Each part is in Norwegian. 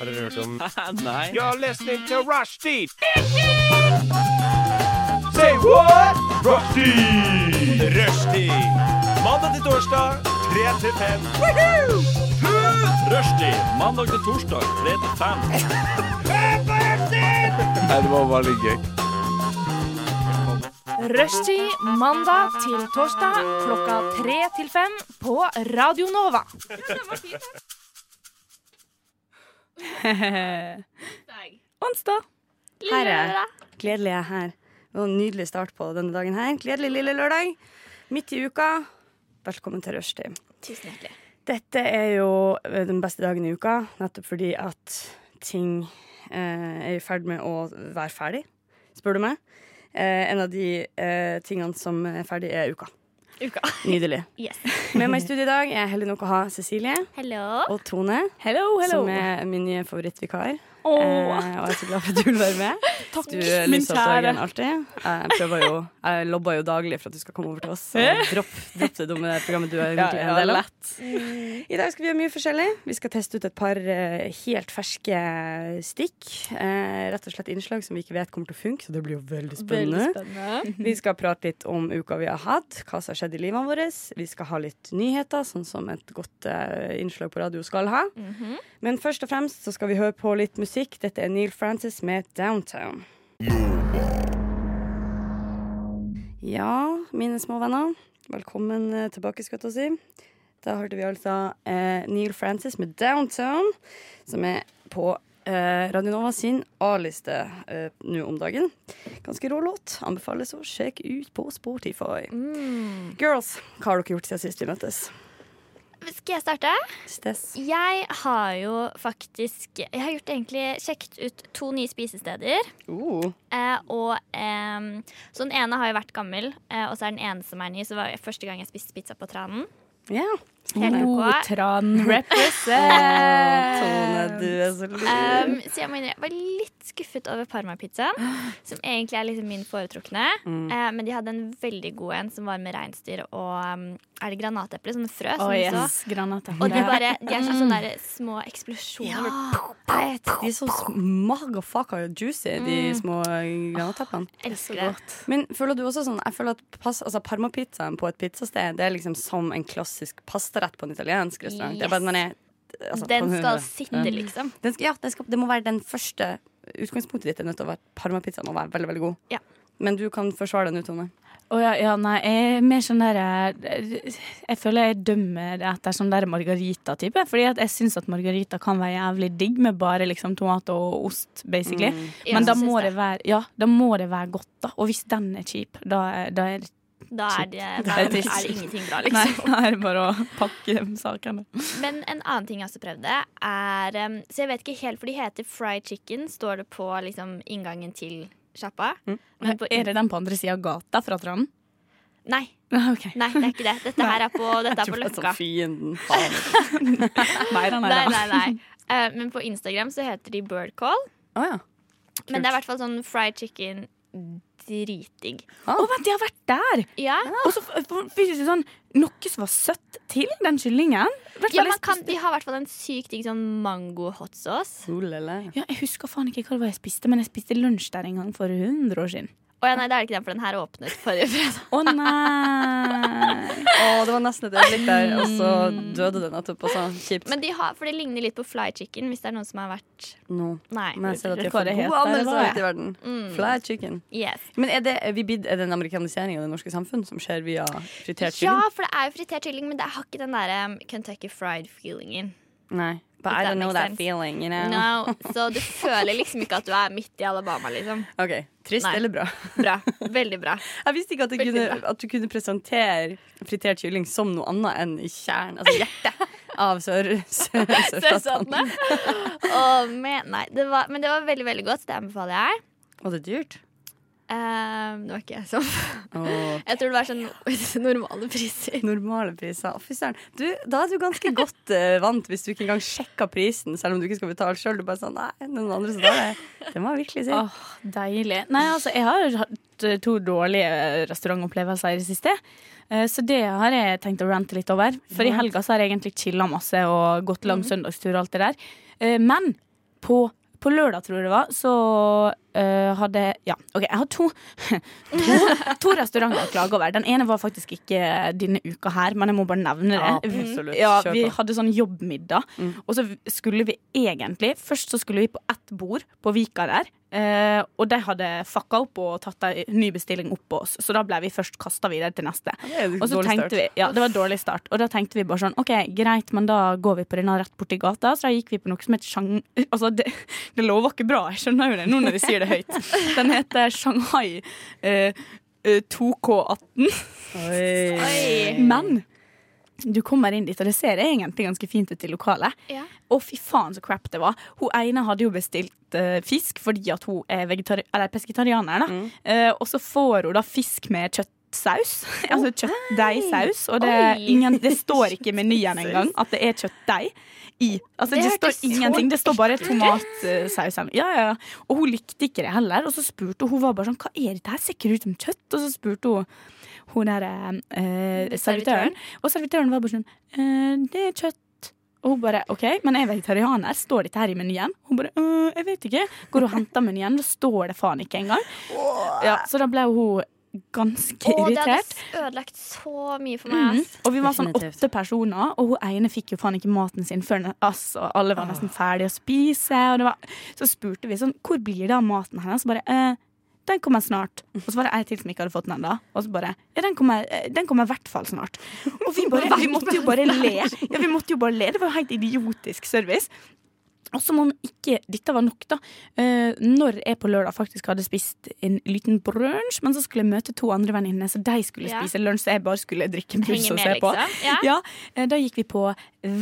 Har dere hørt om Nei. You're listening to Rushdie. Say what? Rushdie. Rushdie. Mandag til torsdag, 3 til 5. Rushdie mandag til torsdag 3 til 5. Nei, det var veldig gøy. Rushtid mandag til torsdag klokka tre til fem på Radio Nova. Onsdag. Her er Gledelig er her. Og en nydelig start på denne dagen her. Gledelig lille lørdag. Midt i uka. Velkommen til rushtid. Tusen hjertelig. Dette er jo eh, den beste dagen i uka, nettopp fordi at ting eh, er i ferd med å være ferdig, spør du meg. Eh, en av de eh, tingene som er ferdig, er uka. Uka. Nydelig. Yes. Med meg i studio i dag er jeg heldig nok å ha Cecilie Hello. og Tone, Hello, som er min nye favorittvikar. Åh, Eh, og jeg er så glad for at du vil være med. Takk, du er min lyset av dagen alltid. Jeg prøver jo, jeg lobber jo daglig for at du skal komme over til oss. Så Dropp, dropp det dumme programmet du er virkelig en del av. Mm. I dag skal vi gjøre mye forskjellig. Vi skal teste ut et par eh, helt ferske stikk. Eh, rett og slett innslag som vi ikke vet kommer til å funke, så det blir jo veldig spennende. Vi skal prate litt om uka vi har hatt, hva som har skjedd i livet vårt. Vi skal ha litt nyheter, sånn som et godt eh, innslag på radio skal ha. Men først og fremst så skal vi høre på litt musikk. Dette er Neil Francis med 'Downtown'. Ja, mine små venner. Velkommen eh, tilbake, skal jeg til å si. Da hørte vi altså eh, Neil Francis med 'Downtown', som er på eh, Radio Nova sin A-liste eh, nå om dagen. Ganske rå låt. Anbefales å sjekke ut på Spotify. Girls, hva har dere gjort siden sist vi møttes? Skal jeg starte? Stess. Jeg har jo faktisk Jeg har gjort egentlig sjekket ut to nye spisesteder. Uh. Eh, og em, Så den ene har jo vært gammel, eh, og så er den ene som er ny. Så var det første gang jeg spiste pizza på Tranen. Ja. Helt ok. Tran represent. Tone, du er så lur. Em, Ehm, så jeg må innrømme, jeg var litt skuffet over parmapizzaen, som egentlig er liksom min foretrukne. Eh, men de hadde en veldig god en som var med reinsdyr og em, Er det granateple? Sånne frø? som Oh, du så? yes. Granater. Og de, bare, de er sånn sånne der små eksplosjoner. Nei, de er så motherfucka juicy, de Mm. små granateplene. Jeg elsker det. Men føler du også sånn Jeg føler at pass, altså parmapizzaen på et pizzasted Det er liksom som en klassisk pastarett på en italiensk restaurant. Det er bare at man er altså, Den på en skal hundre. sitte, Mm. liksom. den skal, Ja, den skal, det må være den første utgangspunktet ditt. Er nødt til å være Parmapizza må være veldig veldig god. Ja. Men du kan forsvare den, du, Tone. Å ja, ja, nei, jeg er mer sånn der Jeg jeg føler jeg dømmer etter sånn der margarita-type. Fordi at jeg syns at margarita kan være jævlig digg med bare liksom tomat og ost, basically. Ja, Men da jeg må, syns det være, ja, da må det være godt, da. Og hvis den er kjip, da, er- da er det Da er det, da er Det er det trist. ingenting bra, Nei, liksom. da er det bare å pakke de sakene. Men en annen ting jeg også prøvde, er um, Så jeg vet ikke helt, for de heter fried chicken, står det på liksom, inngangen til sjappa. Men på, Er det den på andre sida av gata fra Trond? nei, OK. nei, det er ikke det. Dette her er på, dette er på Det er sånn Løkka. fienden. faen. Nei, nei, Nei, nei. nei, nei. Eh, men på Instagram så heter de birdcall. Å ja. Men det er i hvert fall sånn fried chicken dritdigg. Å, vent, jeg har vært der! Ja, Og så f- f- fikk jeg sånn noe som var søtt til den kyllingen. Hvert ja fall man jeg kan, spiste- de har i hvert fall en sykt digg sånn mango hot sauce. Solele. Ja, jeg husker faen ikke hva det var jeg spiste, men jeg spiste lunsj der en gang for 100 år siden. Å ja, nei, det er det ikke den, for den her åpnet forrige fredag. Å nei! Å, det var nesten et øyeblikk der, og så Mm. døde det nettopp. Og så kjipt. Men de har, for det ligner litt på fly chicken, hvis det er noen som har vært Nå. Nei. Men jeg ser at de har Hva fått det heter, gode hva er anmeldelser det? ute i verden. Fried chicken. Yes. Mm. Men er det, er vi bidd- er det en amerikanisering av det norske samfunn som skjer via fritert Ja, kylling? for det er jo fritert kylling, men det har ikke den der um, Kentucky fried feelingen. Nei. But I If that don't know makes that sense. feeling. You know? No, så du føler liksom ikke at du er midt i Alabama, liksom. Ok, Trist Nei. eller bra? Bra. Veldig bra. Jeg visste ikke at du, Veldig kunne, at du kunne presentere fritert kylling som noe annet enn i kjernen, altså hjertet av sør, sør, sørstatene. Søtene. Å, men, nei, det var, men det var veldig, veldig godt. Det anbefaler jeg. Og det er dyrt. Um, det var ikke jeg som Og Jeg tror det var sånn normale priser. normale priser. Å, Fy søren. Du, da er du ganske godt eh, vant hvis du ikke engang sjekker prisen, selv om du ikke skal betale sjøl. Du bare sånn Nei, det er noen andre som tar det. Det må jeg virkelig si. Åh, deilig. Nei, altså, jeg har hatt eh, to dårlige restaurantopplevelser i det siste. Eh, Så det har jeg tenkt å rante litt Mhm. over. For i helga så har jeg egentlig chilla masse og gått lang søndagsturer søndagstur og alt det der. Eh, Men på på lørdag, tror jeg det var, så øh, hadde Ja, OK, jeg har to, to, to restauranter å klage over. Den ene var faktisk ikke denne uka her, men jeg må bare nevne det. Absolutt. Ja, Kjør vi på. hadde sånn jobbmiddag, Mm. og så skulle vi egentlig Først så skulle vi på ett bord på Vika der, eh, og de hadde fucka opp og tatt ei ny bestilling opp på oss, så da ble vi først kasta videre til neste. Det er jo Og så dårlig tenkte start. vi, ja, det var en dårlig start. Og da tenkte vi bare sånn, ok, greit, men da går vi på denne rett borti gata. Så da gikk vi på noe som heter Shang... Altså, det, det lover ikke bra, jeg skjønner jo det nå når vi sier det høyt. Den heter Shanghai eh, eh, 2K18. Oi. Men du kommer inn dit, og det ser egentlig ganske fint ut i lokalet. Ja. Å, fy faen så crap det var. Hun ene hadde jo bestilt eh, fisk fordi at hun er vegetari eller pesketarianer. Da. Mm. Eh, og så får hun da fisk med kjøttsaus. altså kjøttdeigsaus. Og det, er Oi. ingen, det står ikke i menyen engang at det er kjøttdeig. I. Altså, det, Det hørtes står så ingenting. Det står bare tomatsaus. Ja, ja, ja. Og hun likte ikke det heller. Og så spurte hun, hun var bare sånn, hva er dette her? Ser ikke det ut som kjøtt? Og så spurte hun hun der Mm, eh, servitøren. Og servitøren var bare sånn eh, Det er kjøtt. Og hun bare OK, men jeg er vegetarianer. Står dette her i menyen? Hun bare «Øh, Jeg vet ikke. Går og henter menyen, da står det faen ikke engang. Ja, så da ble hun ganske Å, det hadde irritert. s- ødelagt så mye for meg. ass. Og vi var sånn Definitivt. åtte personer, og hun ene fikk jo faen ikke maten sin før ne- oss, og alle var nesten ferdige å spise. Og det var, så spurte vi sånn, hvor blir det av maten hennes? Så bare, eh, den kommer snart. Og så var det ei til som ikke hadde fått den ennå. Og så bare, ja, den kommer, eh, den kommer i hvert fall snart. Og vi, bare, vi måtte jo bare le. Ja, vi måtte jo bare le. Det var jo helt idiotisk service. Og som om ikke dette var nok, da. Eh, når jeg på lørdag faktisk hadde spist en liten brunsj, men så skulle jeg møte to andre venninner, så de skulle Ja. spise lunsj, så jeg bare skulle drikke en buss Henge og med, se på. liksom. Ja. Ja, eh, Da gikk vi på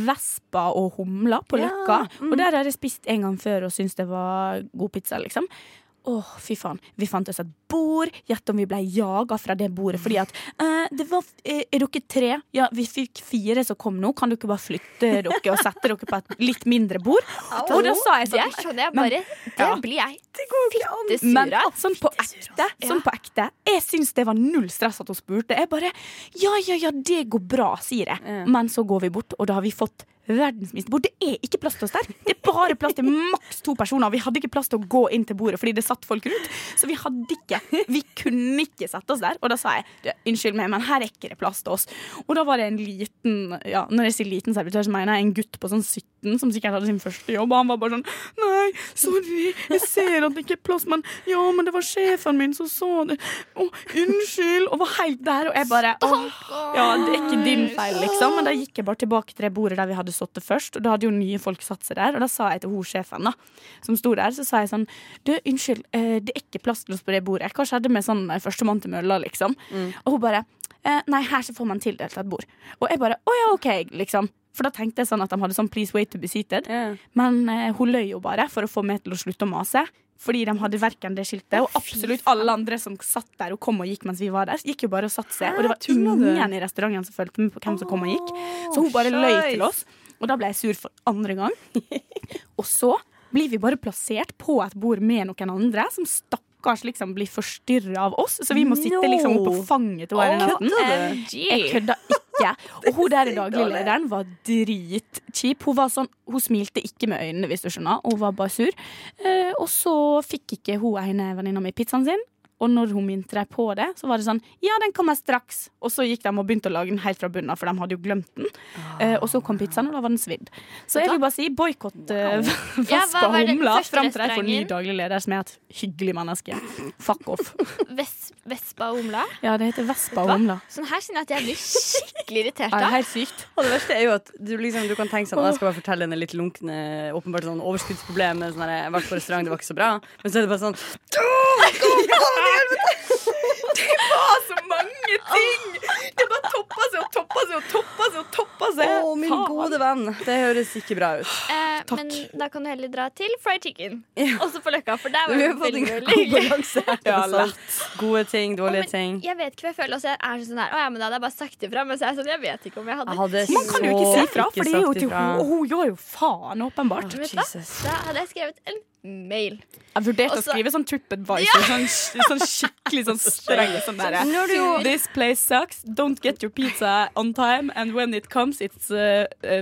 Vespa og humla på Løkka. Og der har jeg spist en gang før og syntes det var god pizza, liksom. Åh, fy faen. Vi fant oss et bord. Gjett om vi ble jaga fra det bordet. Fordi at eh, det var eh, Er dere tre? Ja, vi fikk fire som kom nå. Kan dere bare flytte dere og sette dere på et litt mindre bord? Og da sa jeg Det sånn skjønner jeg Men- bare. Det Ja. blir jeg. men Fittesura. sånn på ekte, sånn på ekte Jeg syns det var null stress at hun spurte. Jeg bare Ja, ja, ja, det går bra, sier jeg. Ja. Men så går vi bort, og da har vi fått verdens minste bord. Det er ikke plass til oss der. Det er bare plass til maks to personer. Vi hadde ikke plass til å gå inn til bordet fordi det satt folk rundt. Så vi hadde ikke Vi kunne ikke sette oss der. Og da sa jeg «Du, unnskyld meg, men her er ikke det plass til oss. Og da var det en liten ja, Når jeg sier liten servitør, så mener jeg en gutt på sånn 17 som sikkert hadde sin første jobb. Og han var bare sånn Nei, sorry, jeg ser at det ikke er plass, men ja, men det var sjefen min som sa det. Å, unnskyld. Og var helt der, og jeg bare åh. Ja, det er ikke din feil, liksom. Men da gikk jeg bare tilbake til det bordet der vi hadde sittet først. Og da hadde jo nye folk satt seg der, og da sa jeg til hun sjefen, da, som sto der, så sa jeg sånn Du, unnskyld, eh, det er ikke plass til oss på det bordet. Hva skjedde med sånn eh, førstemann til mølla, liksom? Og hun bare eh, Nei, her så får man tildelt et bord. Og jeg bare Å ja, OK, liksom. For da tenkte jeg sånn at de hadde sånn Please wait to be seated. Ja. Men eh, hun løy jo bare for å få meg til å slutte å mase. Fordi de hadde verken det skiltet, og absolutt alle andre som satt der og kom og gikk mens vi var der, gikk jo bare og satte seg. Og det var tuller du? ingen i restauranten som fulgte med på hvem som kom og gikk. Så hun bare løy til oss, og da ble jeg sur for andre gang. Og så blir vi bare plassert på et bord med noen andre som stakkars liksom blir forstyrra av oss, så vi må sitte No. liksom oppå fanget til henne. hele natten. Jeg OMG. kødda ikke. Og hun der dagliglederen var dritkjip. Hun, var sånn, hun smilte ikke med øynene, hvis du skjønner. Hun var bare sur. Eh, og så fikk ikke hun ene venninna mi pizzaen sin. Og når hun minte dem på det, så var det sånn Ja, den kommer straks. Og så gikk de og begynte å lage den helt fra bunnen av, for de hadde jo glemt den. Eh, og så kom pizzaen, og da var den svidd. Så jeg vil bare si boikott eh, Ja, Vespa hva var det Humla første fram til de får ny restauranten? daglig leder som er et hyggelig menneske. Fuck off. Ves- Vespa og Omla. Ja, det heter Vespa Hva? Humla. Sånn her kjenner jeg at jeg blir skikkelig irritert Ja, det er av. helt sykt. Og det verste er jo at du, liksom, du kan tenke sånn Jeg skal bare fortelle henne litt lunkne Åpenbart sånn overskuddsproblem med sånn her, Jeg har vært på restaurant, det var ikke så bra Men så er det bare sånn Ah, så mange ting! Det bare toppa seg og toppa seg og toppa seg. og toppa Å, min gode venn Det høres ikke bra ut Eh, men da kan du heller dra til fried chicken. Også på Løkka, for der var Vi det har fått veldig en god veldig gøy. balanse her Ja, sånn. Gode ting, Å, dårlige men ting Jeg vet ikke hva jeg føler. Også jeg er sånn her, Å ja, men da hadde jeg bare sagt ifra. Men så er jeg sånn, jeg vet ikke om jeg hadde Jeg hadde Man kan jo så ikke si fra, for det er jo sagt til ifra. hun, og hun gjør jo faen, åpenbart. Du vet hva? Jesus. Da hadde jeg skrevet en mail. Jeg vurderte å Altså- å skrive skrive sånn TripAdvisor, sånn, skikkelig sånn streng sånn Når du- This place sucks, don't get your pizza on time, and when it comes, it's uh, uh,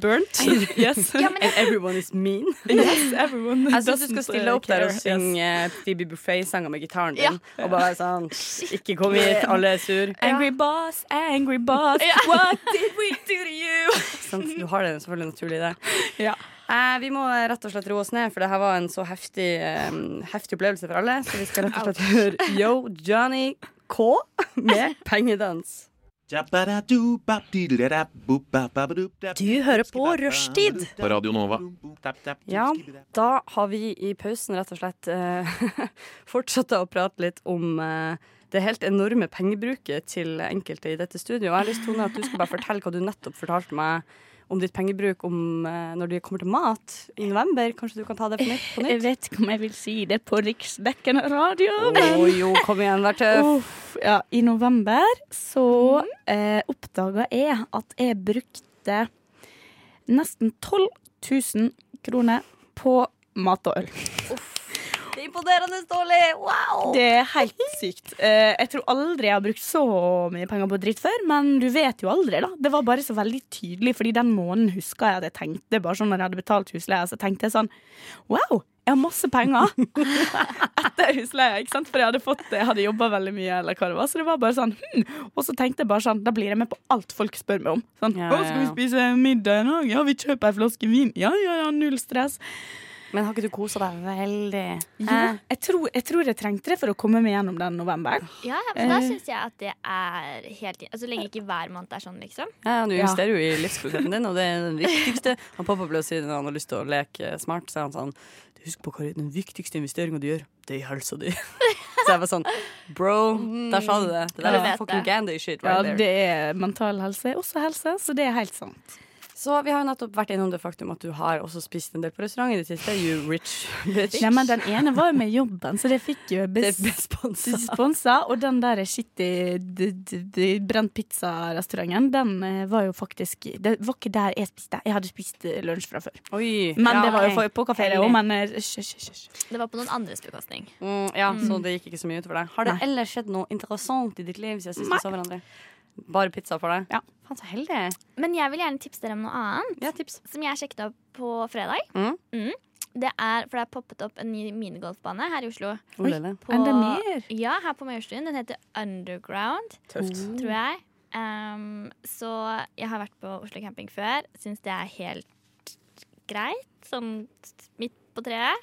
burnt. Yes. Ja, men And everyone is mean. yes everyone Jeg syns du skal doesn't, stille opp uh, der og care. synge Phoebe Buffet-sanger med gitaren din. Ja. Og bare være sånn Ikke kom hit, alle er sur. Yes. Angry boss, angry boss, what did we do to you? Sant? Sånn, Du har det selvfølgelig naturlig, det. Ja. Eh, vi må eh, rett og slett roe oss ned, for det her var en så heftig, eh, heftig opplevelse for alle. Så vi skal rett og slett høre Yo Johnny K med pengedans. Du hører på Rushtid. På Radio Nova. Ja, da har vi i pausen rett og slett eh, fortsatt å prate litt om eh, det helt enorme pengebruket til enkelte i dette studioet. Og jeg har lyst Tone, at du skal bare fortelle hva du nettopp fortalte meg om ditt pengebruk om, eh, når det kommer til mat i november. Kanskje du kan ta det på nytt? På Jeg nytt? vet ikke om jeg vil si det på riksdekkende radio. Å jo, kom igjen, vær tøff. Uff, ja, I november Mm. så eh, oppdaga jeg at jeg brukte nesten 12 000 kroner på mat og øl. Det er imponerende, Ståle! Wow! Det er helt sykt. Eh, jeg tror aldri jeg har brukt så mye penger på dritt før, men du vet jo aldri, da. Det var bare så veldig tydelig, fordi den måneden huska jeg at jeg tenkte bare sånn når jeg hadde betalt husleia, så tenkte jeg sånn Wow! Jeg har masse penger etter husleia, ikke sant? For jeg hadde, fått, jeg hadde jobba veldig mye, eller hva det var. Så det var bare sånn hm. Og så tenkte jeg bare sånn Da blir jeg med på alt folk spør meg om. Sånn Ja, Å, ja, skal vi ja. spise middag i dag? Ja, vi kjøper ei flaske vin. Ja, ja, ja, null stress. Men har ikke du kosa deg veldig? Ja, jeg tror, jeg tror jeg trengte det for å komme meg gjennom den novemberen. ja, ja, men da Eh. syns jeg at det er helt in- altså, Lenge ikke hver måned er sånn, liksom. Ja, Du Ja. investerer jo i livskvaliteten din, og det er den viktigste. Han pappa ble å si når han har lyst til å leke smart, så er han sånn «Du, Husk på hva den viktigste investeringa du gjør, det er helsa di. Så jeg var sånn Bro, der sa du det. Det Ja, der du er vet fucking det. Gandhi shit Ja, right there. det er mental helse, også helse, så det er helt sant. Så vi har jo nettopp vært innom det faktum at du har også spist en del på restaurant i det siste. You rich bitch. Nei, men den ene var jo med jobben, så det fikk jo Det bes er sponsa. sponsa. Og den der skitty d- d- d- brent pizza-restauranten, den eh, var jo faktisk Det var ikke der jeg spiste. Jeg hadde spist eh, lunsj fra før. Oi. Men Ja, det var jo ok. for- på kafé, det òg, men eh, hysj, hysj, hysj, hysj. Det var på noen andres bekostning. Mm, ja, Så det gikk ikke så mye utover deg. Har det Nei. ellers skjedd noe interessant i ditt liv siden sist vi så hverandre? Bare pizza for deg? Ja. Faen, så heldig. Men jeg vil gjerne tipse dere om noe annet Ja, tips. som jeg sjekket opp på fredag. Mm. Mm. Det er, for det er poppet opp en ny minigolfbane her i Oslo. Oi, lille. På, Enda mer? Ja, her på Majorstuen. Den heter Underground, Tøft. Mm. tror jeg. Um, så jeg har vært på Oslo camping før. Syns det er helt greit. Sånn midt på treet.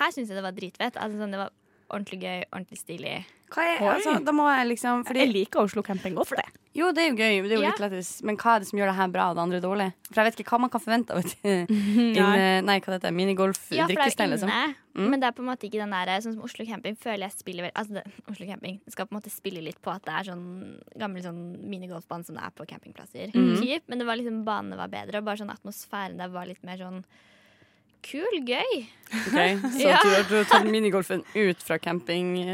Her syns jeg det var dritfett. Altså, sånn, det var ordentlig gøy, ordentlig stilig. Hva er, Oi. altså, da må jeg liksom fordi, Jeg liker Oslo camping godt, det. Jo, det er jo gøy, det er jo Ja. litt lættis, men hva er det som gjør det her bra og det andre dårlig? For jeg vet ikke hva man kan forvente av et inne- Nei, hva dette er, Ja, for det er minigolf-drikkested, jo liksom. inne, Mm. men det er på en måte ikke den der Sånn som Oslo Camping føler jeg spiller vel Altså, det, Oslo Camping skal på en måte spille litt på at det er sånn gammel sånn minigolfbane som det er på campingplasser. Mm. Typ. Men det var liksom banene var bedre, og bare sånn atmosfæren der var litt mer sånn kul, gøy. Ok, Så Ja. du, du har tatt minigolfen ut fra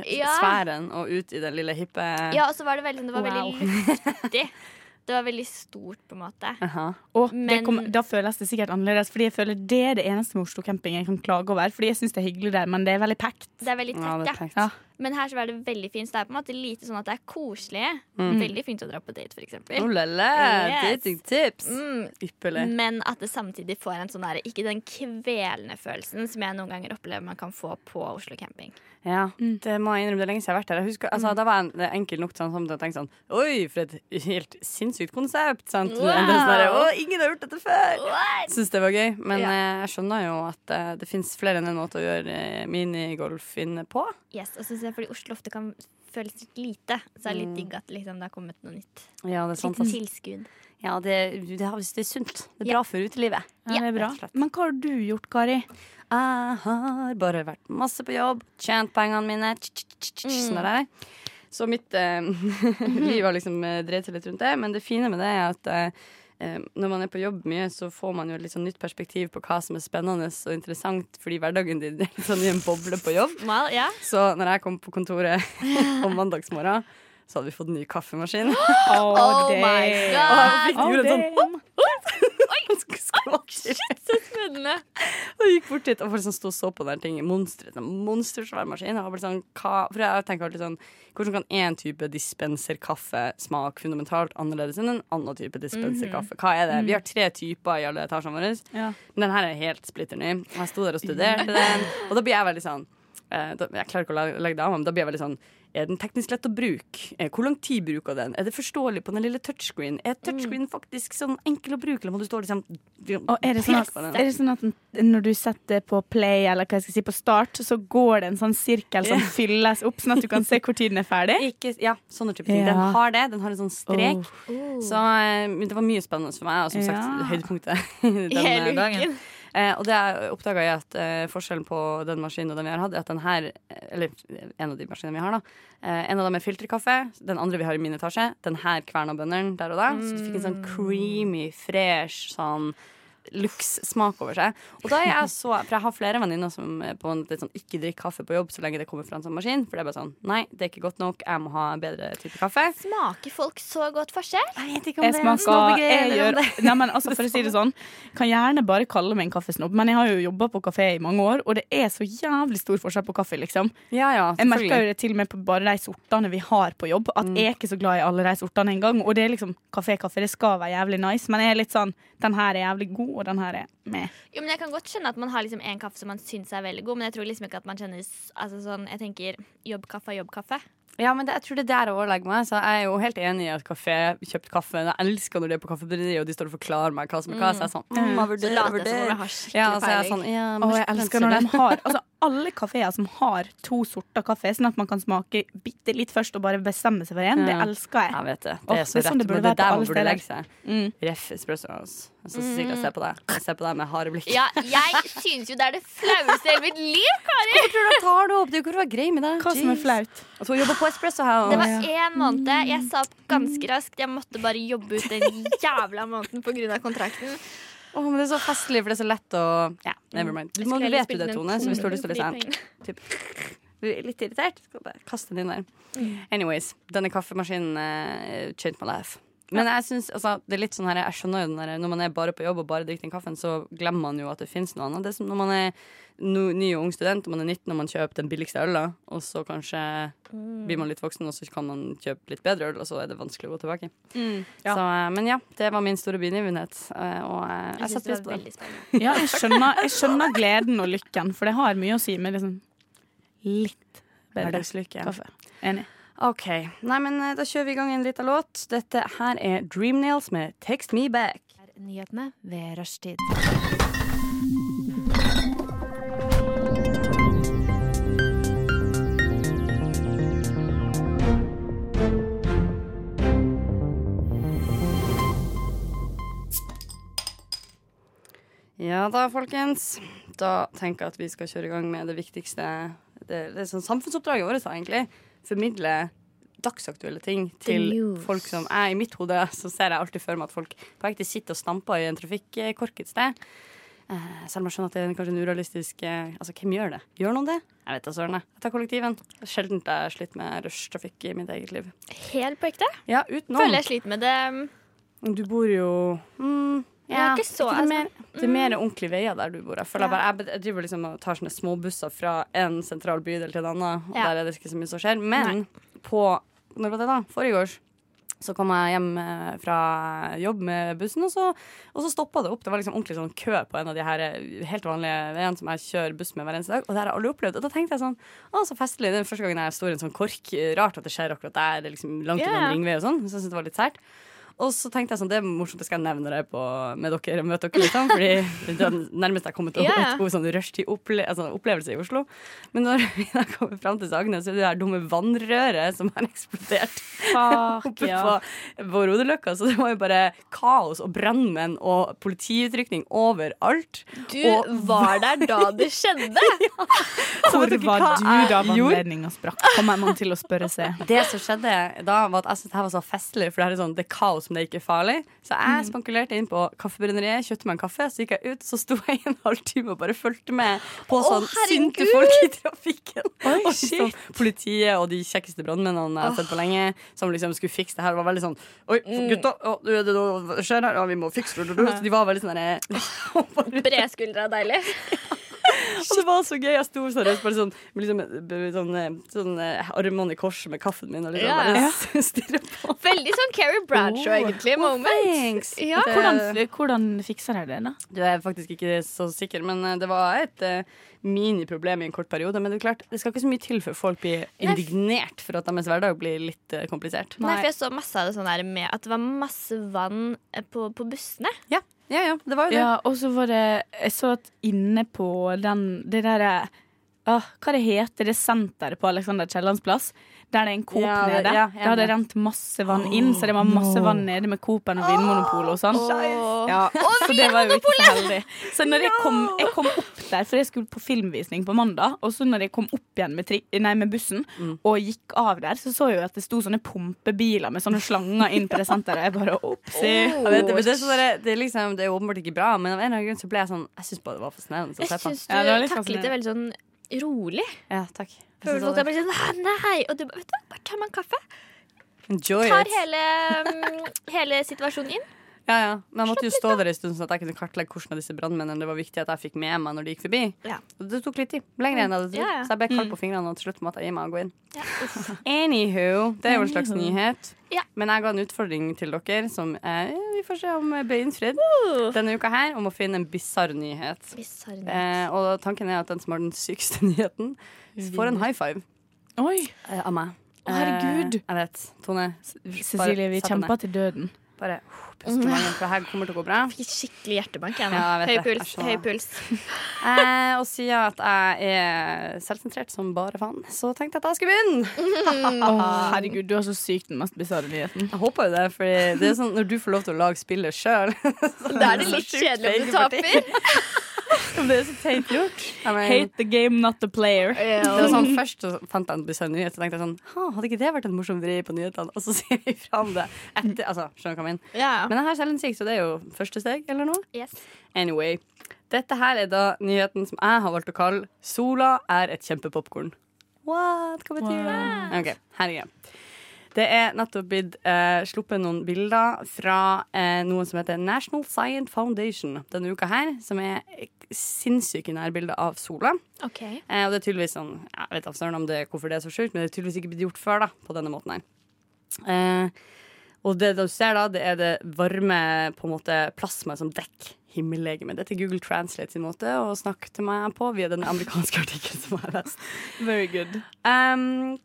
campingsfæren og ut i den lille hippe Ja, og så var det veldig sånn Det var Wow. veldig luftig. Det var veldig stort, på en måte. Aha. Og det Men- kom, da føles det sikkert annerledes, Fordi jeg føler det er det eneste med Oslo camping jeg kan klage over. Fordi jeg syns det er hyggelig der, men det er veldig packed. Det er veldig Ja, tett, det ja. er perfekt. Ja. Men her så var det veldig fint. Så det er på en måte lite sånn at det er koselig. Mm. Veldig fint å dra på date, for Oh, eksempel. lele, Yes. dating tips! Mm, Ypperlig. Men at det samtidig får en sånn der, ikke den kvelende følelsen som jeg noen ganger opplever man kan få på Oslo camping. Ja, det må jeg innrømme. Det er lenge siden jeg har vært her. Jeg husker, altså, Da var jeg en- det enkel nok sånn, som til å tenke sånn Oi, for et helt sinnssykt konsept! Sant? Wow! Men det er sånn der, Å, ingen har gjort dette før! What? Syns det var gøy, men Ja. eh, jeg skjønner jo at eh, det fins flere enn en måte å gjøre eh, minigolf inne på. Yes, og så synes jeg Fordi Oslo ofte kan føles litt lite, så er det Mm. litt digg at liksom, det har kommet noe nytt. Ja, det er sant. Litt ass. tilskudd. Ja, det, det, har- det er sunt. Det er Ja. bra for utelivet. Ja, det er bra. rett og slett. Men hva har du gjort, Kari? Jeg har bare vært masse på jobb, tjent pengene mine. tsk, tsk, tsk, tsk, Sånn der. Så mitt eh, liv har liksom eh, dreid seg litt rundt det. Men det fine med det er at eh, når man er på jobb mye, så får man jo et litt sånn nytt perspektiv på hva som er spennende og interessant, fordi hverdagen din er litt sånn i en boble på jobb. Mal, ja. Så når jeg kom på kontoret om mandagsmorgen, så hadde vi fått ny kaffemaskin. Oh, my damn. Og jeg fikk sånn god! Oh, gjort en sånn damn. skvatt. så spennende. Og gikk bort dit og folk som sto og så på den tingen. Monster, sånn, monstersvær maskin. Og bare sånn, hva, for jeg tenker alltid sånn Hvordan kan én type dispenserkaffe smake fundamentalt annerledes enn en annen type Mhm. dispenserkaffe? Hva er det? Vi har tre typer i alle etasjene våre. Ja. Men den her er helt splitter ny. Og jeg sto der og studerte Mhm. den, og da blir jeg veldig sånn eh, da, Jeg klarer ikke å legge, legge det av meg, men da blir jeg veldig sånn er den teknisk lett å bruke? Eh, Hvor lang tid bruker den? Er det forståelig på den lille touchscreen? Er touchscreen faktisk sånn enkel å bruke, eller må du stå liksom Mm. Og er det sånn at, peke på den? er det sånn at den- når du setter på play eller hva jeg skal si, på start, så går det en sånn sirkel som Ja. fylles opp, sånn at du kan se hvor tiden er ferdig? Ikke, ja, sånne type ting. Ja. Den har det. Den har en sånn strek. Åh. Så eh, men det var mye spennende for meg, og som Ja. sagt høydepunktet den eh, Hele dagen. uken. Eh, og det oppdaga jeg at eh, forskjellen på den maskinen og den vi har hatt, er at den her, eh, eller en av de maskinene vi har, da, eh, en av dem er filterkaffe. Den andre vi har i min etasje, den her kverna bøndene der og da. Så du fikk en sånn creamy, fresh sånn lukssmak over seg. Og da er jeg så For jeg har flere venninner som er på en litt sånn ikke drikk kaffe på jobb så lenge det kommer fra en sånn maskin. For det er bare sånn Nei, det er ikke godt nok. Jeg må ha en bedre type kaffe. Smaker folk så godt forskjell? Jeg vet ikke Jeg smaker jeg gjør, det. nei, men altså, For å si det sånn, kan gjerne bare kalle meg en kaffesnobb, men jeg har jo jobba på kafé i mange år, og det er så jævlig stor forskjell på kaffe, liksom. Ja, ja, Jeg merker jo det til og med på bare de sortene vi har på jobb, Mm. at jeg er ikke så glad i alle de sortene engang. Og det er liksom kafé-kaffe, det skal være jævlig nice, men jeg er litt sånn den her er jævlig god, og den her er med. Jo, men Jeg kan godt skjønne at man har liksom en kaffe som man syns er veldig god, men jeg tror liksom ikke at man kjenner s- altså sånn, Jeg tenker jobbkaffe er jobbkaffe. Ja, men det, jeg tror det er der jeg overlegger meg. Så jeg er jo helt enig i at kafé, kjøpt kaffe Jeg elsker når de er på kaffebrenneriet og de står og forklarer meg hva som er hva. Så jeg er sånn mm, jeg Så vurderer, jeg later jeg som om vurderer. jeg har skikkelig Ja, så jeg er peiling. sånn ja, Og jeg mørk elsker blender. når de har Altså alle kafeer som har to sorter kaffe, sånn at man kan smake bitte litt først og bare bestemme seg for én, det Ja. elsker Jeg jeg. vet det. Åh, Det er så det er sånn rett. det burde men det være er på der alle man burde steder. legge seg. Mm. Ref espresso. altså. Så Cecilia, se på deg. Jeg ser på deg med harde blikk. Ja, jeg synes jo det er det flaueste i hele mitt liv, Kari! Hvorfor tror du jeg tar det opp? Det er jo ikke for å være grei med deg. Hva som er Jeez. flaut? At hun jobber på Espresso House. Det var én måned. Jeg sa opp ganske raskt. Jeg måtte bare jobbe ut den jævla måneden pga. kontrakten. Åh, men det er så festlig, for det er så lett å Ja, never mind. Du, Jeg må, skulle du heller vet jo spilt det, inn en Tone, så hvis du har tone lyst til å for de lese den typ, Du er litt irritert, skal bare kaste den inn der. Mm. Anyways, denne kaffemaskinen uh, changed my life. Men jeg synes, altså, det er litt sånn her, jeg skjønner jo den der, når man er bare på jobb og bare drikker den kaffen, så glemmer man jo at det finnes noe annet. Det er som når man er no, ny og ung student, og man er 19 og man kjøper den billigste øla, og så kanskje Mm. blir man litt voksen, og så kan man kjøpe litt bedre øl, og så er det vanskelig å gå tilbake. Ja. Mm. Så, eh, men ja, det var min store begivenhet, eh, og eh, jeg Jeg synes setter det pris på var den. veldig spennende. Ja, jeg skjønner, jeg skjønner gleden og lykken, for det har mye å si med liksom litt bedre Hverdagslykke. kaffe. Enig. Ok, Nei, men eh, Da kjører vi i gang en liten låt. Dette her er Dreamnails med 'Text Me Back'. Nyhetene ved rushtid. Ja da, folkens. Da tenker jeg at vi skal kjøre i gang med det viktigste Det, det er sånn samfunnsoppdraget vårt, da, egentlig. Formidle dagsaktuelle ting til news. folk som er i mitt hode. Så ser jeg alltid for meg at folk på ekte sitter og stamper i en trafikkork et sted. Eh, Selv om jeg skjønner at det er en- kanskje en urealistisk eh, Altså, hvem gjør det? Gjør noen det? Jeg vet da søren. jeg. Jeg tar kollektiven. Det er Sjelden jeg har slitt med rushtrafikk i mitt eget liv. Helt på ekte? Ja, utenom. Føler jeg sliter med det. Du bor jo mm, Jeg er ikke så- altså, det, mm. mer, det er mer ordentlige veier der du bor. Jeg, føler jeg, bare, jeg, bed- jeg driver liksom og tar sånne småbusser fra en sentral bydel til en annen, og Ja. der er det ikke så mye som skjer. Men på Når var det, da? Forrige års. Så kom jeg hjem eh, fra jobb med bussen, og så, og så stoppa det opp. Det var liksom ordentlig sånn kø på en av de her eh, helt vanlige veiene som jeg kjører buss med hver eneste dag. Og det har jeg aldri opplevd. Og da tenkte jeg sånn Å, så festlig. Det er første gangen jeg står i en sånn kork. Rart at det skjer akkurat der. Det er liksom langt Ja, unna ja. en ringvei og sånn. Så jeg synes det var litt sært. Og så tenkte jeg sånn, det er morsomt, det skal jeg nevne det på, med dere, møte dere, liksom. Fordi det er den nærmeste jeg kommer til å Ja, yeah. ja. utgå sånn rushtid-opplevelse altså, opplevelse i Oslo. Men når vi da kommer frem til Sagene, så er det det her dumme vannrøret som har eksplodert oppe på, på Rodeløkka. Så det var jo bare kaos og brannmenn og politiutrykning overalt. Du Og var der da det skjedde! Så Hvor vet dere var hva du jeg da gjorde? vannledninga sprakk? Kommer man til å spørre seg. Det som skjedde da, var at jeg syntes det her var så festlig, for det her er sånn, det er kaos lot som det ikke er farlig. Så Mm. jeg spankulerte inn på Kaffebrenneriet, kjøpte meg en kaffe, så gikk jeg ut, så sto jeg i en halvtime og bare fulgte med på sånn sinte folk i trafikken. og så politiet og de kjekkeste brannmennene jeg har sett på lenge, som liksom skulle fikse det her, var veldig sånn Oi, Mm. gutta, å, nå er det noe skjer her, å, vi må fikse det. Så de var veldig sånn derre Brede skuldre er deilig. og det var så gøy. Jeg sto seriøst bare sånn med liksom, b- sånn, eh, sånn eh, armene i kors med kaffen min og liksom Ja, bare ja. s- stirre på. Veldig sånn Carrie Bradshaw, egentlig. Moment. Ja. Hvordan, hvordan fikser dere det? da? Du er faktisk ikke så sikker, men eh, det var et eh, miniproblem i en kort periode. Men det er klart, det skal ikke så mye til før folk blir indignert for at deres hverdag blir litt eh, komplisert. Nei, for jeg så masse av det sånn der med at det var masse vann eh, på, på bussene. Ja, ja, ja, det var jo det. Ja, og så var det Jeg så at inne på den Det derre ah, Hva det heter det senteret på Alexander Kiellands plass? Der det er en Coop Ja, det- nede. ja, det hadde enig. rent masse vann inn, så det var masse vann nede med Coop-en og Vinmonopolet og sånn. Ja, så det var jo ikke så heldig. Så når jeg kom, jeg kom opp der, for jeg skulle på filmvisning på mandag, og så når jeg kom opp igjen med, tri nei, med bussen Mm. og gikk av der, så så jeg jo at det sto sånne pumpebiler med sånne slanger inn på det senteret. Jeg bare opsi. Jeg vet, det, men det, er sånn der- det, er liksom, det er jo åpenbart ikke bra, men av en eller annen grunn så ble jeg sånn Jeg syns bare det var fascinerende. å Jeg se på. syns du Ja, det var litt taklet det veldig sånn rolig. Ja, takk. Jeg Føler synes folk det er bare sånn «Hæ, Nei! Og du bare Vet du hva, bare tar meg en kaffe. var- Enjoy Tar it. hele, mm, hele situasjonen inn. Ja, ja. Men jeg måtte jo stå der en stund, sånn at jeg kunne kartlegge hvordan av disse brannmennene det var viktig at jeg fikk med meg når de gikk forbi. Ja. Og det tok litt tid. Lenger enn jeg hadde trodd. Ja, ja. Mm. Så jeg ble kald på fingrene, og til slutt måtte jeg gi meg og gå inn. Ja, uff. Anywho, det er jo en slags Anywho. nyhet. Ja. Men jeg ga en utfordring til dere som eh, vi får se om ble innfridd denne uka her, om å finne en bisarr nyhet. Bisarr. Eh, og tanken er at den som har den sykeste nyheten, får en high five Oi. eh, av meg. Å, herregud. Eh, jeg vet. Tone, s- Cecilie, vi sett deg ned. kjemper til døden. Bare uh, pust i magen, for det her kommer til å gå bra. Fikk Skikkelig hjertebank. jeg nå. Ja, jeg høy, vet det. puls, høy Jeg skjønner det. puls. Eh, og siden at jeg er selvsentrert som bare faen, så tenkte jeg at jeg skulle begynne. Ah. herregud, du har så sykt den mest bisarre nyheten. Jeg håper jo det, for det er sånn når du får lov til å lage spillet sjøl Da er det litt kjedelig om du taper. Det er så teit gjort. Jeg mener, Hate the game, not the player. det var sånn, først så fant jeg en bisarr nyhet, så tenkte jeg sånn «Ha, Hadde ikke det vært en morsom vri på nyhetene? Og så sier vi fra om det etter. Altså, skjønner du hva jeg mener? Ja. Men jeg har selvinnsikt, så det er jo første steg, eller noe. Yes. Anyway. Dette her er da nyheten som jeg har valgt å kalle 'Sola er et kjempepopkorn'. What? Hva betyr det? Ok, her er greia. Det er nettopp blitt eh, sluppet noen bilder fra eh, noen som heter National Science Foundation denne uka her, som er sinnssyke nærbilder av sola. OK. Eh, og det er tydeligvis sånn, jeg vet ikke om det, hvorfor det er så sjukt, men det er tydeligvis ikke blitt gjort før da, på denne måten her. Eh, og det du ser da, det er det varme på en måte plasma som dekker himmellegemet. Dette er Google Translate sin måte å snakke til meg på via den amerikanske artikkelen som jeg har lest. Very good. Um,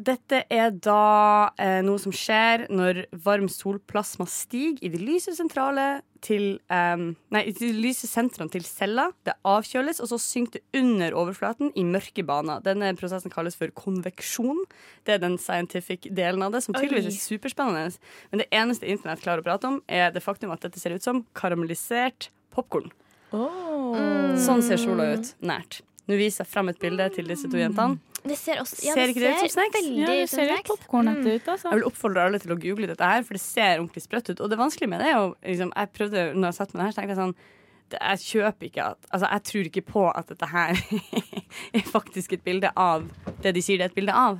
dette er da eh, noe som skjer når varm solplasma stiger i de lyse sentrale til em, Nei, i de lyse sentrene til cella. Det avkjøles, og så synker det under overflaten i mørke baner. Denne prosessen kalles for konveksjon. Det er den scientific delen av det, som tydeligvis er superspennende. Men det eneste internett klarer å prate om, er det faktum at dette ser ut som karamellisert popkorn. Mm. Sånn ser sola ut nært. Nå viser jeg fram et bilde til disse to jentene. Det ser også ja, Ser ikke det ut som snacks? veldig Ja, det ut som ser litt snacks. Mm. popkornete ut, altså. Jeg vil oppfordre alle til å google dette her, for det ser ordentlig sprøtt ut. Og det vanskelige med det er jo liksom, Jeg prøvde når jeg satt med det her, så tenkte jeg sånn det, Jeg kjøper ikke at Altså, jeg tror ikke på at dette her er faktisk et bilde av det de sier det er et bilde av.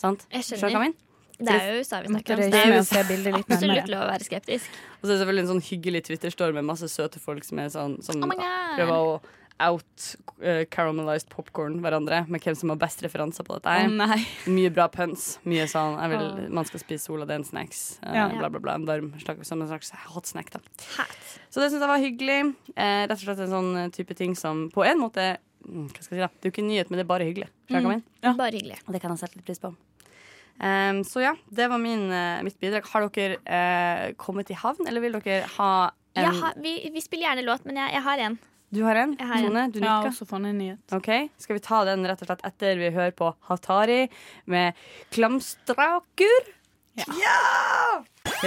Sant? Jeg Skjønner du skjønner. hva jeg mener? Det er jo USA vi Måtte snakker om. så røyse Det er med jo å se bildet litt nærmere. absolutt lov å være skeptisk. Og så er det selvfølgelig en sånn hyggelig Twitter-storm med masse søte folk som er sånn som Oh my God. prøver å out eh, caramelized popcorn hverandre med hvem som har best referanser på dette her. nei. Mye bra puns. Mye sånn jeg vil, Man skal spise sola, det er en snacks. eh, Ja. Bla, bla, bla. En varm slags, som en slags hot snack, da. Hat. Så det syns jeg var hyggelig. Eh, rett og slett en sånn eh, type ting som på en måte mm, Hva skal jeg si, da? Det er jo ikke en nyhet, men det er bare hyggelig. Skjønner du hva jeg mener? Bare hyggelig. Mm. Og det kan jeg sette litt pris på. Ehm, så ja, det var min, eh, mitt bidrag. Har dere eh, kommet i havn, eller vil dere ha en Jeg har, vi, vi spiller gjerne låt, men jeg, jeg har en. Du har en? Jeg har en. Tone, du Jeg har nikker. også funnet en nyhet. Ok, Skal vi ta den rett og slett etter vi hører på Hatari med 'Klamstrakur'?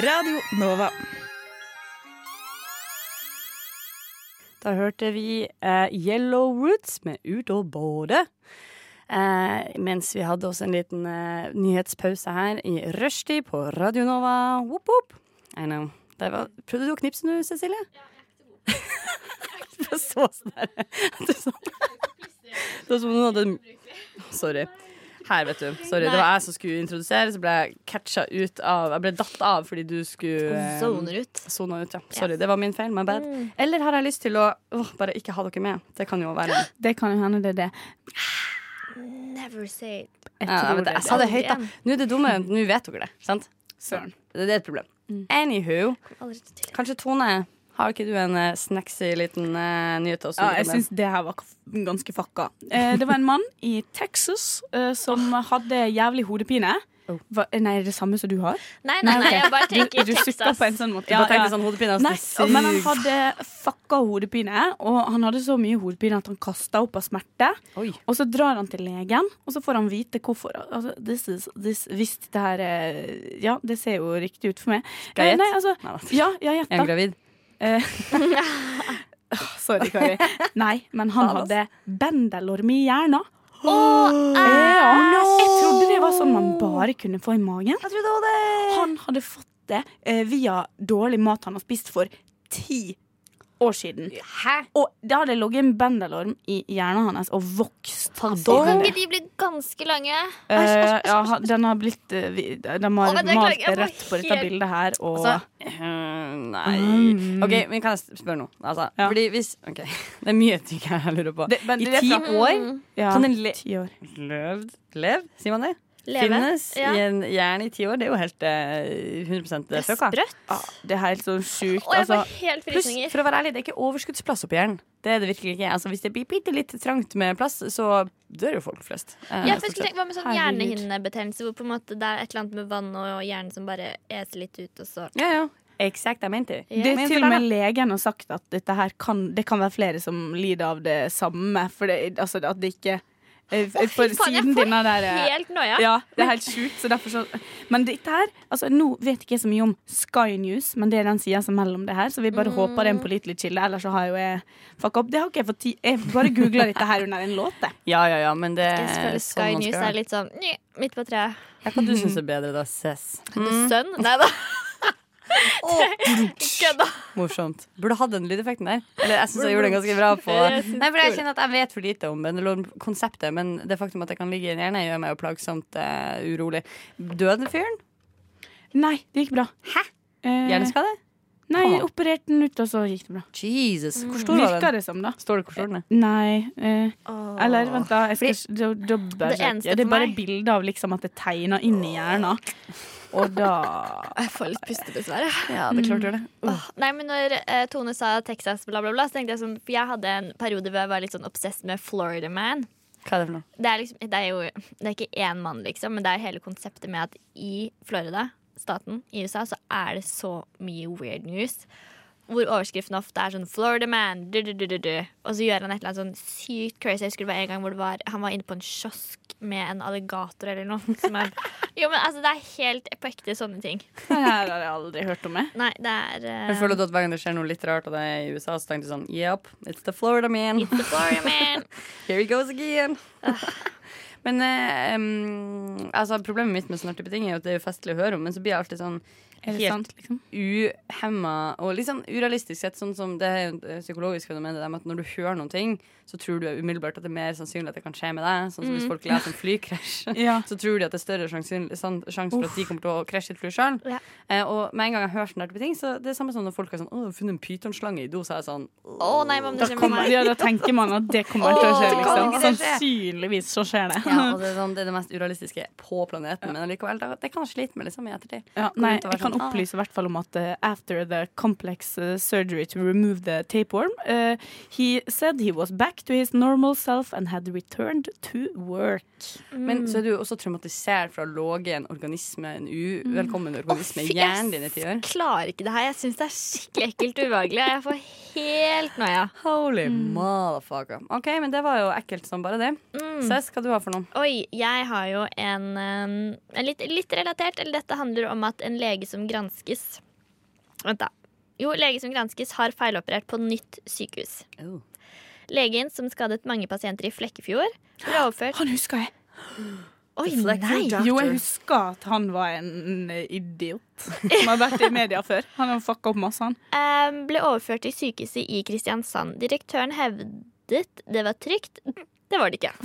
Radio Nova. Da hørte vi eh, Yellow Roots med Ut og bade. Eh, mens vi hadde også en liten eh, nyhetspause her i rushtid på Radio Nova. Woop, woop. I know. Der var, prøvde du å knipse nå, Cecilie? Det var så snar. Det er sånn. Det var som om noen hadde Sorry. Her, vet du. Sorry. Det var jeg som skulle introdusere, så ble jeg catcha ut av Jeg ble datt av fordi du skulle eh, Zoner ut. Sona ut, ja. Sorry, det var min feil. My bad. Mm. Eller har jeg lyst til å åh, bare ikke ha dere med? Det kan jo være Jeg, Det kan jo hende det er det. Never say it. Jeg jeg, tror vet, det. det. jeg sa det høyt, da. Nå er det dumme. Nå vet dere det. Sant? Søren. Mm. Det er et problem. Anywho, Aldri til det. kanskje Tone Har ikke du en eh, snacksy liten eh, nyhet også? Ja, jeg syns det her var k- ganske fucka. Eh, det var en mann i Texas eh, som hadde jævlig hodepine. Oh. Hva, eh, nei, er det samme som du har? Nei, nei, nei, ok. jeg bare tenker Du sukker Texas. på en sånn måte. ja, Ja, Bare tenkte ja. sånn hodepine. Nei, altså, men han sykt. hadde fucka hodepine, og han hadde så mye hodepine at han kasta opp av smerte. Oi. Og så drar han til legen, og så får han vite hvorfor. Altså, this is, this, hvis det her eh, Ja, det ser jo riktig ut for meg. Skal jeg Eh, Nei, altså, Nei, da. ja, jeg Er hun gjetta. gravid? Sorry, Kari. Nei, men han Faen, ass. hadde bendelorm i hjernen. Eh, Å, Ja, jeg trodde det var sånn man bare kunne få i magen. Eh. Han hadde fått det eh, via dårlig mat han har spist for ti år siden. Og det hadde ligget en bendelorm i hjernen hans og vokst. Eh, Kan Dårlig. ikke de bli ganske lange? Eh, ja, ha- den har blitt eh, vi- Den har Å, men det malt klarer jeg- jeg var rødt på dette helt- bildet her, og Altså, eh, nei Mm. OK, men kan jeg s- spørre noe? Altså, Ja. Fordi hvis OK, det er mye ting jeg lurer på. Det- men I det er ti fra- år ja, kan en le ti år. Levd? Lev, sier man det? Leve. Finnes Ja. i en hjerne i ti år. Det er jo helt eh, 100 Det er fucka. sprøtt. Ja, det er helt sånn sjukt. Og Ah. jeg Altså, får helt Pluss, frysninger. for å være ærlig, det er ikke overskuddsplass oppi hjernen. Det er det virkelig ikke. Altså, hvis det blir bitte litt trangt med plass, så dør jo folk flest. eh, Ja, for jeg stort skulle sett. tenke, Hva med sånn Herregud. hjernehinnebetennelse? Hvor på en måte det er et eller annet med vann og hjernen som bare eser litt ut, og så ja, ja. Exakt, jeg mente det. det Men er til og fortell, med legen har sagt at dette her kan, det kan være flere som lider av det samme. For det, altså, at det ikke eh, For faen, jeg siden får din er der eh, Helt noia. Ja, det er helt sjukt. Så derfor så men dette her altså, Nå vet ikke jeg så mye om Sky News, men det er den sida som melder om det her. Så vi bare håper det er en pålitelig kilde, ellers så har jo jeg fucka opp. Det har ikke jeg fått tid Jeg bare googla dette her under en låt, jeg. Ja, ja, ja, men det Jeg føler eh, Sky News er litt sånn nye, midt på treet. Hva du syns er bedre, da? Cess. Mm, Sønn? Nei da. Kødda. Morsomt. Burde hatt den lydeffekten der. Eller jeg syns jeg gjorde den ganske bra på Nei, for jeg kjenner at jeg vet for lite om bendelormkonseptet, men det faktum at det kan ligge i en hjerne, gjør meg jo plagsomt eh, urolig. Døde fyren? Nei, det gikk bra. Hæ? Eh, Hjerneskade? nei, jeg opererte den ut, og så gikk det bra. Jesus. Hvor stor var Virka den? det som, da. Står det hvor stor den er? Nei. Eh, eller vent, da. Jeg skal, ikke- da, da bare, Det eneste ja, det er for bare meg- bilde av liksom, at det tegner inn i hjernen. Og da Jeg får litt pustebesvær. jeg. Ja, det klart gjør det. Åh, Nei, men når eh, Tone sa Texas, bla, bla, bla, så tenkte jeg sånn For jeg hadde en periode hvor jeg var litt sånn obsessed med Florida Man. Mm. Hva er det for noe? Det er, liksom, det er jo det er ikke én mann, liksom, men det er hele konseptet med at i Florida, staten i USA, så er det så mye weird news. Hvor overskriften ofte er sånn 'Florida man', du, du, du, du, du. og så gjør han et eller annet sånn sykt crazy. Jeg husker det var en gang hvor det var, han var inne på en kiosk med en alligator eller noe. Som er, jo, men altså, det er helt på ekte sånne ting. Det her har jeg aldri hørt om, jeg. Nei, det er eh, Jeg føler du at hver gang det skjer noe litt rart av det i USA, så tenker du sånn Yep, it's the Florida man. The Florida man. Here he goes again. men eh, em, altså, problemet mitt med sånne artige ting er jo at det er jo festlig å høre om, men så blir jeg alltid sånn Er det Helt sant, liksom? uhemma og litt sånn urealistisk sett. Sånn som det er jo et psykologisk fenomen det der med at når du hører noen ting, så tror du umiddelbart at det er mer sannsynlig at det kan skje med deg. Sånn som hvis folk leser om flykrasj, Ja. så tror de at det er større sannsynlig- sann- sjanse for at de kommer til å krasje et fly sjøl. Ja. Eh, og med en gang jeg hører sånne type ting, så det er samme som når folk er sånn 'Å, jeg har funnet en pytonslange i do', så er jeg sånn Å nei, hva om det Da, skjer med kommer, meg? ja, da tenker man at det kommer til å Åh, skje. det kan Liksom. ikke skje. Sannsynligvis så skjer det. ja, og det, er sånn, det er det mest urealistiske på planeten, men allikevel, da- det kan jeg slite med liksom, i ettertid. Ja, Gå nei, rundt og være jeg sånn, kan «Ah, opplyse i hvert fall om at eh, after the complex eh, surgery to remove the tapeworm, eh, he said he was back to his normal self and had returned to work. Mm. Men så er du jo også traumatisert fra å logge en organisme, en uvelkommen organisme, i Mm. Å, fy, hjernen din i jeg ti år. klarer ikke det her. Jeg syns det er skikkelig ekkelt og ubehagelig. og Jeg får helt noia. Holy motherfucker. Mm. OK, men det var jo ekkelt som bare det. Mm. Cess, hva du har for noe? Oi, jeg har jo en, um, en litt, litt relatert eller Dette handler om at en lege som granskes Vent, da. Jo, lege som granskes har feiloperert på nytt sykehus. Legen som skadet mange pasienter i Flekkefjord, ble overført Han husker jeg! Oi, Fleck nei! Doctor. Jo, jeg husker at han var en eh, idiot som har vært i media før. Han har fucka opp masse, han. Ehm, ble overført til sykehuset i Kristiansand. Direktøren hevdet det var trygt. Det var det ikke.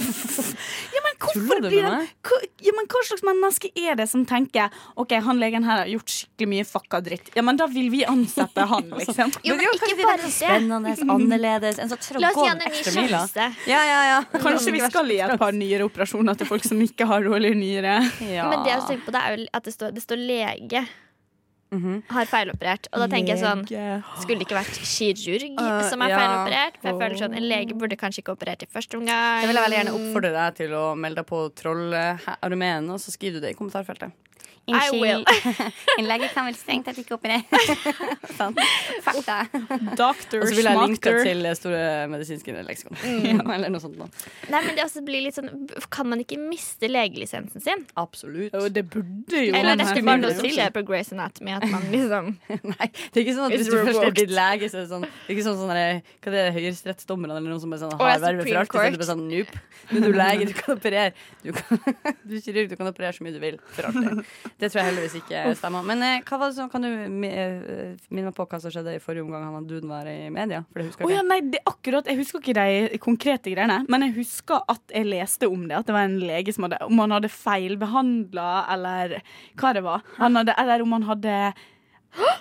Men hvorfor Tuller du blir med han meg? hva, ja, men hva slags menneske er det som tenker OK, han legen her har gjort skikkelig mye fucka dritt. Ja, men da vil vi ansette han, liksom. Jo, men ikke bare det. Spennende, annerledes. En sånn tråd La oss gå gi han en ny ekstra mila. sjanse. Ja, ja, ja. Kanskje vi skal i et par nyreoperasjoner til folk som ikke har dårlige nyrer. Ja. Men det jeg også tenker på, det er jo at det står, det står lege. Mhm. Har feiloperert. Og da tenker jeg sånn Lege. Skulle det ikke vært kirurg Øh, som er ja. feiloperert? For jeg føler sånn, En lege burde kanskje ikke operert i første omgang. Jeg vil veldig gjerne oppfordre deg til å melde deg på Trollarmeen, og så skriver du det i kommentarfeltet. I will. en lege kan vel strengt tatt ikke operere. Sånn. Fakta. Doctor Og så vil jeg linke Schmachter. til Store medisinske leksikon. Ja, eller noe sånt. Da. Nei, men det også blir litt sånn Kan man ikke miste legelisensen sin? Absolutt. Jo, det burde jo Eller han det her skulle være finne noe ut. som skjer på Grey's Anatomy. At man liksom Nei, det er ikke sånn at It's hvis du først er revoked. blitt lege, så er det sånn Det er ikke sånn sånn der, Hva det er høyesterettsdommerne eller noen som er sånn Å, ja, har vervet for Supreme alt? Så er det Court. bare sånn nope. Men du er lege, du kan operere. Du, kan, du er kirurg, du kan operere så mye du vil for alltid. Det tror jeg heldigvis ikke stemmer. Men eh, hva var det som, kan du mi- eh, minne meg på hva som skjedde i forrige omgang han og duden var i media? For det husker Å ja, jeg ikke. nei, det er akkurat, Jeg husker ikke de konkrete greiene, men jeg husker at jeg leste om det. At det var en lege som hadde Om han hadde feilbehandla, eller hva det var. Han hadde, eller om han hadde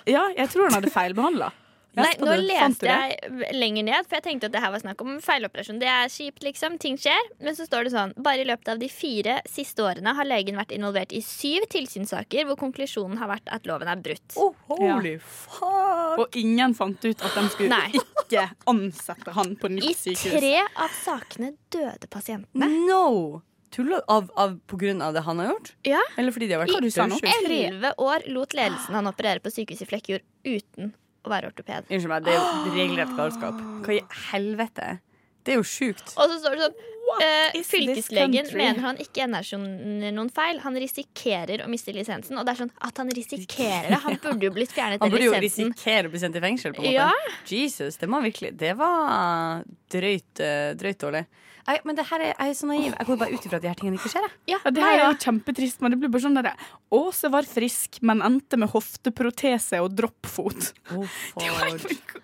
Ja, jeg tror han hadde feilbehandla. Nei, nå leste jeg lenger ned, for jeg tenkte at det her var snakk om feiloperasjon. Det er kjipt, liksom. Ting skjer. Men så står det sånn Bare i løpet av de fire siste årene har legen vært involvert i syv tilsynssaker hvor konklusjonen har vært at loven er brutt. Oh, holy fuck! Og ingen fant ut at de skulle Nei. ikke ansette han på nytt I sykehus. tre av sakene døde pasienten. No! Tuller av, av på grunn av det han har gjort? Ja. Eller fordi de har vært Hva du sa nå? dødsjuke? Elleve år lot ledelsen han operere på sykehuset i Flekkjord uten å være ortoped. Unnskyld meg, det er jo regelrett galskap. Hva i helvete? Det er jo sjukt. Og så står det sånn eh, is this Fylkeslegen country? mener han ikke gjenerkjenner noen feil. Han risikerer å miste lisensen. Og det er sånn at han risikerer det. Han burde jo blitt fjernet Han den burde jo lisensen. risikere å bli sendt i fengsel. på en måte Ja. Jesus, Det var virkelig Det var drøyt, eh, drøyt dårlig. Jeg, men det her er, jeg er så naiv. Jeg går bare ut ifra at de her tingene ikke skjer. Jeg. Ja, Ja, det nei, her er ja. jo kjempetrist, men det blir bare sånn derre Åse var frisk, men endte med hofteprotese og droppfot.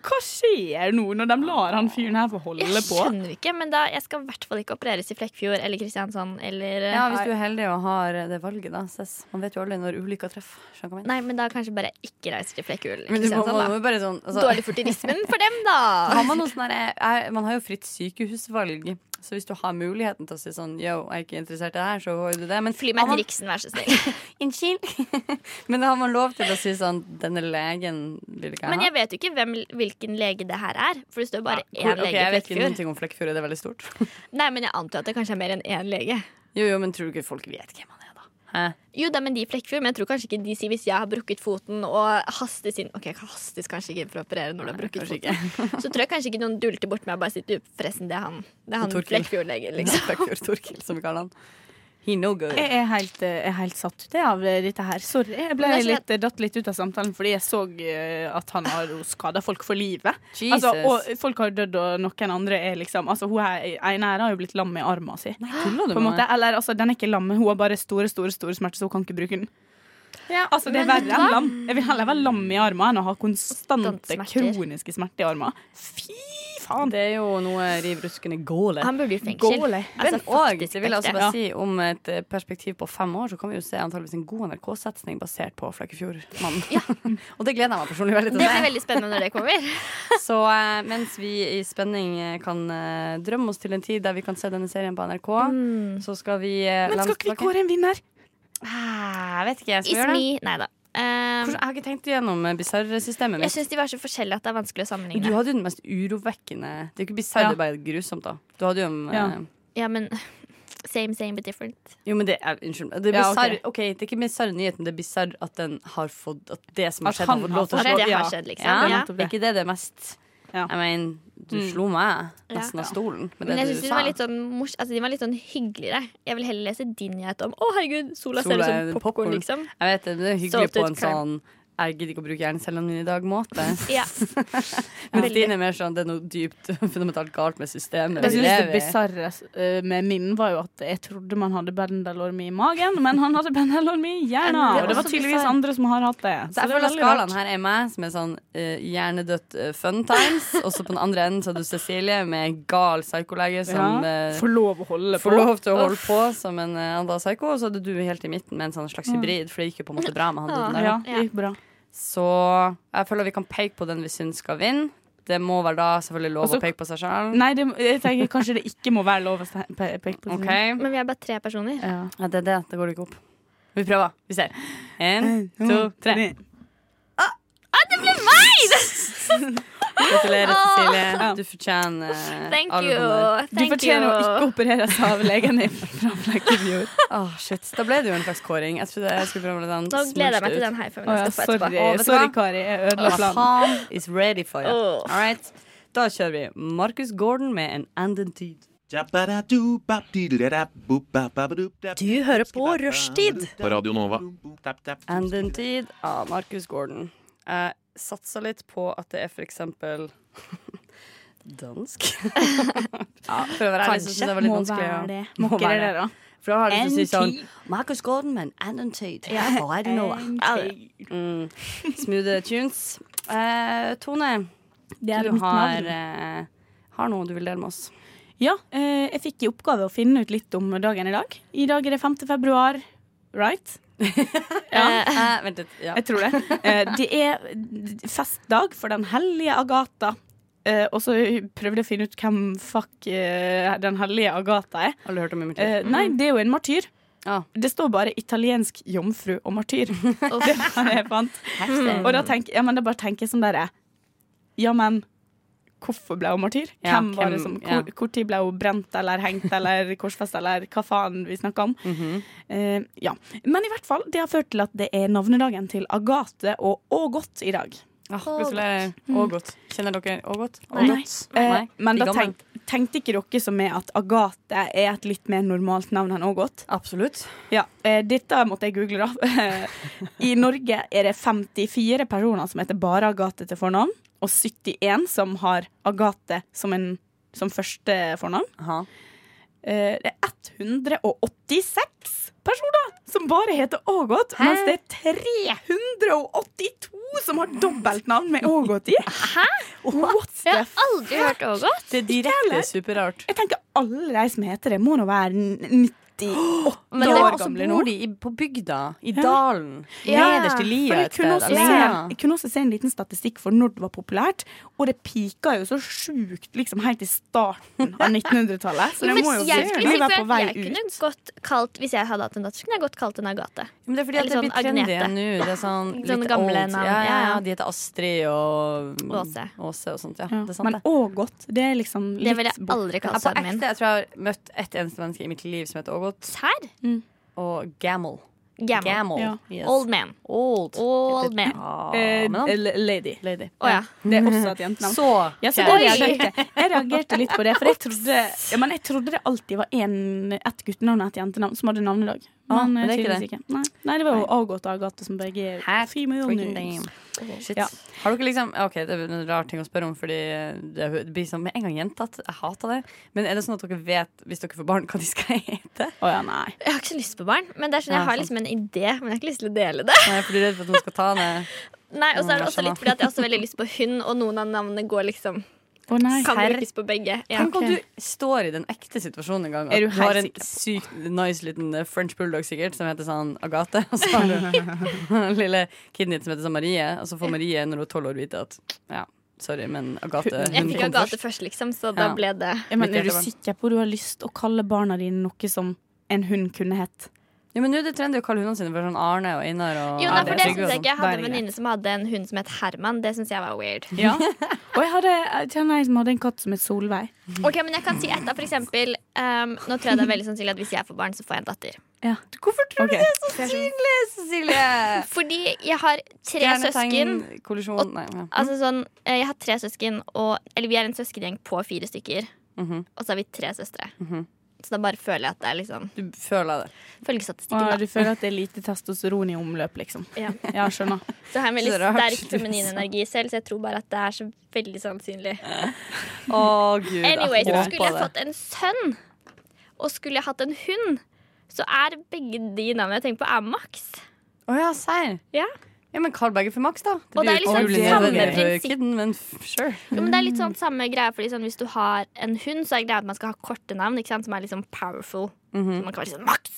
Hva skjer nå, når de lar han fyren her få holde Jeg på? skjønner ikke, men da, jeg skal i hvert fall ikke opereres i Flekkfjord eller Kristiansand eller Ja, Hvis du er heldig og har det valget, da. Ses. Man vet jo aldri når ulykka treffer. Skjønner du hva jeg mener? eh, Nei, men da kanskje bare ikke reiser til Flekkfjord eller Men du må, Kristiansand, man må da. jo bare sånn altså, Dårlig furtivismen for dem, da. Har man, noe sånn der, er, man har jo fritt sykehusvalg, så hvis du har muligheten til å si sånn Yo, jeg er ikke interessert i det her, så får du det. Men Fly har meg man- til Riksen, vær så snill. Unnskyld. Men da har man lov til å si sånn Denne legen vil ikke Men ha. jeg vet jo ikke hvem, hvilken lege det her er, for det står bare Hvor- én ok, lege jeg i vet ikke noen Flekkfjord. ting om Flekkefjord. Er det veldig stort? Nei, men jeg antar at det kanskje er mer enn én lege. Jo, jo, men tror du ikke folk vet hvem han er, da? Hæ? Jo da, men de i Flekkefjord, men jeg tror kanskje ikke de sier hvis jeg har brukket foten og hastes inn Ok, hastes kanskje ikke for å operere når du har brukket kanskje foten. Så tror jeg kanskje ikke noen dulter bort meg og bare sitter forresten, det er han, det er han Torkil. Flekkefjord-legen, liksom. Flekkefjord Torkil, som vi kaller han. He no good. Jeg er helt, eh, jeg er helt satt ut jeg, av eh, dette her. Sorry. Jeg ble Men det er litt, datt litt ut av samtalen fordi jeg så eh, at han har skada folk for livet. Jesus. Altså, og folk har dødd, og noen andre er liksom Altså, hun her, ene her har jo blitt lam i armen sin. Tuller du På en med måte. meg? Eller altså, den er ikke lam, men hun har bare store, store store smerter, så hun kan ikke bruke den. altså, det er men verre enn lam. Jeg vil heller være lam i armen enn å ha konstante, Konstant smerter. kroniske smerter i armen. Fy faen! Det er jo noe riv ruskende gåle. Han burde i fengsel. Gåle. Men faktisk og, det vil jeg ekte. altså bare si om et eh, perspektiv på fem år, så kan vi jo se antageligvis en god NRK-satsing basert på Flekkefjord-mannen. og det gleder jeg meg personlig veldig til. å Det se. blir veldig spennende når det kommer. Så eh, mens vi i spenning eh, kan eh, drømme oss til en tid der vi kan se denne serien på NRK, så skal vi eh, Men lene skal oss ikke vi tilbake. kåre en vinner? Ah, Jeg vet ikke, jeg skal It's gjøre det. me. Nei da. Hvordan- Ehm, Jeg har ikke tenkt gjennom eh, bisarrsystemet jeg mitt. syns de var så forskjellige at det er vanskelig å Du sammenligne. hadde jo den mest urovekkende Det er jo ikke bisarr, Ja. det er bare grusomt, da. Du hadde jo en eh, Ja. Ja, men same, same, but different. Jo, men det er Unnskyld. meg. Det er Ja, ok. bisarr. ok, det er ikke bisarr nyhet, men det er bisarr at den har fått At det som har At skjedd, han har fått har lov til å slå For fått- det er det Ja. har skjedd, liksom. Ja, Ja. nettopp Er ikke det det er mest? Ja. Mm. Jeg mener, du slo meg Ja. nesten av stolen med Men det jeg du syns de sa. var litt sånn mors altså, de var litt sånn hyggeligere. Jeg vil heller lese din nyhet om 'Å, herregud, sola, Sola ser er ut som popcorn». popkorn', Jeg liksom. vet det, men det er hyggelig Salted på en crime. sånn jeg gidder ikke å bruke hjernecellene mine i dag. måte Ja. Men Stine er mer sånn det er noe dypt fundamentalt galt med systemet. Jeg vi synes det lever i. bisarre eh, med min var jo at jeg trodde man hadde bendelorm i magen, men han hadde bendelorm i Men det hjernen. er Og det var også tydeligvis bizarre. andre som har hatt det. Så jeg det er føler at veldig skalaen rart. her er meg, som er sånn eh, hjernedødt eh, fun times. Og så på den andre enden så har du Cecilie med en gal psykolege som ja. eh, Får lov å holde på. får lov til å holde på som en eh, annen psyko. Og så hadde du helt i midten med en sånn slags hybrid, for det gikk jo på en måte bra med han duden der. Mm. Ah. Ja, det gikk bra. Så jeg føler vi kan peke på den vi syns skal vinne. Det må være da selvfølgelig lov Og så- å peke på seg sjøl. Nei, det, jeg tenker kanskje det ikke må være lov å se- pe- peke på OK? sin- Men vi er bare tre personer. Ja. Ja, det er det. Det går ikke opp. Vi prøver. Vi ser. En, to, tre. Gratulerer, Cecilie. Ah! Du fortjener Thank Eh, alle you. honnør. Thank Du fortjener å you. ikke opereres av legen din fra Flekkefjord. Åh, shit. Da ble det jo en slags kåring. Jeg trodde jeg skulle prøve den Nå gleder jeg meg til den high fiven Å ja, jeg skal få etterpå. sorry, Å, vet du sorry, hva? Kari. Jeg ødela planen. Faen is ready for you. Åh. All right. Da kjører vi Marcus Gordon med en Andentyd. Du hører på Rushtid. På Radio Nova. Andentyd av Marcus Gordon. Jeg satser litt på at det er for eksempel dansk. for å være ærlig så synes jeg det var litt vanskelig. å- Må Må ikke være det, det. da. For da har du lyst til å si sånn Andentyd. Marcus Gordon med en Andentyd. Ja. På Radio Nova. Mm. Smooth tunes. Eh, Tone, Det er du mitt har, navn. eh, har noe du vil dele med oss. Ja, eh, jeg fikk i oppgave å finne ut litt om dagen i dag. I dag er det 5. februar, right? ja, Eh, vent litt. Ja. jeg tror det. Eh, det er festdag for den hellige Agatha. Eh, og så prøvde jeg å finne ut hvem fuck eh, den hellige Agatha er. Har du hørt om Immertid? Eh, nei, det er jo en martyr. Ah. Det står bare 'italiensk jomfru og martyr'. det var det jeg fant. Og da tenker ja, men da bare tenker jeg sånn derre Ja, men hvorfor ble hun martyr? Ja, hvem var det hvem- som, ja. hvor, hvor tid ble hun brent eller hengt eller korsfest eller hva faen vi snakker om? Mhm. Eh, ja. Men i hvert fall, det har ført til at det er navnedagen til Agathe og Ågot i dag. Ah, Gratulerer. Å, godt. Kjenner dere Å godt? Å, Nei. godt? Eh, Nei, men de da gamle. tenk, tenkte ikke dere som er at Agathe er et litt mer normalt navn enn Ågot? Absolutt. Ja, eh, Dette måtte jeg google, da. I Norge er det 54 personer som heter bare Agathe til fornavn, og 71 som har Agathe som, en, som første fornavn. Aha. Eh, Det er 186 personer som bare heter Ågot, mens det er 382 som har dobbeltnavn med Ågot i. Hæ? What the Jeg f... har aldri hørt Ågot. Det er direkte superrart. Jeg tenker alle de som heter det, må nå være 98 Men det år også gamle nå. bor de i, på bygda, i dalen, Ja. nederst i For lia jeg et sted. kunne, også se, alene. jeg kunne også se en liten statistikk for når det var populært, og det pika jo så sjukt liksom helt i starten av 1900-tallet. Så det Men må jo jeg skulle virkelig si for være på vei at jeg ut. kunne godt kalt Hvis jeg hadde hatt en datter, så kunne jeg godt kalt henne Agathe. Men det er fordi at Eller det blir sånn trendy Agnete. nå. Det er sånn litt Sånne gamle old. navn. Ja, ja, Ja, ja. ja. De heter Astrid og Åse. Åse og sånt. Ja, Ja, det er sant, men det. Ågot, det er liksom litt Det ville jeg bort. aldri Jeg, kalt på sønnen min. ekte, jeg tror jeg har møtt ett eneste menneske i mitt liv som heter Ågot. Her? Og Gamel. Gammal. Gamel. Ja. Yes. Old man. Old. Old man. Ja, Eh, men han, l- lady. lady. Å ja. Det er også et jentenavn. Så Ja, så kjær. det reagerte. Jeg reagerte litt på det, for jeg trodde, ja, men jeg trodde det alltid var en, ett guttenavn og ett jentenavn som hadde navnedag. Ah, Men, men det er ikke tydeligvis ikke. Nei. Nei, det var jo Ågot og Agathe som begge er Hat female freaking names. damn. Oh, Shit. Ja. Har dere liksom Ok, det er en rar ting å spørre om, Fordi det blir sånn med en gang gjentatt. Jeg hater det. Men er det sånn at dere vet, hvis dere får barn, hva de skal hete? Å ja, nei. Jeg har ikke så lyst på barn, men det er sånn, Ja, jeg har sant. liksom en idé. Men jeg har ikke lyst til å dele det. Nei, for du er redd for at noen skal ta ned Nei, Og så er det jeg også litt skjønner. fordi at jeg har også veldig lyst på hund, og noen av navnene går liksom Å nei. Kan brukes på begge. Ja. Tenk om du står i den ekte situasjonen en gang. Er At du du, har helt en sykt nice liten eh, french bulldog sikkert som heter sånn Agathe. Og så har du lille kiden din som heter sånn Marie. Og så får Marie når hun er tolv år vite at ja, sorry, men Agathe Jeg hun fikk kom Agathe først. først, liksom, så da Ja. ble det Ja, men Mitt er du hjertebarn. sikker på at du har lyst å kalle barna dine noe som en hund kunne hett? Ja, men nå er det trendy å kalle hundene sine for sånn Arne og Einar og Jo, nei, Ja, det for er det trygg, synes jeg ikke. Jeg altså. hadde en Det er venninne som hadde en hund som het Herman. Det syns jeg var weird. Og jeg hadde jeg kjenner en som hadde en katt som het Solveig. Ok, Men jeg kan si ett, da. For eksempel, ehm, nå tror jeg det er veldig sannsynlig at hvis jeg får barn, så får jeg en datter. Hvorfor tror du det? For jeg er sånn- Cecilie! Fordi jeg har tre søsken. Stjernetegn, kollisjon Nei. Ja. Altså sånn, eh, Jeg har Mhm. tre søsken, og, eller vi er en søskengjeng på fire stykker. Og så er vi tre søstre. Så da bare føler jeg at det er liksom Du føler det. Følger Å, du statistikken, da. føler at det er lite testosteron i omløp, liksom. Ja. Ja, skjønner. Så jeg har en veldig Så rart. sterk feminin energi selv, så jeg tror bare at det er så veldig sannsynlig. Å, gud. jeg Anyway, så håper skulle jeg det. fått en sønn, og skulle jeg hatt en hund, så er begge de navnene jeg tenker på, er Max. Å ja, serr. Ja. Ja, men Carl Berger for Max, da. Det Og det er blir liksom utrolig samme nødvendig for prinsipp. kidden, men f- sure. Jo, men det er litt sånn samme greie, fordi sånn, hvis du har en hund, så er greia at man skal ha korte navn, ikke sant, som er liksom powerful. Mhm. Så man kan være litt sånn Max.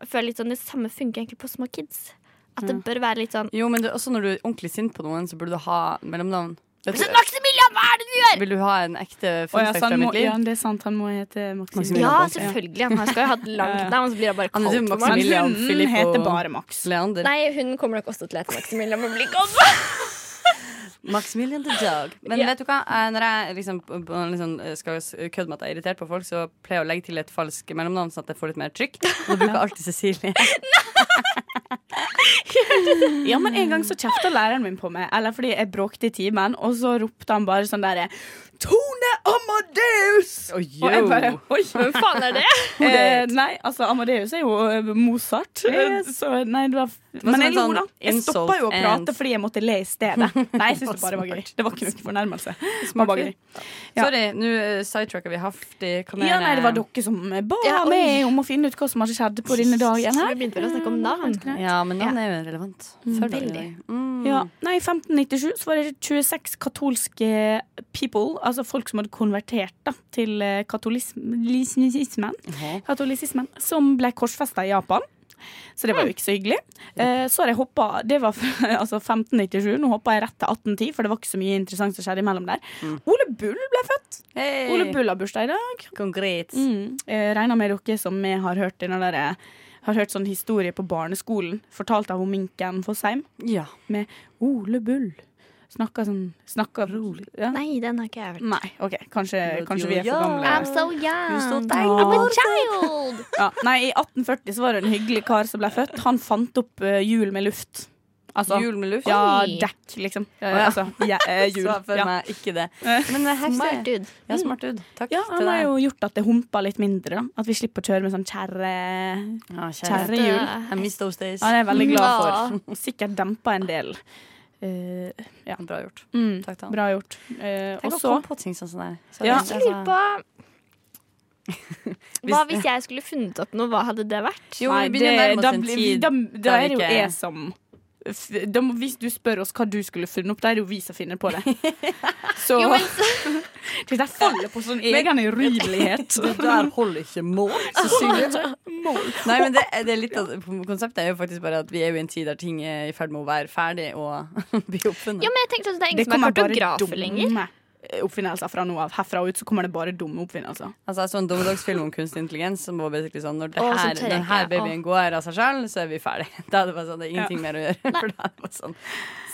Jeg føler litt sånn, Det samme funker egentlig på små kids. At det bør være litt sånn Jo, men du, også når du er ordentlig sint på noen, så burde du ha mellomnavn. Vet «Så du, Maximilian, hva er det du gjør?! vil du ha en ekte Å, ja, funfact så fra han må, mitt liv? ja, det er sant. Han må hete Maximilian. Maximilian Ja, Bolter. selvfølgelig. Han skal jo ha et langt navn, og så blir han bare Han kalt heter for Max. Maximilian. William, Men Filip hunden og- heter bare Max. Leander. Nei, hun kommer nok også til å hete Maximilian. Men blir godt. Maximilian the Dog. Men Ja. vet du hva? Eh, Når jeg liksom, på- på- liksom eh, skal s- kødde med at jeg er irritert på folk, så pleier jeg å legge til et falsk mellomnavn, sånn at jeg får litt mer trykk. Og da bruker jeg alltid Cecilie. Ja, men En gang så kjefta læreren min på meg, eller fordi jeg bråkte i timen, og så ropte han bare sånn derre Tone Amadeus! Og jeg bare Oi! Hvem faen er det? Eh, nei, altså, Amadeus er jo eh, Mozart. eh, Yes. Så nei, det var, var Men som jeg en lo, sånn da. Jeg insult stoppa jo å and- prate fordi jeg måtte le i stedet. Nei, jeg syns det bare var gøy. Det var ikke noen fornærmelse. Det var bare gøy. Ja. Sorry, nå eh, sidetracker vi haftig. Hva mer, Ja, nei, det var eh, dere som ba Ja, oi. meg om å finne ut hva som hadde skjedd på denne dagen her. Vi begynte bare å snakke om navn. Ja, men navnet er jo relevant. Før dagen i dag. Mm. Ja. Nei, i 1597 så var det 26 katolske people, altså folk som hadde konvertert da, til eh, katolisismen, Jaha. katolisismen som ble korsfesta i Japan. Så det var jo ikke så hyggelig. Eh, så har jeg hoppa Det var altså 1597. Nå hoppa jeg rett til 1810, for det var ikke så mye interessant som skjedde imellom der. Ole Bull ble født. Hey. Ole Bull har bursdag i dag. Konkret. Mm. Jeg regner med dere som jeg har hørt den der, eh, har hørt sånn historie på barneskolen, fortalt av hun minken Fossheim, Ja. med Ole Bull. Snakker sånn Snakker rolig. Ja. Nei. Nei, den har ikke jeg hørt. OK, kanskje, But kanskje you vi er for young. gamle. I'm so young. Du er så deilig. I'm a child. Ja. Nei, i 1840 så var det en hyggelig kar som ble født. Han fant opp eh, hjul med luft. Sånn. Altså Jul med luft. Ja, Oi. dekk, liksom. Eh, ja. Altså ja, eh, hjul. Så for Ja. Eh, meg ikke det. Men eh, det er heftig. Smart dude. Mm. Ja, smart dude. Takk Ja, til han har deg. jo gjort at det humper litt mindre. Da. At vi slipper å kjøre med sånn kjerre... Ah, Ja, kjære. Kjerrehjul. I miss those days. Ja, det er jeg veldig glad Ja. for. Sikkert dempa en del. Eh, Bra gjort. Mm, Takk til han. bra gjort. Eh, Tenk og å så komme på ting sånn som det er. Så det Ja. Jeg er lurer altså- på Hva hvis jeg skulle funnet opp noe, hva hadde det vært? Jo, Nei, vi begynner å det- nærme da oss en blir- tid Da, da der er det jo vi ikke- jeg som f- da, må- Hvis du spør oss hva du skulle funnet opp, da er det jo vi som finner på det. Så Jo, men Det der faller på sånn egen urydelighet. Det der holder ikke mål, Cecilie. Nei, men det, det er litt av, konseptet er jo faktisk bare at vi er jo i en tid der ting er i ferd med å være ferdig og bli oppfunnet. Ja, men jeg tenkte at det er Det ingen som er kommer bare kartografer lenger. dumme oppfinnelser fra nå av. Herfra og ut så kommer det bare dumme oppfinnelser. Altså, jeg så en dommedagsfilm om kunstig intelligens som var basically sånn når det Å, her, så tør jeg den her ikke. babyen går av seg sjøl, så er vi ferdig. Da er det bare sånn, det er ingenting mer å gjøre. For da er det bare sånn,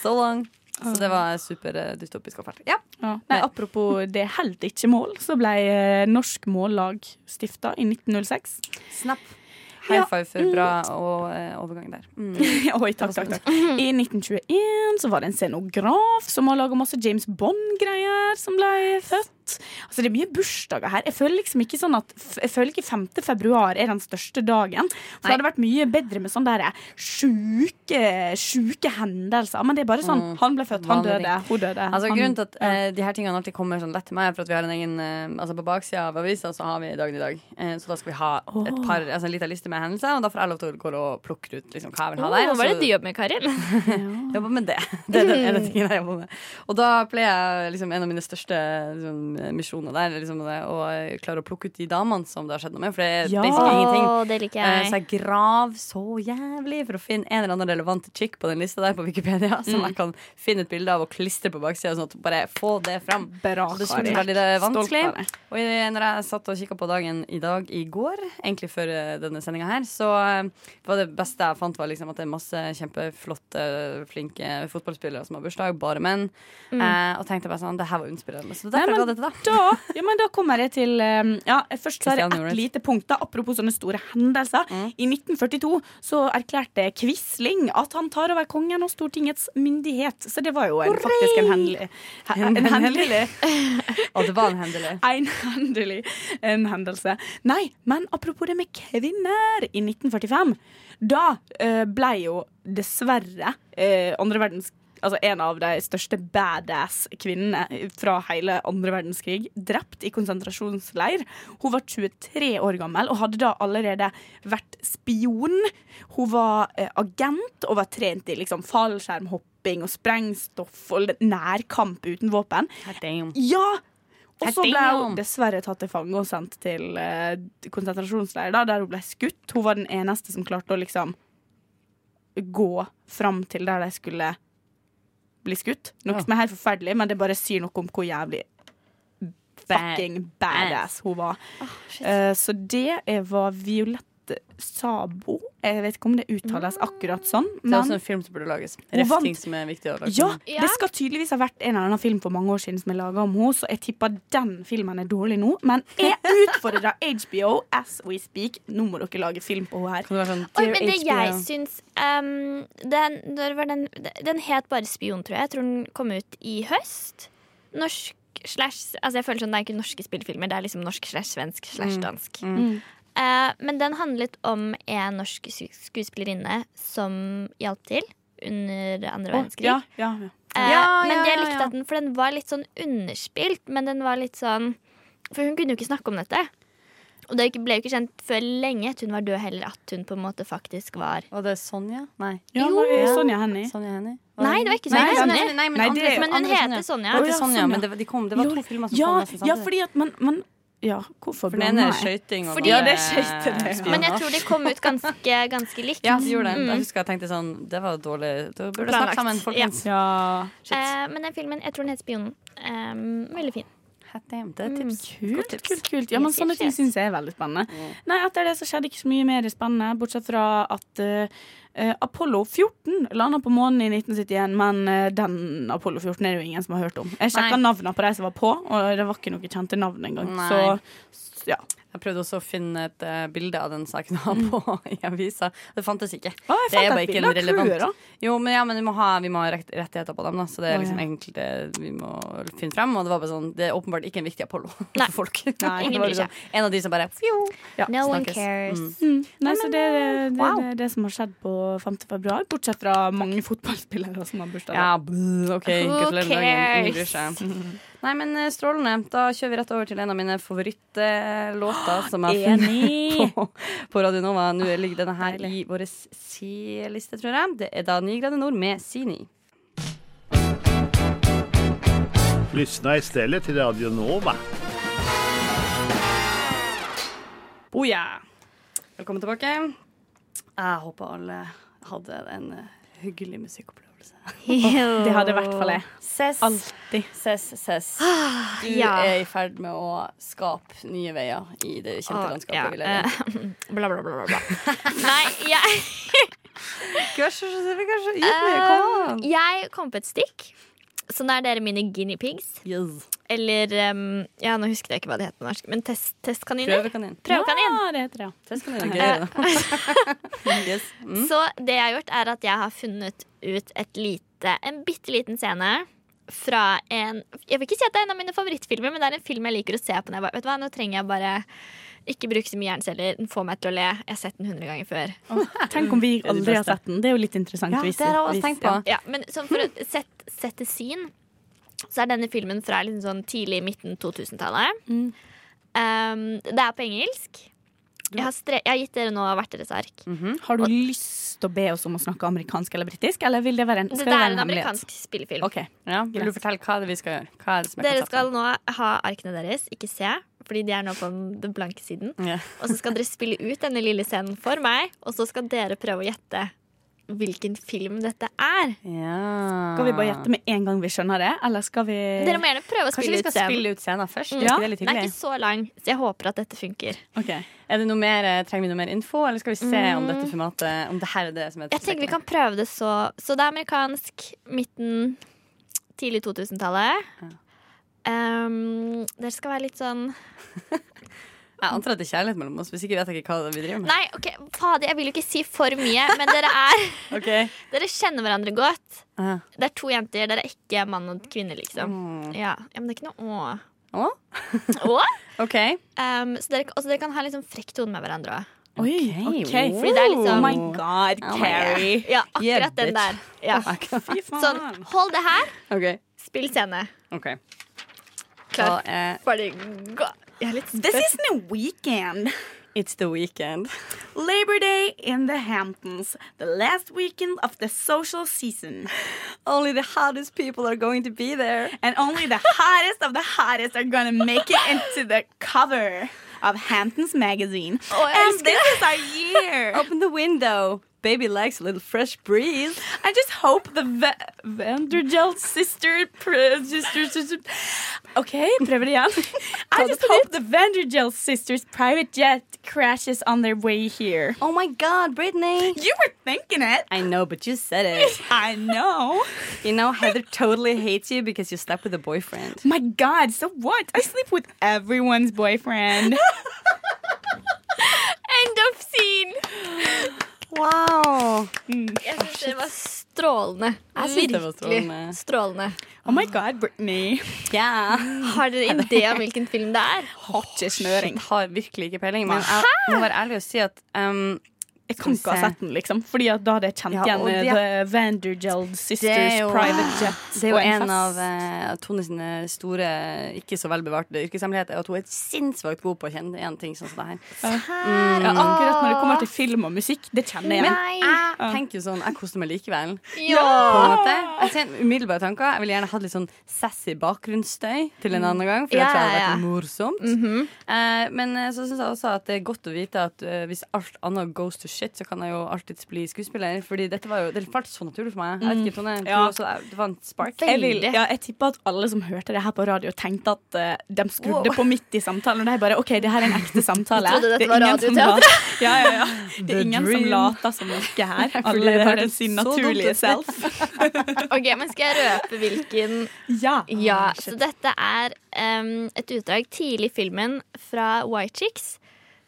so long. Så det var super eh, dystopisk og fælt. Ja. Ja. Nei, apropos det heller ikke mål, så ble eh, Norsk Mållag stifta i 1906. Snap. High five for bra og, eh, overgang der. Mm. Oi, takk, takk, takk. I 1921 så var det en scenograf som har laga masse James Bond-greier, som ble født. Altså Det er mye bursdager her. Jeg føler liksom ikke sånn at f- Jeg føler ikke 5. februar er den største dagen. For det hadde vært mye bedre med sånne der eh, sjuke, sjuke hendelser. Men det er bare sånn Han ble født, han Mm. vanlig. døde, hun døde. Altså, Mm. han, grunnen til at eh, de her tingene alltid kommer sånn lett til meg, er for at vi har en egen eh, Altså, på baksida av avisa så har vi dagen i dag. Eh, så da skal vi ha et par, altså, en liten liste med hendelser, og da får jeg lov til å gå og plukke ut liksom, hva jeg vil ha der. Hva og var så det altså- du jobber med, Karin? jobber med det. Det er den ene tingen jeg jobber med. Og da pleier jeg liksom, en av mine største liksom, misjoner der, liksom, det, å eh, klare å plukke ut de damene som det har skjedd noe med, for det er Ja. basically ingenting. Å, det liker Eh, Så jeg. jeg grav så jævlig for å finne en eller annen relevant chick på den lista der på Wikipedia, som jeg kan finne et bilde av og klistre på baksida, sånn at bare få det fram. Bra, Så det Kari. synes jeg er veldig Stolt vanskelig. av deg. Og i- når jeg satt og kikka på dagen i dag i går, egentlig før eh, denne sendinga sendinga her, så eh, var det beste jeg fant, var liksom at det er masse kjempeflotte, flinke fotballspillere som har bursdag, bare menn. Eh, og tenkte bare sånn Det her var utspillende. Så Nei, derfor men- ga jeg det til deg. Da, ja, men da kommer jeg til um, ja, Først så er det Christian Mm. et Nordnes. lite punkt. da Apropos sånne store hendelser. I 1942 så erklærte Quisling at han tar over kongen og Stortingets myndighet. Så det var jo en, faktisk en hendelig he- En En hendelig. hendelig Og det var en hendelig. Einhendelig en hendelse. Nei, men apropos det med kvinner. I 1945, da eh, ble jo dessverre eh, andre verdens, altså en av de største badass-kvinnene fra hele andre verdenskrig drept i konsentrasjonsleir. Hun var 23 år gammel og hadde da allerede vært spion. Hun var eh, agent og var trent i liksom fallskjermhopping og sprengstoff og nærkamp uten våpen. Ja! Og så ble hun dessverre tatt til fange og sendt til eh, konsentrasjonsleir, da, der hun ble skutt. Hun var den eneste som klarte å liksom gå fram til der de skulle bli skutt. Noe som er helt forferdelig, men det bare sier noe om hvor jævlig fucking badass hun var. Ah, Eh, så det er- var Violette Sabo. Jeg vet ikke om det uttales akkurat sånn. Det er men- også en film som burde lages. Hun Ref vant. ting som er viktig å lage. ja, Ja. det skal tydeligvis ha vært en eller annen film for mange år siden som er laga om henne, så jeg tipper den filmen er dårlig nå. Men jeg utfordrer HBO as we speak. Nå må dere lage film på henne her. Kan det være sånn Oi, Dear men det HBO? jeg syns ehm, den, når var den, den het bare Spion, tror jeg. Jeg tror den kom ut i høst. Norsk slash Altså jeg føler sånn, Det er ikke norske spillefilmer, det er liksom norsk slash svensk slash Mm. dansk. Mm. Eh, men den handlet om en norsk sk- skuespillerinne som hjalp til under andre verdenskrig. Ja, ja, ja. Eh, Ja, men ja, jeg ja, likte ja. at den, for den var litt sånn underspilt, men den var litt sånn For hun kunne jo ikke snakke om dette. Og det ble jo ikke kjent før lenge etter hun var død heller, at hun på en måte faktisk var Var det Sonja? Nei. ja Jo. det er Sonja Hennie. Sonja Hennie? Nei, det var ikke Nei, Sonja Sonja Hennie. Hennie. Nei, men, Nei, andre, det er jo Men hun andre heter Det Sonja. var Å, ja, ikke Sonja, Sonja. men det, var- de kom, det var to Lol. filmer som kom Ja, nesten ja, samtidig. fordi at man, man Ja, hvorfor For den ene sånn. er blander jeg? skøyting, og den Fordi- Ja, det andre er skøyting, er ja. spionasje. Men jeg tror det kom ut ganske, ganske likt. Mm. Ja, de gjorde det. Jeg husker jeg tenkte sånn Det var dårlig. Da burde vi snakke Planlagt. sammen, folkens. Ja. Eh, men den filmen, jeg tror den het Spionen. Ehm, veldig fin. Hot damn, mm. det er et tips. Godt Kult, tips. kult, kult. Ja, men Yes, sånne yes, ting yes. syns jeg er veldig spennende. Nei, etter det så skjedde ikke så mye mer spennende, bortsett fra at eh, eh, Apollo 14 landa på månen i 1971, men eh, den Apollo 14 er det jo ingen som har hørt om. Jeg sjekka navnene på de som var på, og det var ikke noe kjente navn engang. Nei. Så s- ja. Jeg prøvde også å finne et eh, bilde av den saken jeg Mm. har på i avisa. Det fantes ikke. Å, jeg Det er fant bare et ikke bilde av en relevant- crewet, da. Jo, men, ja, men vi må ha, vi må ha rett, rettigheter på dem, da. Så det Å, er liksom ja. egentlig det vi må finne frem. Og det var bare sånn Det er åpenbart ikke en viktig Apollo Nei. for folk. Nei, Ingen Det var bryr seg. liksom En av de som bare fjo. Ja, No one snakkes. cares. Mm. Nei, så det er det, det, wow. det, er det som har skjedd på 5. februar, bortsett fra mange fotballspillere som har bursdag. da. Ja, bøh, OK. Who Gratulerer med dagen. Ingen bryr cares? seg. Nei, men eh, strålende. Da kjører vi rett over til en av mine favorittlåter som jeg har Enig! Ah, funnet på, på Radio Nova. Nå ligger denne her i vår C-liste, tror jeg. Det er da Ni grader nord med Sini. Lyssna istället till Radio Nova. Oh ja. Velkommen tilbake. Jeg håper alle hadde en eh, hyggelig musikkopplevelse. Det Ah, hadde i hvert fall jeg. Ses, Alltid. ses, ses. Du ja. er i ferd med å skape nye veier i det Ah, kjente Å, landskapet ja. vi Eh, lever i. Bla, bla, bla, bla. bla. Nei, jeg, Kanskje, kanskje, kanskje. Eh, ehm, jeg kom på et stikk. Så nå er dere mine guinea pigs. Yes. Eller ehm, Ja, nå husket jeg ikke hva det het på norsk, men test, testkaniner. Prøvekanin. Prøvekanin. Ja, det heter det. Prøvekanin er gøy. da. yes. Mm. Så det jeg har gjort, er at jeg har funnet ut et lite, en bitte liten scene fra en Jeg vil ikke si at det er en av mine favorittfilmer, men det er en film jeg liker å se på. Når jeg bare, vet du hva, Nå trenger jeg bare ikke bruke så mye hjerneceller. Den får meg til å le. Jeg har sett den 100 ganger før. Tenk om vi er de aldri har beste. sett den. Det er jo litt interessant. Ja, hvis- det har jeg også hvis- tenkt på. ja. Ja, men sånn for å sette, sette sin, så er denne filmen fra liksom sånn tidlig midten 2000-tallet. Mm. Um, det er på engelsk. Jeg har, stre jeg har gitt dere nå hvert deres ark. Har du lyst til å be oss om å snakke amerikansk eller britisk, eller vil det være en, skal Dette det være er en en hemmelighet? amerikansk spillefilm. Ok, Ja, vil du Greit. fortelle hva det er vi skal gjøre? Hva er det som er Dere konseptet? skal nå ha arkene deres, ikke se, fordi de er nå på den- den blanke siden. Ja. Og så skal dere spille ut denne lille scenen for meg, og så skal dere prøve å gjette hvilken film dette er. Ja. Skal vi bare gjette med en gang vi skjønner det, eller skal vi Dere må gjerne prøve å Kanskje vi spille ut skal scenen. spille ut scenen først? Mm. Er Ja. ikke det litt Den er hyggelig? ikke så lang, så jeg håper at dette funker. Ok. Er det noe mer, eh, trenger vi noe mer info, eller skal vi se om dette formatet Om det her er det som er Mm. Jeg tenker vi kan prøve det så Så det er amerikansk, midten, tidlig 2000-tallet. Um, dere skal være litt sånn Jeg antar at det er kjærlighet mellom oss, hvis ikke vet jeg ikke hva vi driver med. Nei, OK, fader, jeg vil jo ikke si for mye, men dere er Ok. Dere kjenner hverandre godt. Ah. Det er to jenter, dere er ikke mann og kvinne, liksom. Ja, ja men det er ikke noe å. Å? Å? OK. Um, så dere, også dere kan ha litt sånn frekk tone med hverandre òg. Oi, Ok, ok. fordi det er liksom- Oh my god, Oh my Carrie. Ja, akkurat Yeah, bitch. den der. Ja. Fy Sånn, hold det her, OK. spill scene. ok Klar, Da er ferdig, gå. Jeg er litt This isn't a weekend. It's the weekend. Labor Day in the Hamptons. The last weekend of the social season. Only the hottest people are going to be there. And only the hottest of the hottest are gonna make it into the cover of Hamptons magazine. and elsker this is our year. Open the window. Baby likes a little fresh breeze. I just hope the Va- Vandergelt sister, pr- sister, sister OK, prøver det igjen. I just hope the Vandergelt sisters private jet crashes on their way here. Oh my god, Brittany! You were thinking it. I know, but you said it. I know. You know, Heather totally hates you because you slept with a boyfriend. My God, so what? I sleep with everyone's boyfriend. End of scene! Wow! Jeg synes det var strålende. Jeg synes det var strålende. Virkelig strålende. Oh my God, Brittany. Yeah. Har dere en idé om hvilken film det er? Hotte smøring. har virkelig ikke peiling, men jeg må være ærlig og si at um, Jeg kan ikke ha sett den, liksom. Fordi at da hadde jeg kjent Ja, igjen og det- er- The Vandergeld Sisters jo- Private Jet. Det er jo og en fest. av eh, Tone sine store, ikke så velbevarte yrkeshemmeligheter, at hun er sinnssykt god på å kjenne igjen ting sånn som det her. ja, Akkurat når det kommer til film og musikk, det kjenner jeg igjen. Jeg tenker jo sånn, jeg koser meg likevel. På en Ja! måte. Jeg ser umiddelbare tanker. Jeg ville gjerne hatt litt sånn sassy bakgrunnsstøy til en annen gang. For Mm. Ja, jeg tror det hadde ja, vært Mhm. ja. morsomt. eh, men eh, så syns jeg også at det er godt å vite at eh, hvis alt annet goes to shit, så kan jeg jo alltids bli skuespiller. Fordi dette var jo, det falt så naturlig for meg. Jeg Mm. vet ikke, Tone, du Ja. også, eh, Det var en spark. Veldig. Jeg, vil, ja, jeg tipper at alle som hørte det her på radio, tenkte at eh, de skrudde på midt i samtalen. Og de bare OK, det her er en ekte samtale. Jeg trodde dette Det er var ingen som radioteater. later- Ja, ja, ja. Det The er ingen dream. som later som noe her. fordi Alle det har hørtes sin så dumt naturlige ut. self. Ok, men Skal jeg røpe hvilken Ja. Ja, så dette er em, et utdrag tidlig i filmen fra White Chicks,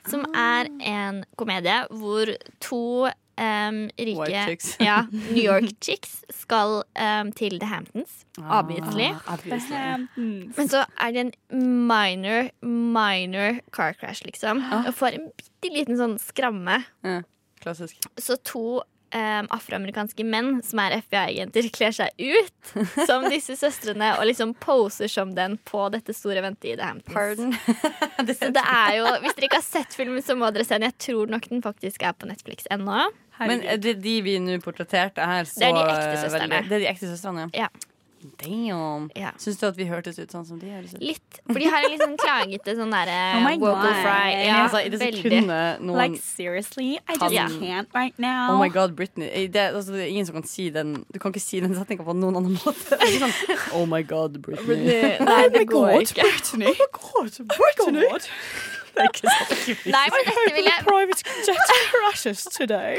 som Ah. er en komedie hvor to em, rike White chicks. ja, New York chicks skal em, til The Hamptons, obviously. Ah, obviously. Mm, Men så er det en minor, minor car crash, liksom. Ah. Og får en bitte liten sånn skramme. Ja, klassisk. Så to em, afroamerikanske menn som er FBI-agenter, kler seg ut som disse søstrene og liksom poser som den på dette store eventet i The Hamptons. Pardon. Så det er jo, Hvis dere ikke har sett filmen, så må dere se den. Jeg tror nok den faktisk er på Netflix ennå. Men er det de vi nå portretterte her, så eh, Det er de ekte søstrene. veldig- Det er de ekte søstrene, Ja. Damn. Ja. Syns du at vi hørtes ut sånn som de høres ut? Litt. For de har en litt sånn klagete sånn derre Oh my vocal God. fry. Ja, altså, I det veldig. sekundet noen Like seriously, I just Ja. can't right now. Ah. Oh my god, Britney. Eh, Det, altså, det er ingen som kan si den Du kan ikke si den setninga på noen annen måte. Det er ikke sånn, oh my god, Britney. Oh Nei, det går ikke. Brittany. Oh my god, Brittany. Det er ikke sånn. Nei, men dette vil jeg private jet crashes today.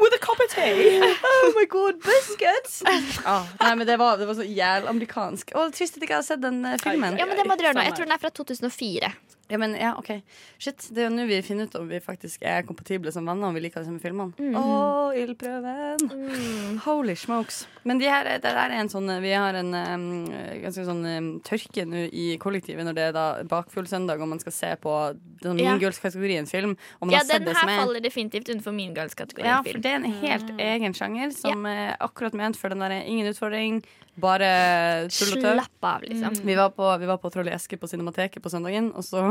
With a cup of tea. Oh my god, biscuits! Ah, nei, men det var, det var så jævlig amerikansk. Å, Trist at jeg ikke har sett den eh, filmen. Ja, men det må dere gjøre nå. Jeg tror den er fra 2004. Ja, men, ja, ok Shit, Det er jo nå vi finner ut om vi faktisk er kompatible som venner. Om vi liker de samme filmene. Mhm. Å, ildprøven! Mm. Holy smokes. Men de her, det der er en sånn vi har en um, ganske sånn um, tørke nå i kollektivet når det er da bakfull søndag og man skal se på den Ja. mingirls-kategorien film. Og man har Ja, sett den det her som er faller definitivt unnenfor min girls-kategori. ja, eh, for film. Mm. det er en helt egen sjanger som er akkurat ment for den der eh, ingen utfordring, Bare tull Mm. og tøv. Slapp av, liksom. Vi var på, vi var på Troll i eske på Cinemateket på søndagen, og så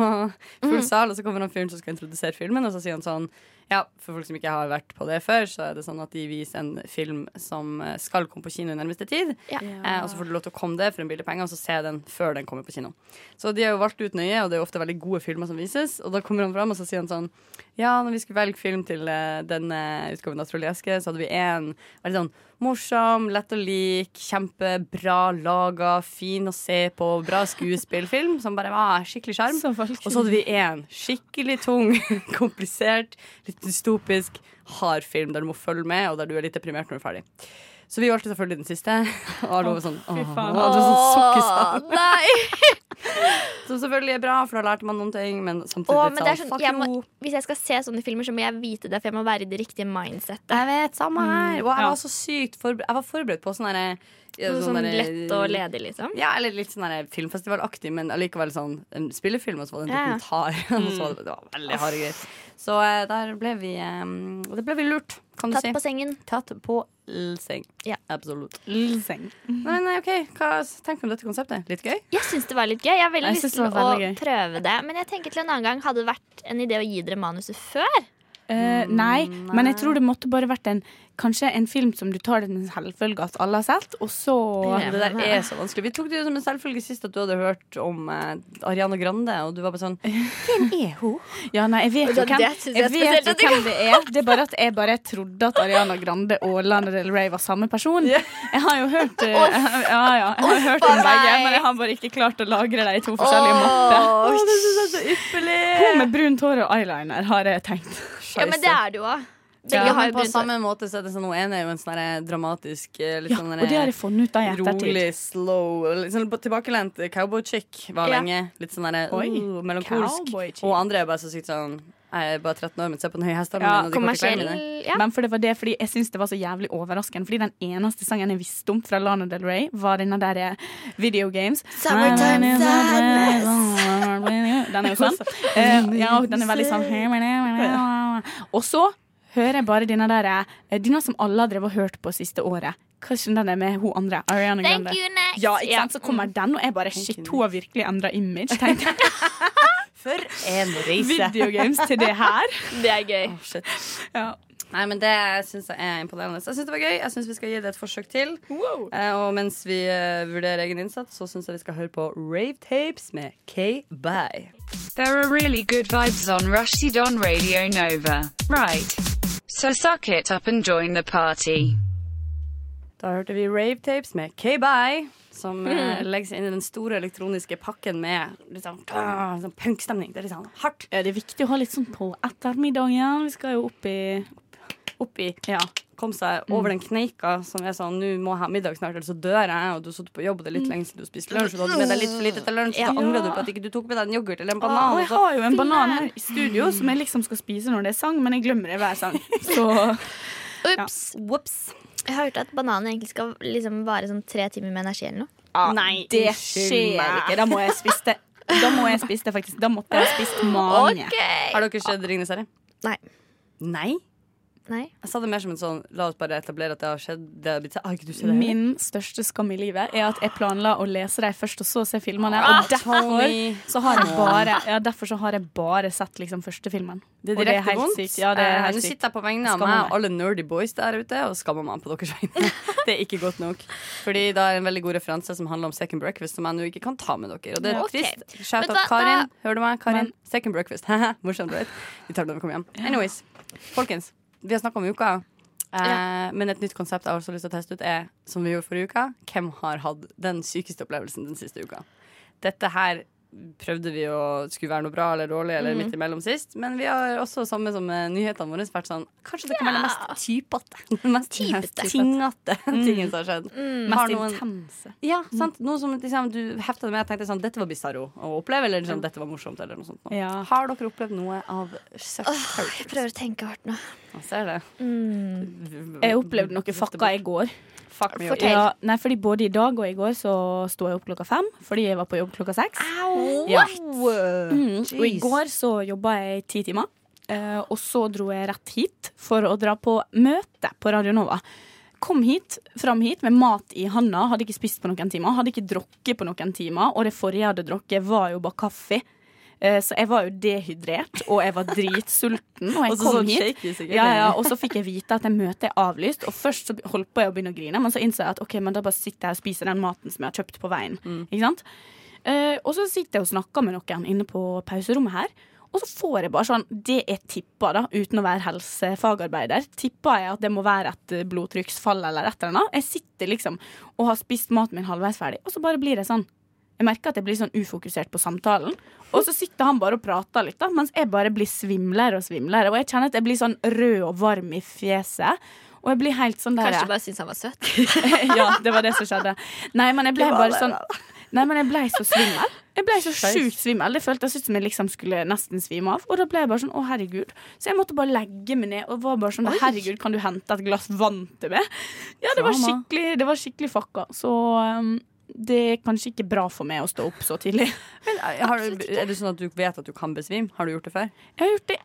Mm. full sal, og så kommer han fyren som skal introdusere filmen, og så sier han sånn Ja, for folk som ikke har vært på det før, så er det sånn at de viser en film som eh, skal komme på kino i nærmeste tid. Ja. Eh, og så får du lov til å komme det for en billig penge, og så se den før den kommer på kino. Så de har jo valgt ut nøye, og det er jo ofte veldig gode filmer som vises. Og da kommer han fram, og så sier han sånn Ja, når vi skulle velge film til eh, denne utgaven av Troll i eske, så hadde vi én veldig sånn morsom, lett å like, kjempebra laga, fin å se på, bra skuespillfilm som bare var skikkelig sjarm. Så valgte Og så hadde vi én skikkelig tung, komplisert, litt dystopisk, hard film der du må følge med, og der du er litt deprimert når du er ferdig. Så vi valgte selvfølgelig den siste. Og Arlo var sånn Åh, fy faen. det var sånn sukkesav. Åh, Ah, nei! Som selvfølgelig er bra, for da lærte man noen ting, men samtidig Åh, litt men det er sånn, sånn, fuck jeg må, you. hvis jeg skal se sånne filmer, så må jeg vite det, for jeg må være i det riktige mindsetet. Jeg vet, samme her. Og Mm, jeg ja. var så sykt forberedt. Jeg var forberedt på sånn derre Noe sånn derre- lett og ledig, liksom. Ja, eller litt sånn der filmfestivalaktig, men allikevel sånn en spillefilm, og så var det en Ja, Mm. ja. dokumentar. Og så var det, det var veldig harde greier. Så eh, der ble vi um, Det ble vi lurt, kan du Tatt si. på sengen. Tatt på l-seng. Ja. Absolutt. Lseng. Nei, nei, OK, hva tenker du om dette konseptet? Litt gøy? Jeg syns det var litt gøy. Jeg har veldig Jeg lyst synes til det var å veldig gøy. prøve det. Men jeg tenker til en annen gang hadde det vært en idé å gi dere manuset før. Eh, nei, men jeg tror det måtte bare vært en Kanskje en film som du tar den selvfølge at alle har sett, og så Ja. Det der er så vanskelig. Vi tok det jo som en selvfølge sist at du hadde hørt om eh, Ariana Grande, og du var bare sånn Ja, nei, jeg vet Ja, jo hvem, det synes jeg jeg spesielt vet jo at hvem det er. Det er bare at jeg bare trodde at Ariana Grande og Lana Del Rey var samme person. Jeg har jo hørt eh, Ja, ja. Jeg har hørt om meg. begge, men jeg har bare ikke klart å lagre dem i to forskjellige mapper. Å, det syns jeg er så ypperlig! Hun med brunt hår og eyeliner, har jeg tenkt. Ja, men det er det jo òg. Ja, Begge har men jo på brunt hår. samme måte så er det sånn Hun ene er jo en sånn der dramatisk eh, litt Ja, sånn og der- det har jeg funnet ut av i ettertid. Rolig, slow litt sånn Tilbakelent cowboy-chick var Ja. lenge. Litt sånn der, Oi. uh, melankolsk. Cowboy-chick. Og andre er bare så sykt sånn Jeg er bare 13 år, men se på den høye hesten Ja, min. og de korte Kommersiell. klærne mine. Ja. Men for det var det, fordi jeg syns det var så jævlig overraskende. Fordi den eneste sangen jeg visste om fra Lana Del Rey, var denne der eh, Video Games. Summertime Den er jo sånn. Eh, ja, og den er veldig sånn Og så hører jeg bare denne der eh, Denne som alle har drevet og hørt på siste året. Hva er den der med hun andre? Ariana Thank Grande. you, next. Mm. Ja, ikke sant? Så kommer den, og jeg bare Shit, hun har virkelig endra image. Tenkte jeg. For en reise! Video Games til det her. Det er gøy. Shit. Ja. Nei, men Det syns jeg er imponerende. Så Jeg syns det var gøy. Jeg syns vi skal gi det et forsøk til. Eh, og mens vi eh, vurderer egen innsats, så syns jeg vi skal høre på Rave Tapes med K-Bye. There are really good vibes on Rushdie on Radio Nova. Right. So suck it up and join the party. Da hørte vi Rave Tapes med K-Bye, som eh, legger seg inn i den store elektroniske pakken med litt sånn, ah, sånn punkstemning. Det er litt sånn hardt Ja, det er viktig å ha litt sånn på ettermiddagen. Vi skal jo opp i oppi. Ja. Kom seg over den kneika som er sånn Nå må jeg ha middag snart, eller så dør jeg. Og du har sittet på jobb, og det er Mm. litt lenge siden du har spist lunsj, og du hadde med deg litt for lite til lunsj, så da angrer du på at ikke du tok med deg en yoghurt eller en banan. Og og jeg så- har jo en banan altså. her i studio som jeg liksom skal spise når det er sang, men jeg glemmer det hver sang. Så Ups. Whoops. Jeg har hørt at bananen egentlig skal liksom vare sånn tre timer med energi eller noe. Nei, det unnskyld skjer meg. ikke. Da må jeg spise det. Da må jeg spise det, faktisk. Da måtte jeg ha spist mange. Har dere sett Ringenes herre? Nei. Nei? Nei. Jeg sa det mer som en sånn La oss bare etablere at det har skjedd. Det har blitt, har ikke du sett det? heller? Min største skam i livet er at jeg planla å lese dem først, og så se filmene. Og derfor Tony. så har jeg bare, ja, derfor så har jeg bare sett liksom første filmen. Det er Og direkte helt vondt. sykt. Ja, det er Eh, helt Nå sykt. sitter jeg på vegne av Skammer meg meg. og alle nerdy boys der ute og skammer meg på deres vegne. Det er ikke godt nok. Fordi det er en veldig god referanse som handler om second breakfast, som jeg nå ikke kan ta med dere. Og det er Ja, ok. trist. Shout Men out da- Karin. da- Hører du meg, Karin? Second breakfast. Haha, Morsomt, right? Vi tar det når vi kommer hjem. Anyways, folkens. Vi har snakka om uka. Eh, Men et nytt konsept jeg har også lyst til å teste ut, er som vi gjorde forrige uka. Hvem har hatt den sykeste opplevelsen den siste uka? Dette her prøvde vi å skulle være noe bra eller dårlig Mhm. eller midt imellom sist. Men vi har også samme som eh, nyhetene våre vært sånn Kanskje det kan være det mest typete. Den mest Typete. tingete tingen som har skjedd. Har Mm. Mest noen, intense. Mm. ja, sant? Noe som liksom, du hefta deg med og tenkte sånn Dette var bisarro å oppleve, eller sånn, dette var morsomt, eller noe sånt. nå. Ja. Har dere opplevd noe av such Jeg characters? prøver å tenke hardt nå. Jeg ser det. Mm. Jeg opplevde noe fucka i går. Fuck me. Fortell. Ja, nei, fordi både i dag og i går så sto jeg opp klokka fem fordi jeg var på jobb klokka seks. Ah, Ja. Mm. Og i går så jobba jeg ti timer. eh, og så dro jeg rett hit for å dra på møte på Radio Nova. Kom hit, fram hit med mat i handa, hadde ikke spist på noen timer, hadde ikke drukket på noen timer, og det forrige jeg hadde drukket, var jo bare kaffe. Eh, Så jeg var jo dehydrert, og jeg var dritsulten. Og jeg Og så kom sånn hit. shaky sikkert. Ja, ja, og så fikk jeg vite at jeg møtet er avlyst, og først så holdt på jeg å begynne å grine, men så innså jeg at ok, men da bare sitter jeg og spiser den maten som jeg har kjøpt på veien. Ikke sant? Eh, og så sitter jeg og snakker med noen inne på pauserommet her. Og så får jeg bare sånn Det jeg tipper, da, uten å være helsefagarbeider, tipper jeg at det må være et eh, blodtrykksfall eller et eller annet. Jeg sitter liksom og har spist maten min halvveis ferdig, og så bare blir jeg sånn. Jeg merker at jeg blir sånn ufokusert på samtalen. Og så sitter han bare og prater litt, da, mens jeg bare blir svimlere og svimlere. Og jeg kjenner at jeg blir sånn rød og varm i fjeset. Og jeg blir helt sånn der Kanskje du bare syns han var søt. ja, det var det som skjedde. Nei, men jeg ble bare sånn Nei, men jeg ble så svimmel. Jeg ble så sjukt svimmel. Det føltes ut som jeg liksom skulle nesten svime av. Og da ble jeg bare sånn, å herregud. Så jeg måtte bare legge meg ned og var bare sånn, herregud, kan du hente et glass vann til meg? Ja, det var Drama. skikkelig, det var skikkelig fucka. Så um, det er kanskje ikke bra for meg å stå opp så tidlig. eh, Har du, er det sånn at du vet at du kan besvime? Har du gjort det før? Jeg har gjort det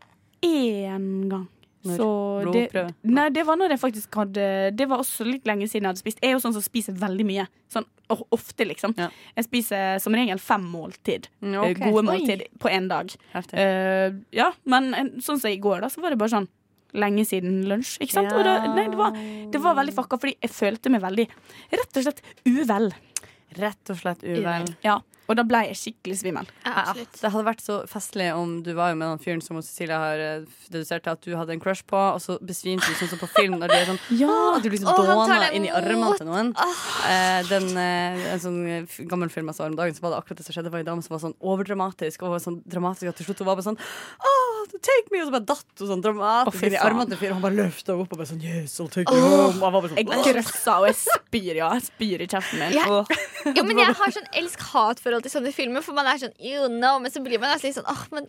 én gang. Når? Så det, Blodprøve? nei, det var når jeg faktisk hadde Det var også litt lenge siden jeg hadde spist. Jeg er jo sånn som spiser veldig mye. Sånn o- ofte, liksom. Ja. Jeg spiser som regel fem måltid. Mm, eh, ok. Gode Oi. måltid på én dag. Heftig. Eh, ja, men en- sånn som i går, da, så var det bare sånn lenge siden lunsj. Ikke sant? Og da, nei, det, var, det var veldig fucka, fordi jeg følte meg veldig rett og slett uvel. Rett og slett uvel. Ja, og da ble jeg skikkelig svimmel. Ja, absolutt. Det hadde vært så festlig om du var jo med den fyren som Cecilia har eh, dedusert til at du hadde en crush på, og så besvimte du sånn som på film. Når de er sånn, Ja, at du liksom Åh, han tar dåna deg inn i armene til noen. Eh, den, eh, en sånn eh, f- gammel film jeg så om dagen, så var det akkurat det som skjedde. Det var en dame som var sånn overdramatisk, og var sånn dramatisk at til slutt hun var bare sånn Åh, take me! Og så bare datt hun sånn Å, dramatisk fy inn i faen. armene til fyren. Han bare løfta opp og bare sånn Yes, I'll take you home. Og han var bare Jeg sånn, «Åh». grøssa, og jeg spyr, ja. Jeg spyr i kjeften min. Ja. Åh. Jo, men jeg har sånn elsk-hat-forhold til sånne filmer, for man er sånn you know, men så blir man altså litt sånn åh, men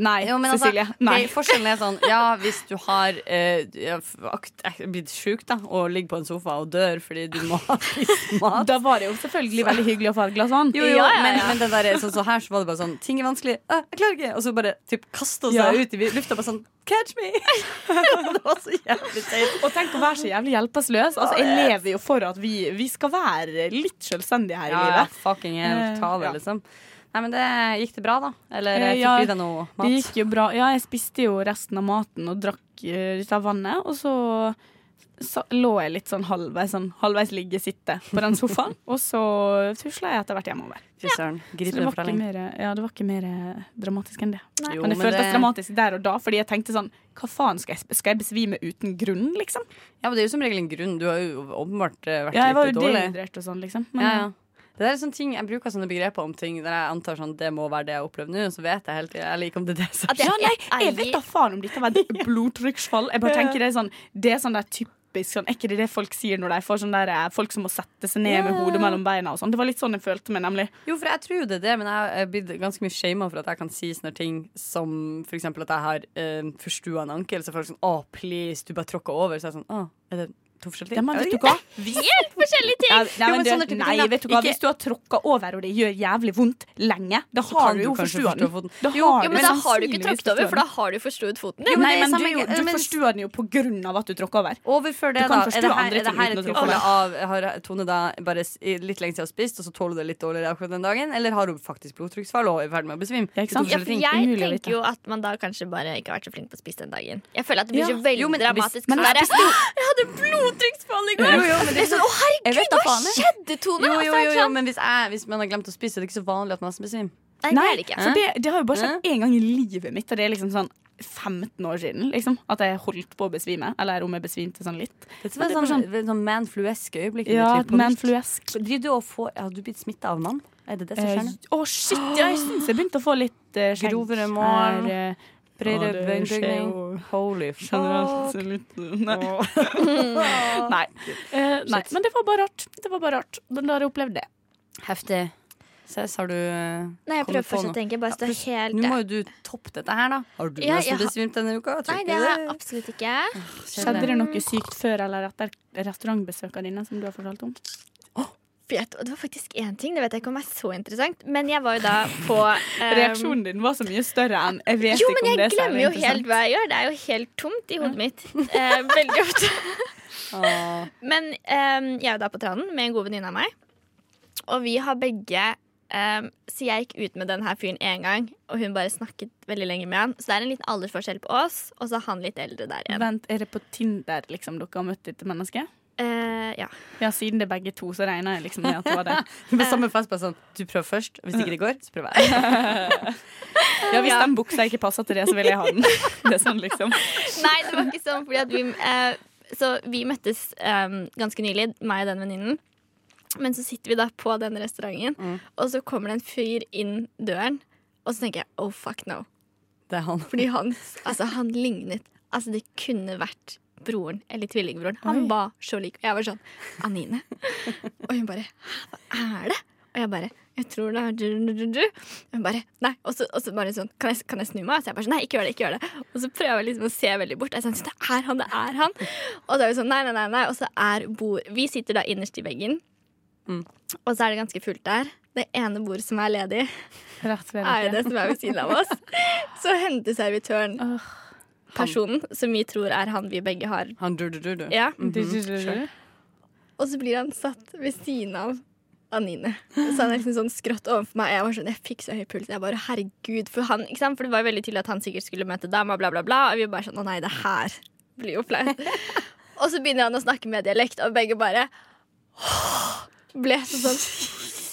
Nei, Jo, men altså, Cecilie. Nei. ok, forskjellen er sånn Ja, hvis du har eh, ja, f- akt, eh, blitt sjuk da, og ligger på en sofa og dør fordi du må ha spist mat Da var det jo selvfølgelig veldig hyggelig å få et glass vann. jo, jo, Ja, ja, Men, ja. men den der, sånn, så her så var det bare sånn Ting er vanskelig, ah, jeg klarer ikke Og så bare typ kastet hun Ja. seg ut i vi- lufta Bare sånn, catch me Det var så jævlig teit Og tenk å være så jævlig hjelpeløs. Altså, jeg lever jo for at vi, vi skal være litt selvstendige her i Ja, ja, livet. fucking helt Eh, tale ja. liksom Nei, men det gikk det bra da Eller Eh, fikk ja, du deg noe Det mat? gikk jo bra. Ja, jeg spiste jo resten av maten og drakk eh, litt av vannet, og så sa- lå jeg litt sånn halvveis, sånn, halvveis ligge-sitte på den sofaen. og så tusla jeg etter hvert hjemover. Fy søren, Så gripende det var ikke fortelling mer, ja, det var ikke mer eh, dramatisk enn det. Jo, men det men føltes det- dramatisk der og da, fordi jeg tenkte sånn Hva faen, skal jeg, skal jeg besvime uten grunn, liksom? Ja, men det er jo som regel en grunn Du har jo åpenbart eh, vært Ja, jeg var litt jo dårlig dehydrert og sånn, liksom. Men, Ja, ja. Det der er sånne ting, Jeg bruker sånne begreper om ting der jeg antar sånn, det må være det jeg opplever nå. Så vet jeg helt eller ikke om det er det som at jeg, Ja, nei, jeg eier- vet da faen om dette var et blodtrykksfall. Jeg bare tenker det er sånn Det er sånn der typisk sånn, Er ikke det det folk sier når de får sånn der eh, Folk som må sette seg ned med hodet mellom beina og sånn. Det var litt sånn jeg følte meg, nemlig. Jo, for jeg tror jo det er det, men jeg er blitt ganske mye shama for at jeg kan si sånne ting som f.eks. at jeg har eh, forstua en ankel. Så er folk sånn Å, please, du bare tråkka over. Så er jeg sånn Å, er det to forskjellige Ja, ting? men Jeg vet vet du hva? Helt forskjellige ting! Nei, Jo, men men du, sånne type nei, ting, da. vet du hva? Ikke- Hvis du har tråkka over og det gjør jævlig vondt lenge, da Så kan har du du jo kanskje forstua den. forstå foten. Da Jo, har Jo, men da har du ikke tråkket over, for da har du forstuet foten jo, din. Nei, det er men samme du, greie. du Men- forstuer den jo på grunn av at du tråkka over. ikke. Overfør det, Du kan da. forstue Er det her, andre er det her et ting uten å tråkke tilfelle over. av Har Tone da bare s- litt lenge siden spist, og så tåler du det litt dårligere akkurat den dagen? Eller har hun faktisk blodtrykksfall og er i ferd med å besvime? Ja, ikke sant? Det er to forskjellige Ja, for ting. jeg Umulig å vite. tenker jo at man da kanskje bare ikke har vært så flink på å spise den dagen. Jeg føler at det blir så Ja. veldig Jo, men hvis- dramatisk. men Men, jeg jeg, hadde blodtrykksfall i går! Jo, jo, men det er det er sånn, Å, Jeg vet herregud, da hva faen, jeg. skjedde, Tone? Jo, jo, Altså, jo, jo, sånn- men hvis, jeg, hvis man har glemt å spise, det er det ikke så vanlig at man besvimer. Nei, det er det ikke. For det, det har jo bare skjedd én gang i livet mitt, og det er liksom sånn 15 år siden liksom, at jeg holdt på å besvime. Eller om jeg besvimte sånn litt. Det er det er sånn, bare sånn, sånn manflueske øyeblikk. i Ja, ditt liv på nytt. manfluesk. Driver du og får Har du blitt smitta av mann? Er det det som Eh, skjer Å, nå? shit! Ja, jeg syns jeg begynte å få litt eh, skjegg. Grovere mål. her, eh, Bredere Ja, det beinbygning. skjer jo. Holy fuck. generelt, så litt, Nei. nei. Eh, nei. Men det var bare rart. Det var bare rart. Men da har jeg opplevd det. Heftig. Cess, har du eh, Nei, kommet jeg på prøver fortsatt å noe? tenke. Bare stå Pluss- helt Nå må jo du toppe dette her, da. Har du Ja, jeg nesten har- besvimt denne uka? Jeg tror Nei, ikke det har jeg absolutt ikke. Skjedde det noe sykt før eller etter restaurantbesøkene dine som du har fortalt om? Vet- og Det var faktisk én ting. Det vet jeg ikke om er så interessant. Men jeg var jo da på eh, Reaksjonen din var så mye større enn Jeg vet Jo, ikke men om det jeg er særlig glemmer jo interessant. helt hva jeg gjør. Det er jo helt tomt i hodet mitt. Eh, veldig ofte. Men ehm, jeg er jo da på tranen med en god venninne av meg. Og vi har begge ehm, Så jeg gikk ut med den her fyren én gang, og hun bare snakket veldig lenge med han. Så det er en liten aldersforskjell på oss, og så er han litt eldre der igjen. Vent, er det på Tinder liksom, dere har møtt dette mennesket? Eh, ja. Ja, siden det er begge to, så regner jeg liksom med at det var det. Med samme fest, bare sånn Du prøver først, og hvis ikke det går, så prøver jeg. Ja, hvis den buksa ikke passer til det, så vil jeg ha den. Det er sånn liksom. Nei, det var ikke sånn, fordi at vi eh, Så vi møttes ehm, ganske nylig, meg og den venninnen. Men så sitter vi da på den restauranten, og så kommer det en fyr inn døren. Og så tenker jeg oh fuck no. Det er han. Fordi han, altså, han lignet Altså det kunne vært broren eller tvillingbroren. Han var så lik. Og jeg var sånn Anine. Og hun bare Hæ, hva er det? Og jeg bare Jeg tror det er du, du, du, du. Og hun bare Nei. Og så, og så bare sånn kan jeg, kan jeg snu meg? Så jeg bare sånn Nei, ikke gjør det. ikke gjør det Og så prøver jeg liksom å se veldig bort. Og jeg er sånn Det er han, det er han. Og så er vi sånn Nei, nei, nei. nei Og så er bord Vi sitter da innerst i veggen. Og så er det ganske fullt der. Det ene bordet som er ledig, Rett ved er jo det som er ved siden av oss. Så henter servitøren personen som vi tror er han vi begge har. Han du-du-du-du. Ja. Mm. dere. Og så blir han satt ved siden av Anine. Så han er liksom sånn skrått overfor meg. og Jeg var sånn, jeg fikk så høy puls. Jeg bare, herregud, For han, ikke sant? For det var jo veldig tydelig at han sikkert skulle møte dama, bla, bla, bla. Og vi bare sånn, å nei, det her blir jo flaut. og så begynner han å snakke med dialekt, og begge bare ble så sånn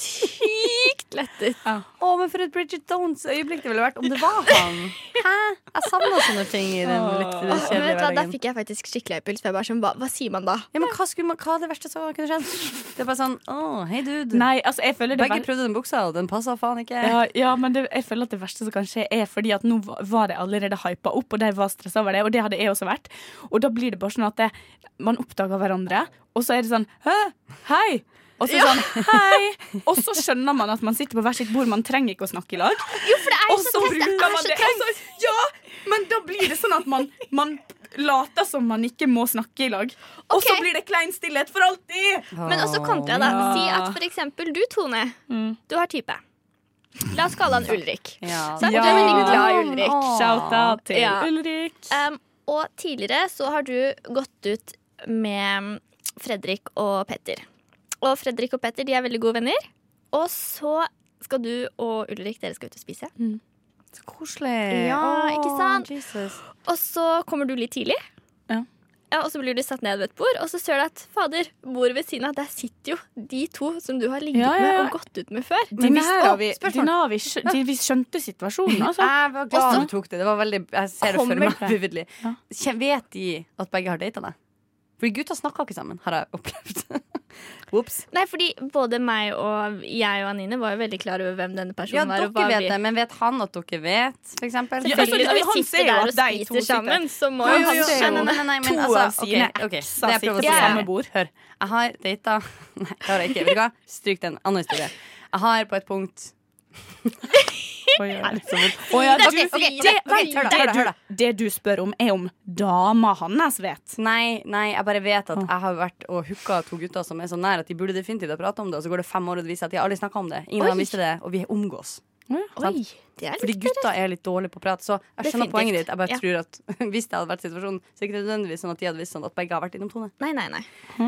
sykt lettet. Å, men for et Bridget Downs-øyeblikk det ville vært om det var han. Hæ? Jeg savner sånne ting i den litt Og, kjedelige men vet du hva, Der hverdagen. fikk jeg faktisk skikkelig høy puls. For jeg bare sånn, hva, hva sier man da? Ja, men hva, skulle man, hva er det verste som kunne skjedd? Det er bare sånn Å, hei, dude. Nei, altså, jeg føler det Begge ver- prøvde den buksa, og den passa faen ikke. ja, ja, men det, jeg føler at det verste som kan skje, er fordi at nå va- var jeg allerede hypa opp, og de var stressa over det, og det hadde jeg også vært. Og da blir det bare sånn at det, man oppdager hverandre, og så er det sånn Hæ? Hei! Og så, er det sånn, hei. og så skjønner man at man sitter på hvert sitt bord, man trenger ikke å snakke i lag. Jo, for det er jo Og så så tett, det bruker er man så det. tett. Og så- ja, men da blir det sånn at man, man later som man ikke må snakke i lag. Og så Ok. Ah, blir det klein stillhet for alltid! Men også kontra, da. Si at for eksempel du, Tone, du har type. La oss kalle han Ulrik. Ja. Sant? Mm. Du Ja. er veldig glad i Ulrik. Shout out til Ja. Ulrik. Um, og tidligere så har du gått ut med Fredrik og Petter. Og Fredrik og Petter de er veldig gode venner. Og så skal du og Ulrik dere skal ut og spise. Så koselig. Ja, Å, ikke sant? Jesus. Og så kommer du litt tidlig. Ja. Ja, og så blir du satt ned ved et bord, og så ser du at fader, bordet ved siden av, der sitter jo de to som du har ligget Ja, ja, ja. med og gått ut med før. Din visste- her har Å, vi, spørsmål. din har vi, skjø- din, vi skjønte situasjonen, altså. Jeg var glad du tok det. Det var veldig, jeg ser det for Kommer meg det? vividlig. Ja. Kje- Vet de at begge har data deg? Fordi gutta snakker ikke sammen, har jeg opplevd. Ops. Nei, fordi både meg og jeg og Anine var jo veldig klar over hvem denne personen Ja, var. dere og hva vet vi- det, men vet han at dere vet, for eksempel? Ja, Selvfølgelig, altså, Når vi han ser sitter jo der og at de to spiser sitter. sammen, så må Jo, jo jo, han jo. Nei, nei, nei, skjønne nei, nei, men To altså, av sine ok, ok, ekser det jeg prøver å sitter si på er- samme bord. Hør. Jeg har data Nei, det har jeg ikke. Vet du hva? Stryk den. Annen historie. Jeg har på et punkt Oi, oi, oi. Å ja, du, Ok, ok, det, det- vent, hør da, det, hør da, hør da. du, det du spør om, er om dama hans vet. Nei, nei, jeg bare vet at jeg har vært og hooka to gutter som er så nær at de burde definitivt ha prata om det, og så går det fem år, og det viser seg at de aldri snakka om det. Ingen av dem visste det, og vi omgås. Oi, det er Fordi litt gutta er litt dårlige på prat. Så jeg skjønner Definitivt. poenget ditt. Jeg bare Ja. tror at Hvis det hadde vært situasjonen, så er det ikke nødvendigvis sånn at de hadde visst sånn at begge har vært innom Tone. Nei, nei, nei.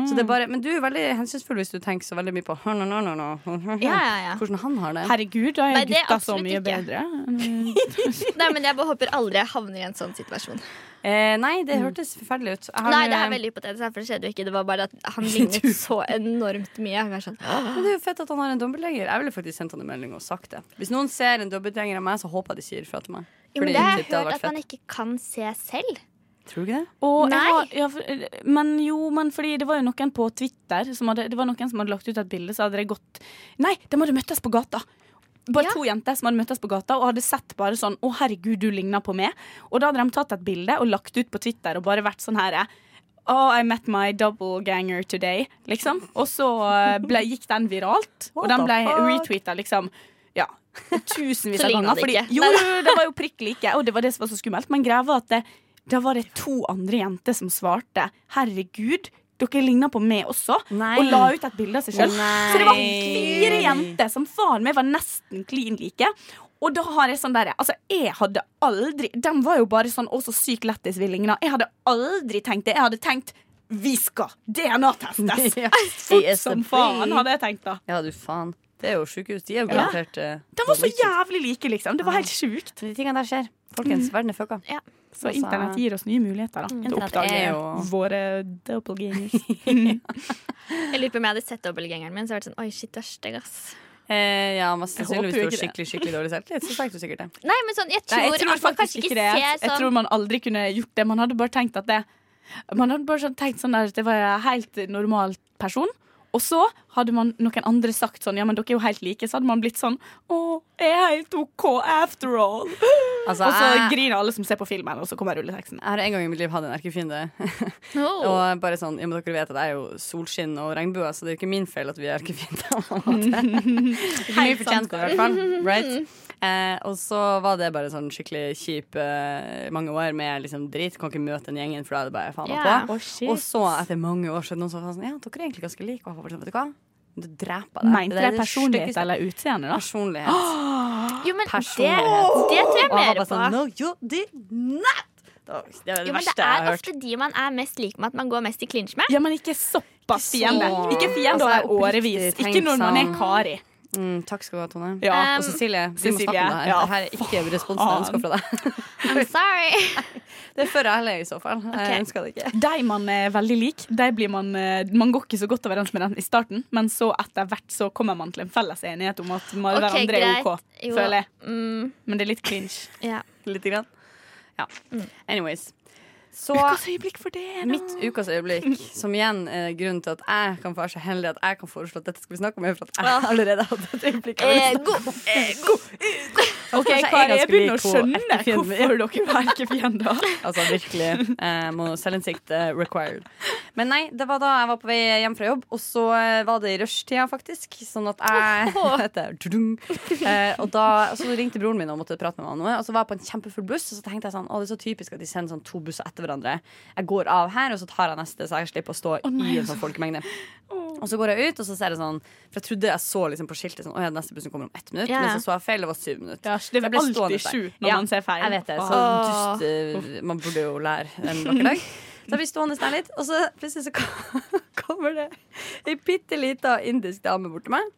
Så det er bare, men du er veldig hensynsfull hvis du tenker så veldig mye på no, no, no, no, no. Ja, ja, ja. hvordan han har det. Herregud, da er Nei, jo det er gutta så absolutt mye ikke. bedre. Nei, men jeg bare håper aldri jeg havner i en sånn situasjon. Eh, nei, det hørtes forferdelig ut. Jeg har- Mm. eh, Nei, det er veldig hypotetisk, her, for det skjedde jo ikke. Det var bare at han lignet så enormt mye. Jeg var sånn, Men det er jo fett at han har en dobbeltgjenger. Jeg ville faktisk sendt han en melding og sagt det. Hvis noen ser en dobbeltgjenger av meg, så håper jeg de sier ifra til meg. Jo, men Fordi det har typ, jeg det hadde vært hørt at man fett. ikke kan se selv. Tror du ikke det? Og jeg Nei. har, ja, for- men jo, men fordi det var jo noen på Twitter som hadde, Det var noen som hadde lagt ut et bilde, så hadde det gått Nei, de hadde møttes på gata. Bare Ja. to jenter som hadde møttes på gata og hadde sett bare sånn Å, herregud, du ligner på meg. Og da hadde de tatt et bilde og lagt ut på Twitter og bare vært sånn her Oh, I met my double ganger today, liksom. Og så eh, ble, gikk den viralt, og What den the ble fuck? retweeta liksom ja, tusenvis Så av lignet ganger. det Fordi, ikke. jo, jo, jo, det var jo prikk like, og det var det som var så skummelt. Men greia var at det, da var det to andre jenter som svarte 'herregud, dere ligner på meg også', Nei. og la ut et bilde av seg sjøl. Nei. Så det var fire jenter som faen meg var nesten klin like. Og da har jeg sånn der, altså jeg hadde aldri De var jo bare sånn 'Å, så sykt lættis vi ligner'. Jeg hadde aldri tenkt det. Jeg hadde tenkt Vi skal DNA-testes! Ja. Fort ISFP. som faen, hadde jeg tenkt da. Ja, du faen. Det er jo sjukehus. De er jo garantert eh, De var så dårlig. jævlig like, liksom. Det var helt sjukt. De tingene der skjer. Folkens, verden er fucka. Mm. Ja. Så internett gir oss nye muligheter, da. Til å Altså, Mm. Internett oppdage er jo- våre doppelgangers. Jeg lurer på om jeg hadde sett dobbeltgjengeren min, så hadde jeg vært sånn Oi, shit, du er stygg, ass. Eh, ja, mest Jeg sannsynlig hvis du håper jo har ikke det. skikkelig skikkelig dårlig selvtillit. Så fikk du sikkert det. Nei, men sånn, jeg tror, Nei, jeg tror at man faktisk kanskje ikke ikke det. Jeg, ser jeg sånn tror man aldri kunne gjort det. Man hadde bare tenkt at det Man hadde bare sånn tenkt sånn der at det var en helt normal person. Og så hadde man noen andre sagt sånn Ja, men dere er jo helt like. Så hadde man blitt sånn Å, jeg er helt OK after all. Altså, Og så jeg, griner alle som ser på filmen, og så kommer rulleteksten. jeg har en gang i mitt liv hatt en erkefiende. Åh. Og bare sånn, ja, men dere vet at jeg er jo solskinn og regnbue, så det er jo ikke min feil at vi er arkefiender. på en måte. Det er ikke mye fortjent, i hvert fall. Right? Eh, og så var det bare sånn skikkelig kjip eh, mange år med liksom drit. Kan ikke møte den gjengen, for da er det bare faen meg Ja. på. Og så, etter mange år, så er det noen som var sånn Ja, dere er egentlig ganske like. Og jeg var bare sånn, vet du hva? Du dreper deg. Mente er jeg personlighet styggeste- eller utseende, da? Personlighet. Jo, men det, det Personlighet. tror jeg Og jeg var mer bare på. sånn No, you did not! Det var det, var det Jo, men verste jeg det er altså har hørt. ofte de man er mest lik med, at man går mest i clinch med. Ja, men ikke såpass fiende. Så- Ikke fiende Altså, jeg over har årevis. oppriktig Ikke når man er tenkt Kari. Eh, Mm, takk skal du ha, Tone. Ja. og Um, Cecilie, vi må snakke Cecilie, om det her. ja, Dette er ikke responsen jeg ønsker fra deg. I'm sorry. Det er før jeg ler, i så fall. Ok. Jeg ønsker det ikke. De man er veldig lik, de blir man, eh, man går ikke så godt overens med den i starten, men så etter hvert så kommer man til en felles enighet om at man, Ok, hverandre er greit. OK. Jo, Føler jeg. Mm, Men det er litt cringe. ja. Lite grann. Ja. Anyways. Så øyeblikk for det, mitt ukas øyeblikk, som igjen er grunnen til at jeg kan være så heldig at jeg kan foreslå at dette skal vi snakke om, er for at jeg allerede hadde et øyeblikk. liksom. Eh, god. Ok, Kanskje Kari, jeg Altså, jeg begynner å ganske lik skjønne hvor hvorfor dere var erkefiender. Altså virkelig. Eh, må selvinnsikt eh, required. Men nei, det var da jeg var på vei hjem fra jobb, og så eh, var det i rushtida, faktisk. Sånn at jeg vet det, tudung. eh, og, da, og så ringte broren min og måtte prate med meg om noe. Og så var jeg på en kjempefull buss, og så tenkte jeg sånn Å, det er så typisk at de sender sånn to busser etter hverandre. Jeg går av her, og så tar jeg neste, så jeg slipper å stå i en sånn folkemengde. Og så går jeg ut, og så ser jeg sånn For jeg trodde jeg så liksom på skiltet sånn Å ja, neste bussen kommer om ett minutt. Ja. Men så så jeg feil, det var syv minutter. Ja, det Så jeg er ble alltid stående sju der. når Ja, man ser feil. Jeg vet det, så Åh. dust eh, Man burde jo lære en vakker dag. Så jeg blir stående der litt, og så plutselig så kom- kommer det ei bitte lita indisk dame bort til meg.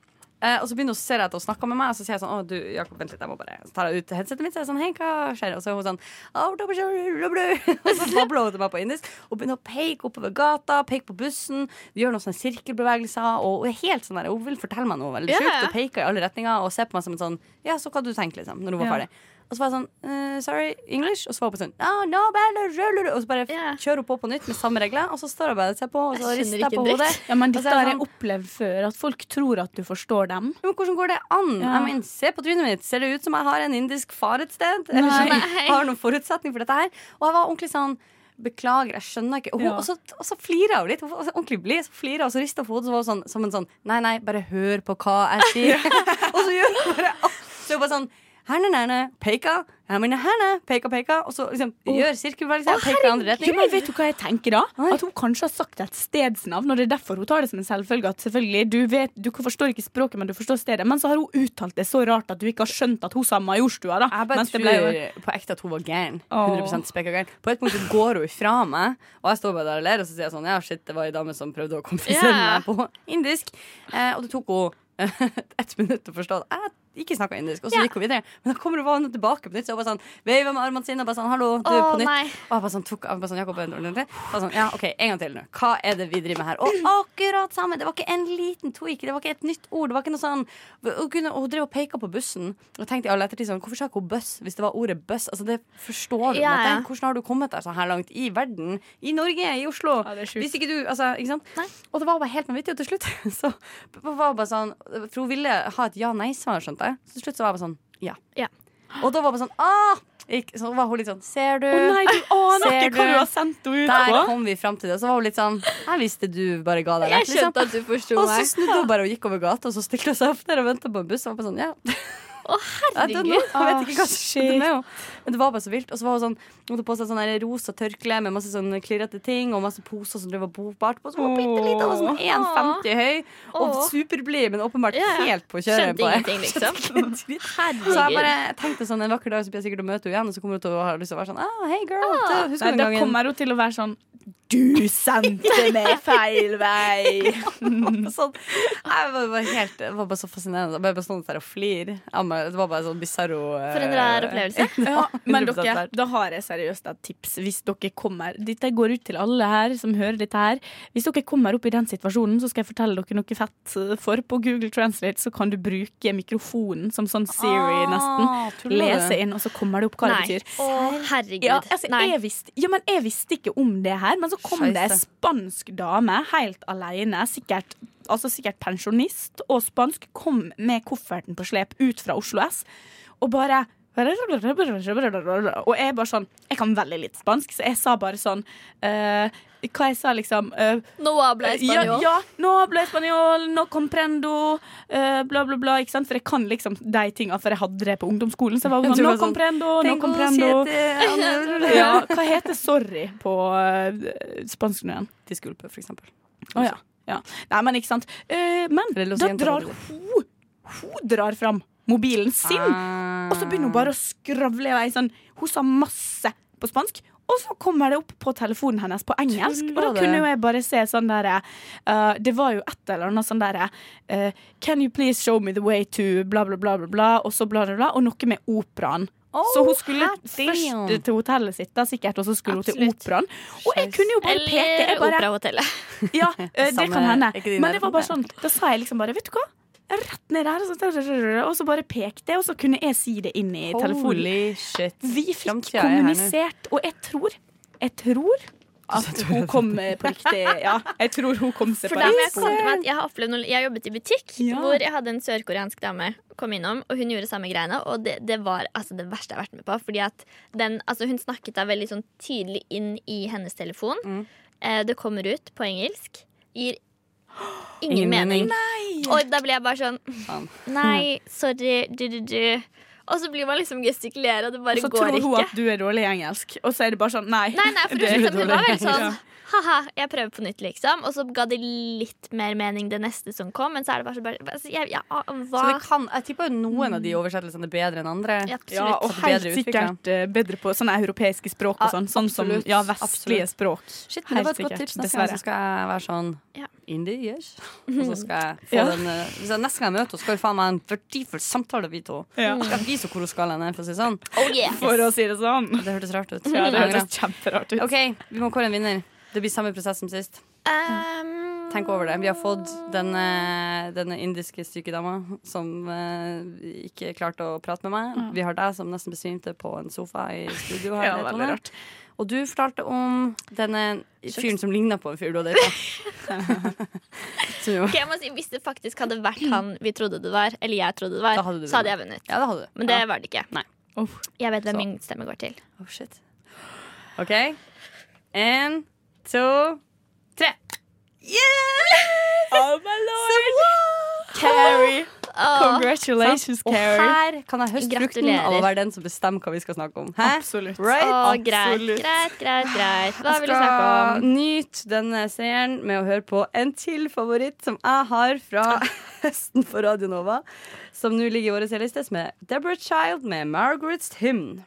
Eh, og så begynner hun å se etter og snakke med meg, og så sier jeg sånn Å, du, Jakob, vent litt, jeg må bare Så tar jeg ut headsetet mitt, så er jeg sånn Hei, hva skjer? Og så er hun sånn «Au, da blir jeg rød, rød, rød». Og så babler hun til meg på indisk og begynner å peke oppover gata, peke på bussen, vi gjør noen sånne sirkelbevegelser, og hun er helt sånn der Hun vil fortelle meg noe veldig Ja, sjukt, ja. og peker i alle retninger, og ser på meg som en sånn Ja, så hva du tenker, liksom, når hun var Ja. ferdig. Og så var jeg sånn «Eh, Sorry, English? Og så var hun på sånn «Ah, no, blah, blah, blah, blah», Og så bare Ja. kjører hun på på nytt med samme regler, og så står jeg bare og ser på, og så Jeg rister skjønner jeg på ikke en hodet. dritt. Ja, men Og så er dette har jeg jeg opplevd før, at folk tror at du forstår dem. Ja, Men hvordan går det an? Ja. Jeg mener, se på trynet mitt. Ser det ut som jeg har en indisk far et sted? Eller Nei. som jeg har noen forutsetning for dette her? Og jeg var ordentlig sånn Beklager, jeg skjønner ikke. Og, hun, Ja. og så, og så flirer hun litt. Hun var ordentlig blid. Så flirer hun, og så rister hun på hodet så var hun sånn, som en sånn Nei, nei, bare hør på hva jeg sier. og så gjør hun bare alt. Så hun bare sånn Herne, nerne, peka. Jeg mener herne, peka, peka. Og så liksom gjør sirkelbevegelse. Peker i andre Ja, retning. men vet du hva jeg tenker da? Nei. At hun kanskje har sagt et stedsnavn, og det er derfor hun tar det som en selvfølge. At selvfølgelig, du, vet, du forstår ikke språket, men du forstår stedet. Men så har hun uttalt det så rart at du ikke har skjønt at hun sa Majorstua, da. Jeg bare Mens det tror ble jo- på ekte at hun var gæren. Åh. 100% spekka gæren. På et punkt så går hun ifra meg, og jeg står bare der og ler, og så sier jeg sånn Ja, shit, det var ei dame som prøvde å konfisere Ja. meg på indisk. Eh, og det tok henne ett minutt å forstå at jeg ikke snakka indisk, og så Ja. gikk hun videre. Men da kommer hun vanlig tilbake på nytt, så hun bare sånn veiver med armene sine og bare sånn Hallo, du, Åh, på nytt. nei. Og jeg bare sånn tok jeg bare sånn, Jakob, vent, vent, vent. Jeg bare sånn, ja, ok, en gang til nå. Hva er det vi driver med her? Og akkurat samme! Det var ikke en liten tweak, det var ikke et nytt ord. Det var ikke noe sånn Hun, kunne, hun drev og peka på bussen, og tenkte i all ettertid sånn Hvorfor sa ikke hun buss hvis det var ordet buss? Altså, det forstår du. Ja, men ja. tenk, Hvordan har du kommet deg så her langt i verden? I Norge, i Oslo? Ja, det er sjukt. hvis ikke du Altså, ikke sant? Nei. Og det var bare helt vanvittig, og til slutt så var hun bare sånn For hun ville ha et ja-nei-svar, skjønte jeg. Så til slutt så var jeg bare sånn ja. Ja. Og da var hun bare sånn ah! Gikk, så var hun litt sånn Ser du? Å nei, du aner Ser ikke hva du? du har sendt henne ut Der på! kom vi fram til det. Så var hun litt sånn Jeg visste du bare ga deg rett. Jeg skjønte Liksom. at du forsto Og så meg. snudde hun bare og gikk over gata, og så stilte hun seg opp der og venta på en buss. Og var bare sånn, ja Å, Jeg vet ikke herregud. hva som skjedde med henne. Men det var bare så vilt. Og så var hun sånn, hun hadde på seg sånn her rosa tørkle med masse sånn klirrete ting og masse poser som drev og bopart på. Så hun var bittelita, og sånn 1,50 høy og Åh. superblid, men åpenbart Ja, ja. helt på kjøret. på Skjønte det. ingenting, liksom. Så jeg bare Herregud. tenkte sånn, En vakker dag så blir jeg sikkert å møte henne igjen, og så kommer hun til å ha lyst til å være sånn ah, Hey girl, det- husker Nei, du da den gangen? kommer hun til å være sånn Du sendte meg feil vei! Sånn. Jeg var bare, helt, det var bare så fascinerende. Jeg bare bare stående der og flir. Jeg må- Det var bare sånn bisarro eh, For en rar opplevelse. Ja, men 100% dere, da har jeg seriøst et tips hvis dere kommer. Dette går ut til alle her som hører dette her. Hvis dere kommer opp i den situasjonen, så skal jeg fortelle dere noe fett. eh, For på Google Translate så kan du bruke mikrofonen som sånn Siri, nesten. Ah, tuller du? Lese inn, og så kommer det opp hva det Nei. betyr. Å, herregud. Ja, altså, Nei. jeg visste, ja, men jeg visste ikke om det her, men så kom det ei Scheisse. spansk dame helt alene, sikkert, altså sikkert pensjonist og spansk, kom med kofferten på slep ut fra Oslo S og bare og jeg bare sånn Jeg kan veldig litt spansk, så jeg sa bare sånn eh, Hva jeg sa, liksom? eh, Nå ble jeg ja, spanjol. ja, nå ble jeg spanjol, nå comprendo, eh, bla, bla, bla. Ikke sant? For jeg kan liksom de tinga, for jeg hadde det på ungdomsskolen. Så jeg var Jeg sånn, tror det nå var sånn, comprendo, nå Tengo comprendo. siete años. Ja, hva heter sorry på eh, spansk nå igjen? Disculpe, for eksempel. Å ja. ja. Nei, men ikke sant. Eh, men Eller Los da Angeles. drar hun Hun drar fram mobilen sin, og så begynner hun bare å skravle i vei sånn. Hun sa masse på spansk. Og så kommer det opp på telefonen hennes på engelsk, og da Tuller du? kunne jo jeg bare se sånn derre eh, Det var jo et eller annet sånn derre eh, Can you please show me the way to bla, bla, bla, bla, bla, og så bla, bla, bla, og noe med operaen. Ah. så hun skulle Oh, damn. først til hotellet sitt, da, sikkert, og så skulle hun til Absolutt. operaen. Og jeg kunne jo bare peke. Eller Jeg bare, Operahotellet. ja, eh, det Samme- kan hende. ikke din Men det var bare sånn, erfaring. da sa jeg liksom bare, vet du hva? Rett ned der, og så, og så bare pekte jeg, og så kunne jeg si det inn i telefonen. Holy shit. Vi fikk Fremtiden er her nå. kommunisert, og jeg tror, jeg tror at hun kom eh, på riktig, ja, jeg tror hun kom seg For på da må jeg riktig. komme til meg at jeg har opplevd noe Jeg jobbet i butikk Ja. hvor jeg hadde en sørkoreansk dame kom innom, og hun gjorde samme greiene, og det, det var altså det verste jeg har vært med på. Fordi at den Altså, hun snakket da veldig sånn tydelig inn i hennes telefon. Mm. Eh, det kommer ut på engelsk. Gir ingen, mening. Og da ble jeg bare sånn Faen. Nei, sorry, du, du, du. Og så blir man liksom gestikulere, og det bare Så tror går hun ikke. at du er dårlig i engelsk, og så er det bare sånn, nei. Nei, nei, for det det, er liksom, det var dårlig. vel sånn Ja. Haha, jeg prøver på nytt, liksom. Og så ga det litt mer mening det neste som kom. Men så er det bare så bare altså, jeg, ja, Så hva? det kan, jeg tipper jo noen av de oversettelsene er bedre enn andre. Ja, absolutt. Ja, Så det og er helt bedre utviklet. sikkert eh, bedre på sånne europeiske språk og Ja, sånn, sånn som absolutt, ja, vestlige språk. Shit, men det var et Helt godt sikkert, tips. Neste gang dessverre. så skal jeg være sånn Ja. indie, yes. Og så skal jeg få Ja. den eh, hvis jeg, Neste gang jeg møter henne, skal vi faen meg ha en verdifull samtale, vi to. Ja. Jeg skal vise henne hvor hun skal hen, for å si det sånn. Oh, yes. Mm. For å si det sånn. Det hørtes rart ut. Jeg Ja, det angrer. høres kjemperart ut. OK, vi må kåre en vinner. Det blir samme prosess som sist. Um, Tenk over det. Vi har fått den, eh, denne indiske syke dama som eh, ikke klarte å prate med meg. Vi har deg som nesten besvimte på en sofa i studio. Her, Mm. Ja, Tone. veldig rart. Og du fortalte om denne fyren som ligna på en fyr du hadde data. Som jo- ok, jeg må si, hvis det faktisk hadde vært han vi trodde det var, eller jeg trodde det var, Da hadde du så hadde jeg vunnet. ja, det hadde du. Men det ja. var det ikke. Nei. Uff. Jeg vet hvem Så. min stemme går til. Oh, shit. OK. En, to, tre. Oh my Carrie. Åh, Congratulations, Og Carrie. her kan jeg høste frukten av å Gratulerer. være den som bestemmer hva vi skal snakke om. Hæ? Absolutt. Right? åh, greit, Absolutt. greit, greit, greit. Hva vil du Jeg snakke skal om? Nyt denne seieren med å høre på en til favoritt som jeg har fra høsten på Radio Nova, som nå ligger i vår serieliste, som er Deborah Child med Margaret's Hymn.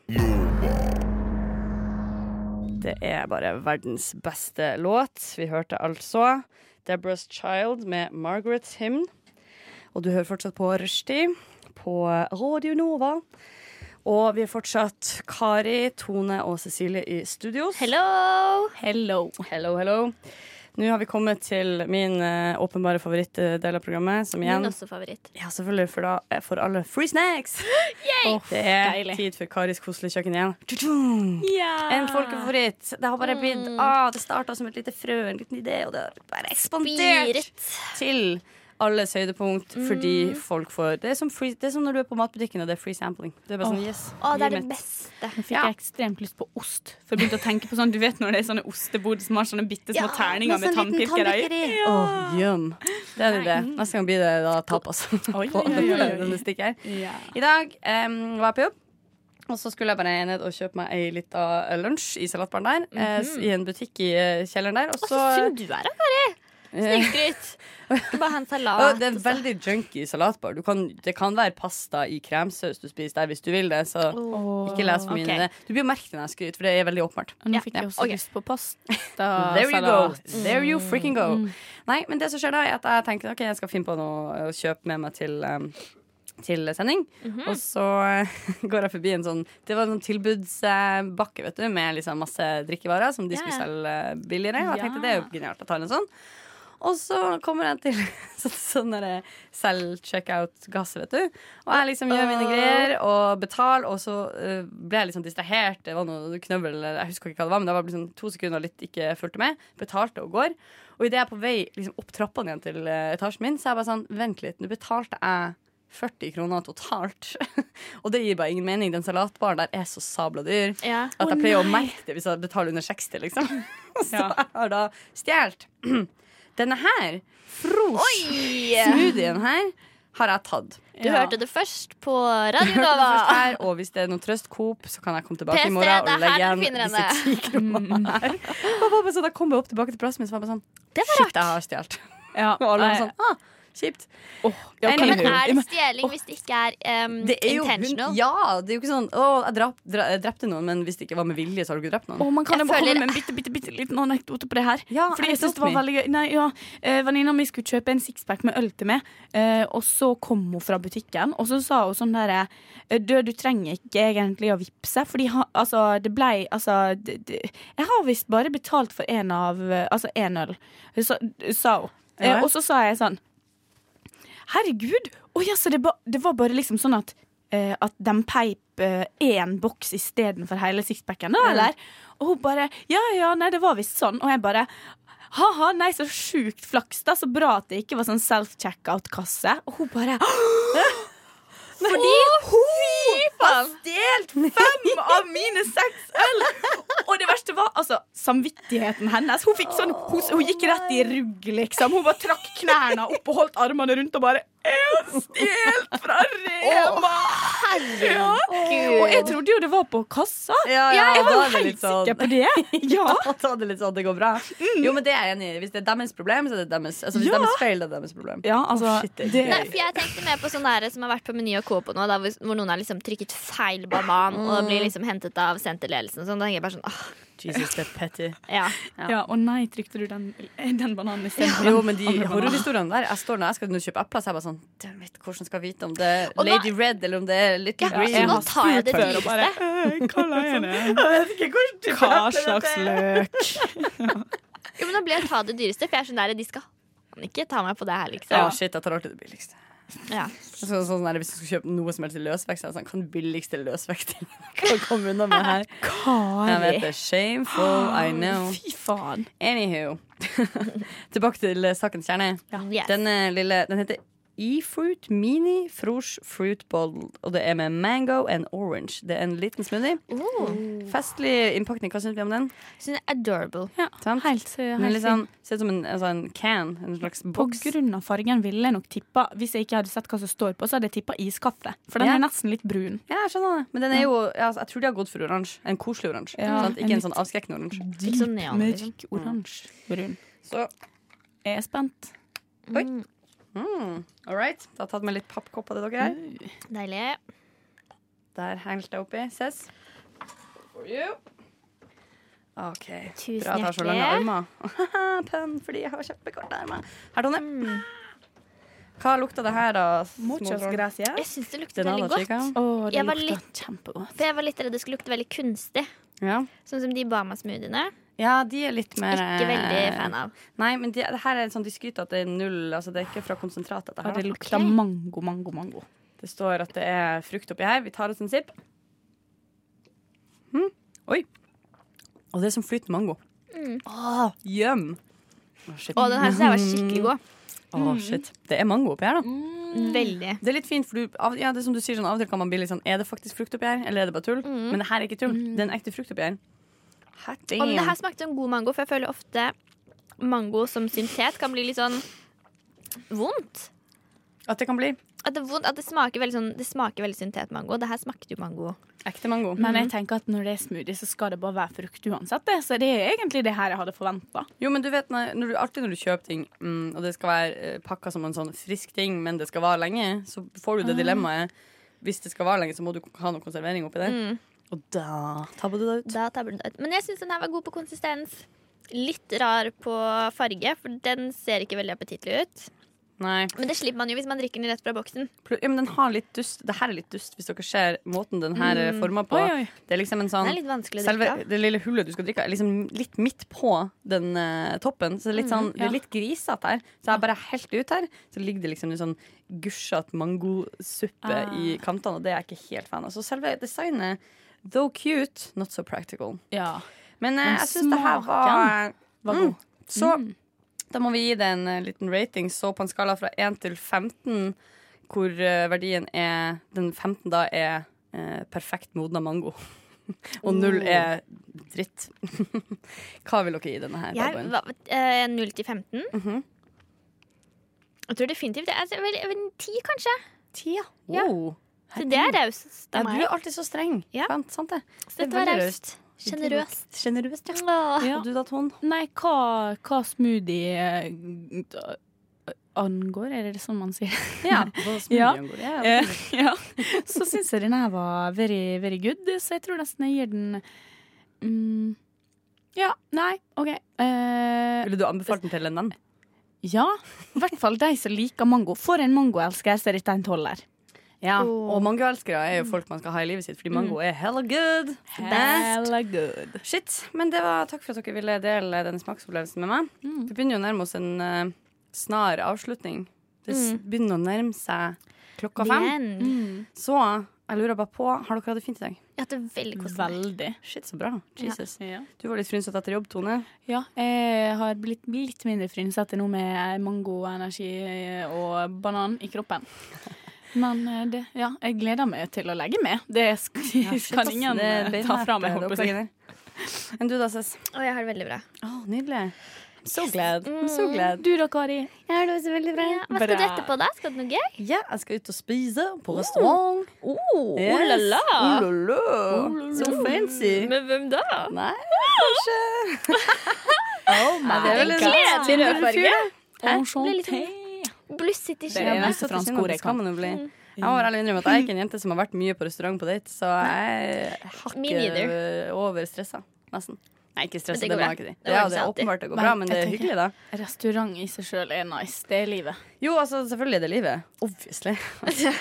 Det er bare verdens beste låt. Vi hørte altså Deborah's Child med Margaret's Hymn. Og du hører fortsatt på Rushdie på Radio Nova. Og vi er fortsatt Kari, Tone og Cecilie i studio. Hello! Hello. Hello, hello. Nå har vi kommet til min eh, åpenbare favorittdel av programmet, som Min igjen også favoritt. Ja, selvfølgelig, for da eh, får alle free snacks! det er deilig. tid for Karis koselige kjøkken igjen. Tudung! En folkefavoritt. Det har bare blitt ah, Det starta som et lite frø, en liten idé, og det har bare ekspandert Spirit. til alles høydepunkt fordi folk får Det er som, free, det er som når du er på matbutikken og det er free sampling. Det er bare sånn, Åh. yes, Å, gi det er det meg. beste. Nå fikk jeg ekstremt lyst på ost. For jeg begynte å tenke på sånn, Du vet når det er sånne ostebod som har sånne bitte små terninger med sånn liten tannpirkere i? tannpirker i. Åh, yum. Det er jo det. Neste gang blir det da tapas. Oi, På oi, oi, oi. denne stikk her. I dag em, var jeg på jobb. Og så skulle jeg bare ned og kjøpe meg ei lita eh, lunsj i salatbaren der. eh, Mhm. s- I en butikk i eh, kjelleren der. Og Å, så så sunn du er da, Kari. Snikskryt. Skal Bare ha en salat. Og det er en veldig junky salatbar. Du kan, det kan være pasta i kremsaus du spiser der hvis du vil det. Så ikke les for mye ok. om det. Du blir jo merke det når jeg skryter, for det er veldig åpenbart. Og Nå Ja, fikk jeg ja, også ok. lyst på pasta. There you go. Mm. salat. There you freaking go. Nei, men det som skjer da, er at jeg tenker ok, jeg skal finne på noe å kjøpe med meg til um, til sending. Og så eh, går jeg forbi en sånn Det var en sånn tilbudsbakke vet du med liksom masse drikkevarer som de Ja, skulle ja. selge billigere. Og jeg tenkte det er jo genialt å ta en sånn. Og så kommer jeg til sånn, sånn derre self-checkout-gass, vet du. Og jeg liksom gjør mine greier og betaler, og så eh, ble jeg liksom distrahert. Det var noe knøvel, eller jeg husker ikke hva det var, men det var liksom to sekunder og litt ikke fulgte med. Betalte og går. Og idet jeg er på vei liksom, opp trappene igjen til eh, etasjen min, så er jeg bare sånn Vent litt, nå betalte jeg 40 kroner totalt. og det gir bare ingen mening. Den salatbaren der er så sabla dyr. Ja. At jeg pleier å merke det hvis jeg betaler under 60, liksom. Så Ja. jeg har da stjålet. Denne her, Fros-smoothien her, har jeg tatt. Du hørte det først på Radio Hørte det først Nova. her, og hvis det er noen trøst Coop, så kan jeg komme tilbake PC, i morgen det er og legge her igjen du finner disse ti kronene her. Og bare så da kom jeg opp tilbake til plassen min, så var jeg bare sånn Det var Shit, rart. jeg har stjålet. Ja, Og alle var nei. sånn ah, Kjipt. Åh, ja, kan Anywho. Men jeg- er det stjeling hvis det ikke er um, Det er jo, intentional? ja, det er jo ikke sånn Å, jeg drap, dra, drepte noen, men hvis det ikke var med vilje, så har du ikke drept noen. Åh, man kan Jeg jo bare føler- komme med en bitte, bitte, bitte liten anekdote på det her. Ja, Fordi jeg synes det var anekdote mi. veldig gøy Nei, ja, eh, Venninna mi skulle kjøpe en sixpack med øl til meg, eh, og så kom hun fra butikken, og så sa hun sånn derre Du, du trenger ikke egentlig å vippse, fordi ha, altså, det blei Altså, det, det, jeg har visst bare betalt for én av eh, Altså én øl, så, sa hun. Eh, Ja. og så sa jeg sånn Herregud! Å ja, så det, ba, det var bare liksom sånn at eh, At de peip eh, én boks istedenfor hele sixpacken, da, eller? Og hun bare Ja ja, nei, det var visst sånn. Og jeg bare ha-ha, nei, så sjukt flaks, da. Så bra at det ikke var sånn self-checkout-kasse. Og hun bare Fordi hun har stjålet fem av mine seks øl! Og det verste var altså, samvittigheten hennes. Hun, fikk sånn, hun, hun gikk rett i rugg, liksom. Hun bare trakk knærne opp og holdt armene rundt og bare Jeg har stjålet fra Rema! Ja. Og jeg trodde jo det var på kassa. Ja, ja, jeg var da jo er det litt helt sånn- sikker på det. Ja. Og ta det litt sånn, det går bra. Jo, men det er jeg enig i. Hvis det er deres problem, så er det deres. Altså, hvis Ja. deres feil, det er deres problem. Ja, altså, Åh, shit, det er det- Nei, for jeg tenkte mer på sånne der som har vært på Meny og Coop nå, da, hvor hvor noen har liksom trykket feil banan Mm. og blir liksom hentet av senterledelsen. og Sånn, da tenker jeg bare sånn, åh, Jesus, det er petty. ja. Ja, og nei, trykte du den, den bananen istedenfor? Jo, men de horrorhistoriene der Jeg står når jeg skal nå kjøpe apper, så er jeg bare sånn Damn it, hvordan skal jeg vite om det er Og nå- Lady Red eller om det er Little Ja, Green? så nå tar jeg det før og bare dyreste. Hva slags løk? Jo, men nå blir jeg ta det dyreste, for jeg er sånn der, de skal faen ikke ta meg på det her, Ja, liksom. shit, jeg tar alltid det billigste. Ja. Så, sånn der, hvis du skal kjøpe noe som helst i løsvekt, så er det sånn Hva er den billigste løsvekten jeg kan komme unna med her? Jeg vet det. Shameful, I know. Fy faen. Anywho. Tilbake til eh, sakens kjerne. Yes. Den, eh, lille, den heter E-fruit mini frosh fruit bowl. Og det er med mango and orange. Det er en liten smoothie. Oh, Festlig innpakning. Hva syns vi om den? synes jeg er adorable. Sant? Helt, eh, Den er helt litt sånn, ser ut som en, altså en can. En slags På boks. grunn av fargen ville jeg nok tippa Hvis jeg ikke hadde sett hva som står på, så hadde jeg tippa iskaffe. For den Ja. er nesten litt brun. Ja, jeg skjønner det. Men den er jo, ja, altså, jeg tror de har gått for oransje. En koselig oransje. Ja, sant? en Ikke en litt- sånn avskrekkende oransje. Ikke sånn neon, liksom. Mørk oransje brun. Så Jeg er spent. all right. Da har jeg tatt med litt pappkopp av det dere her. Deilig. Der hengte jeg oppi. Ses. For you. OK. Tusen Bra at jeg har så lange hjertelig. armer. Pønn, fordi jeg har kjempekorte armer. Her, Tonje. Mm. Hva lukta det her, da? småtroll? Jeg synes det lukter Den veldig hadde jeg godt. kikket. Å, det Jeg var lukter litt- kjempegodt. For jeg var litt redd det skulle lukte veldig kunstig. Ja. Sånn som de Bama-smoothiene. ja, de er litt mer eh, Ikke veldig fan av. Nei, men de, det her er sånn de skryter at det er null Altså det er ikke fra konsentrat. Dette Ja, her, det da. lukter Ok. mango, mango, mango. Det står at det er frukt oppi her. Vi tar oss en sipp. Hm. Oi. Og Mm. det er som flytende mango. Åh, Ah, Yum. Å, shit. Og den her synes jeg var skikkelig god. Å, shit. Det er mango oppi her, da. Veldig. Det er litt fint, for du, av, ja, det er som du sier, sånn, av og til kan man bli litt sånn Er det faktisk frukt oppi her, eller er det bare tull? Men det her er ikke tull. Det er en ekte frukt oppi her. Hot Og men det damn. her smakte som god mango, for jeg føler ofte mango som syntet kan bli litt sånn vondt. At det kan bli At det, er vondt, at det smaker veldig sånn Det smaker veldig syntetmango. Det her smakte jo mango. ekte mango. Men jeg tenker at når det er smoothie, så skal det bare være frukt uansett. Det. Så det er egentlig det her jeg hadde forventa. Jo, men du vet når, når du, alltid når du kjøper ting, mm, og det skal være eh, pakka som en sånn frisk ting, men det skal vare lenge, så får du det dilemmaet. Hvis det skal vare lenge, så må du ha noe konservering oppi der. Og da tabber du det ut. Da tabber den ut. Men jeg syns den her var god på konsistens. Litt rar på farge, for den ser ikke veldig appetittlig ut. Nei. Men det slipper man jo hvis man drikker den rett fra boksen. Pl- Ja, men den har litt dust. Det her er litt dust, hvis dere ser måten den her er forma på. Oi, oi. Det er liksom en sånn Den er litt vanskelig å Selve drikke av. det lille hullet du skal drikke, er liksom litt midt på den eh, toppen. Så det er litt, sånn, det Mhm, ja. er litt grisete her. Så jeg bare helt ut her, så ligger det liksom en sånn gusjete mangosuppe Ah. i kantene, og det er jeg ikke helt fan av. Så selve designet, though cute, not so practical. Ja. Men, eh, Men jeg syns det her var, smaken Var Mm. god. Så da må vi gi det en eh, liten rating. Så på en skala fra 1 til 15, hvor eh, verdien er Den 15 da er eh, perfekt modna mango. Og null er dritt. Hva vil dere gi denne her? Jeg, babyen? hva, eh, 0 til 15. Jeg tror definitivt det er altså, vel, vel, 10, kanskje. Wow. Så det er raust Ja, av du er meg. alltid så streng. Ja. Sant, sant det? Dette det er var veldig raust. Sjenerøst. Sjenerøst, ja. Åh. Ja. Og du da, Ton? Nei, hva, hva smoothie eh, da- angår, er det sånn man sier? Ja. Hva Ja. smoothien går i, ja. Eh, ja. Så syns jeg den her var very, very good, så jeg tror nesten jeg gir den mm, Ja, nei, OK. Eh, Ville du anbefalt den til en venn? ja, i hvert fall de som liker mango. For en mangoelsker, så er dette en tolver. Ja. Og mangoelskere er jo folk man skal ha i livet sitt, fordi mango er hella good. Hella good. Shit, men det var Takk for at dere ville dele denne smaksopplevelsen med meg. Vi begynner jo å nærme oss en eh, snar avslutning. Det s- begynner å nærme seg klokka fem. Men Mm, Så jeg lurer bare på, har dere hatt det fint i dag? jeg hadde veldig koselig. Veldig. Shit, så bra. Jesus. Ja. Du var litt frynsete etter jobb, Tone. Ja, jeg har blitt litt mindre frynsete nå med mangoenergi eh, og banan i kroppen. Men eh, det, ja, jeg gleder meg til å legge meg. Det sk Shit, kan ass, ingen det er eh, ta beinhardt, fra meg, det holdt på å si. opplegget der. Enn du da, Cess? Og jeg har det veldig bra. Å, nydelig. I'm So glad. I'm So glad. Du da, Kari? Jeg har det også veldig bra. Hva skal du Bra. etterpå, da? Skal du noe gøy? Ja, jeg skal ut og spise på restaurant. Oh, Yes. la la. Oh la la. Så fancy. Med hvem da? Nei, kanskje Oh my Det er vel en Gledelig rødfarge. Enchanté. Blusset sånn i Det er skjeen. det eneste franske ordet jeg kan. Mm. Jeg må være ærlig og innrømme at jeg er ikke en jente som har vært mye på restaurant på date, så jeg Me hakker neither. over stressa. Nesten. Nei, ikke stressa, Men det, det går må bra. jeg ikke si. Det Ja, ordner det seg er alltid. åpenbart det går Men bra, men det er jeg tenker- hyggelig, da. Restaurant i seg sjøl er nice. Det er livet. Jo, altså, selvfølgelig er det livet. Obviously.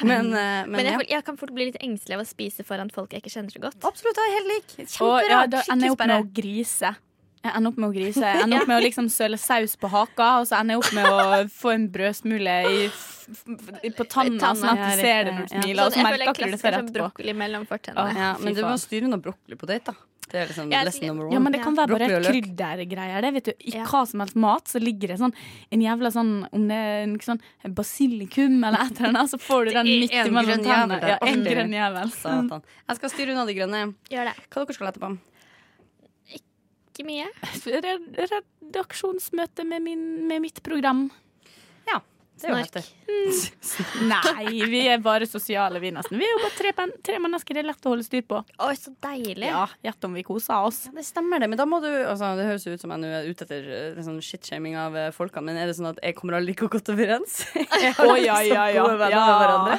Men, eh, men, Men jeg, ja. får- jeg kan fort bli litt engstelig av å spise foran folk jeg ikke kjenner så godt. Absolutt, jeg er helt lik. Og ja, Kjemperart. da ender jeg Skikkelig opp med sperre. å grise. Jeg ender opp med å grise. Jeg ender opp med å liksom søle saus på haka, og så ender jeg opp med å få en brødsmule i, f- f- på I tanna, tanna, sånn at ja, du ser det når riktig, ja. Sånn, du smiler, og så Sånn, jeg føler jeg merker ikke du det klasker før sånn etterpå. brokkoli mellom fortennene. Ja, Fy men du må faen. styre unna brokkoli på date, da. Det er liksom Ja, lesson jeg- number one. Ja, men det kan være bare Broccoli og løk. kryddergreier. Det, vet du. I Ja. hva som helst mat så ligger det sånn en jævla sånn Om det er en sånn basilikum eller et eller annet, så får du den er midt en grønn jævel imellom tennene. der. Ja, en Ordentlig. grønn jævel. Satan. Altså, Jeg skal styre unna de grønne. Gjør det. Hva dere skal dere etterpå? Ikke mye. Red- Redaksjonsmøte med, min, med mitt program. Det er jo Snork. heftig. Nei, vi er bare sosiale, vi, nesten. Vi er jo bare tre, pen- tre mennesker. Det er lett å holde styr på. Oi, så deilig. Ja, Gjett om vi koser oss. Det stemmer det, men da må du altså, Det høres jo ut som jeg nå er ute etter eh, sånn shitshaming av eh, folkene, men er det sånn at jeg kommer aldri like godt overens? Å, ja, ja, ja. liksom. gode venner med hverandre.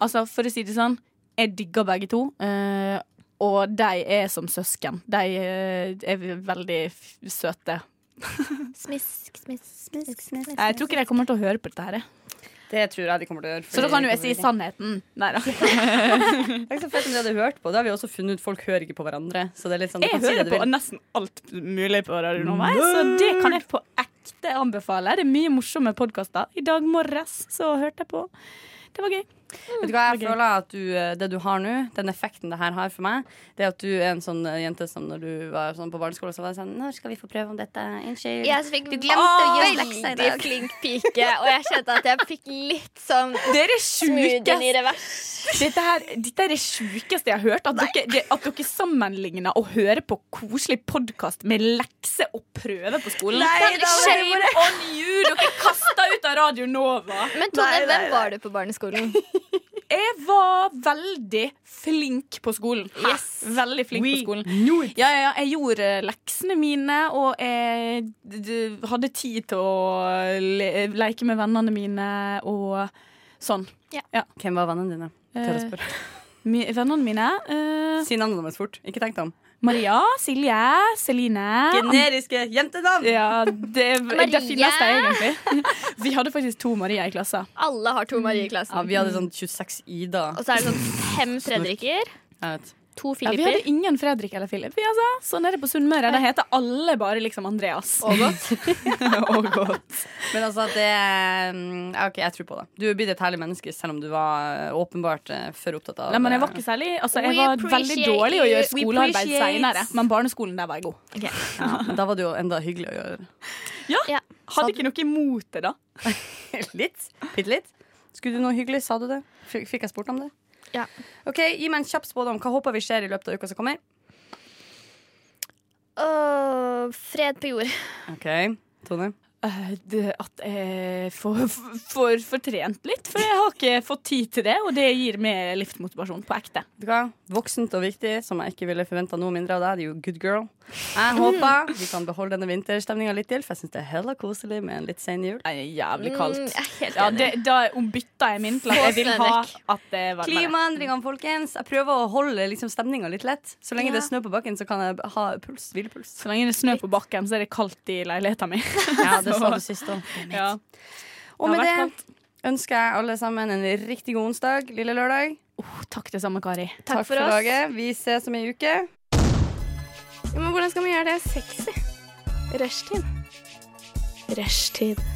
Altså, for å si det sånn, jeg digger begge to. eh, og de er som søsken. De eh, er veldig f- søte. Smisk, smisk, smisk, smisk. Jeg tror ikke de kommer til å høre på dette her. jeg. Det tror jeg de kommer til å gjøre. Så da kan jo jeg si sannheten. Nei da. Tenk så fett om de hadde hørt på. Da har vi også funnet ut folk hører ikke på hverandre. Så det er litt sånn, du Jeg kan si hører det du på vil. nesten alt mulig på Radio Nova, jeg, så det kan jeg på ekte anbefale. Det er mye morsomme podkaster. I dag morges så hørte jeg på. Det var gøy. Vet du hva, jeg føler at du, eh, det du har nå, den effekten det her har for meg, det er at du er en sånn eh, jente som når du var sånn på barneskole, så var det sånn Når skal vi få prøve om dette? Unnskyld. Jeg fikk Du du glemte å å gi gjøre leksa i veldig dag. flink pike, og jeg kjente at jeg fikk litt sånn Dere er sjuke! smoothien i revers. Dette, her, dette er det sjukeste jeg har hørt. At dere, det, at dere sammenligner å høre på koselig podkast med lekse og prøve på skolen. Nei, det da var er det shame on you! Dere kasta ut av Radio Nova. Men Tone, hvem var du på barneskolen? Jeg var veldig flink på skolen. Yes. Veldig flink på skolen. Ja, ja, ja, jeg gjorde leksene mine, og jeg d- d- hadde tid til å le leke med vennene mine og sånn. Hvem var vennene dine? Tør å spørre. Mi vennene mine eh, Si navnet deres fort. Ikke tenk deg om. Maria, Silje, Celine An- Generiske jentenavn! Ja, det, det finnes det egentlig. Vi hadde faktisk to Maria i klassen. Alle har to Marie i Ja, klassen. vi hadde sånn 26 Ida. Og så er det sånn fem Fredrikker, Jeg vet. to Ja, vi Filipper. hadde ingen Fredrik eller Philip. Vi, altså. Så nede på Sunnmøre da heter alle bare liksom Andreas. Og godt. Men altså, det mm, ja, OK, jeg tror på det. Du blir et herlig menneske selv om du var eh, åpenbart eh, for opptatt av Nei, men jeg var ikke særlig altså, Jeg We var veldig appreciate dårlig i å gjøre you. We skolearbeid appreciate. seinere, men barneskolen der var jeg god. Ok. ja, sånn. men Da var det jo enda hyggelig å gjøre. Ja. Hadde ikke noe imot det, da. Litt. Bitte litt. Skulle du noe hyggelig? Sa du det? Fikk fikk jeg spurt om det? Ja. OK, gi meg en kjapp spådom. Hva håper vi skjer i løpet av uka som kommer? Åh, fred på jord. OK, Tone. Eh, det- At jeg får, får fortrent litt, for jeg har ikke fått tid til det. Og det gir meg livsmotivasjon på ekte. Vet du hva? Voksent og viktig, som jeg ikke ville forventa noe mindre av deg. Det er jo good girl. Jeg håper vi kan beholde denne vinterstemninga litt til, for jeg syns det er heller koselig med en litt sen jul. Det er jævlig Mm, kaldt. jeg er helt Ja, enig. det, da ombytta jeg min til at jeg vil ha at det var Klimaendringene, folkens. Jeg prøver å holde liksom, stemninga litt lett. Så lenge det er snø på bakken, så kan jeg ha puls, hvilepuls. Så lenge det er snø på bakken, så er det kaldt i leiligheten min. Ja, det sa du sist òg. Ja. Og med Det det har vært ønsker jeg alle sammen en riktig god onsdag, lille lørdag. Takk det samme, Kari. Takk, for, oss. laget. Vi ses om ei uke. Ja, men hvordan skal vi gjøre det sexy? Rushtid. Rushtid.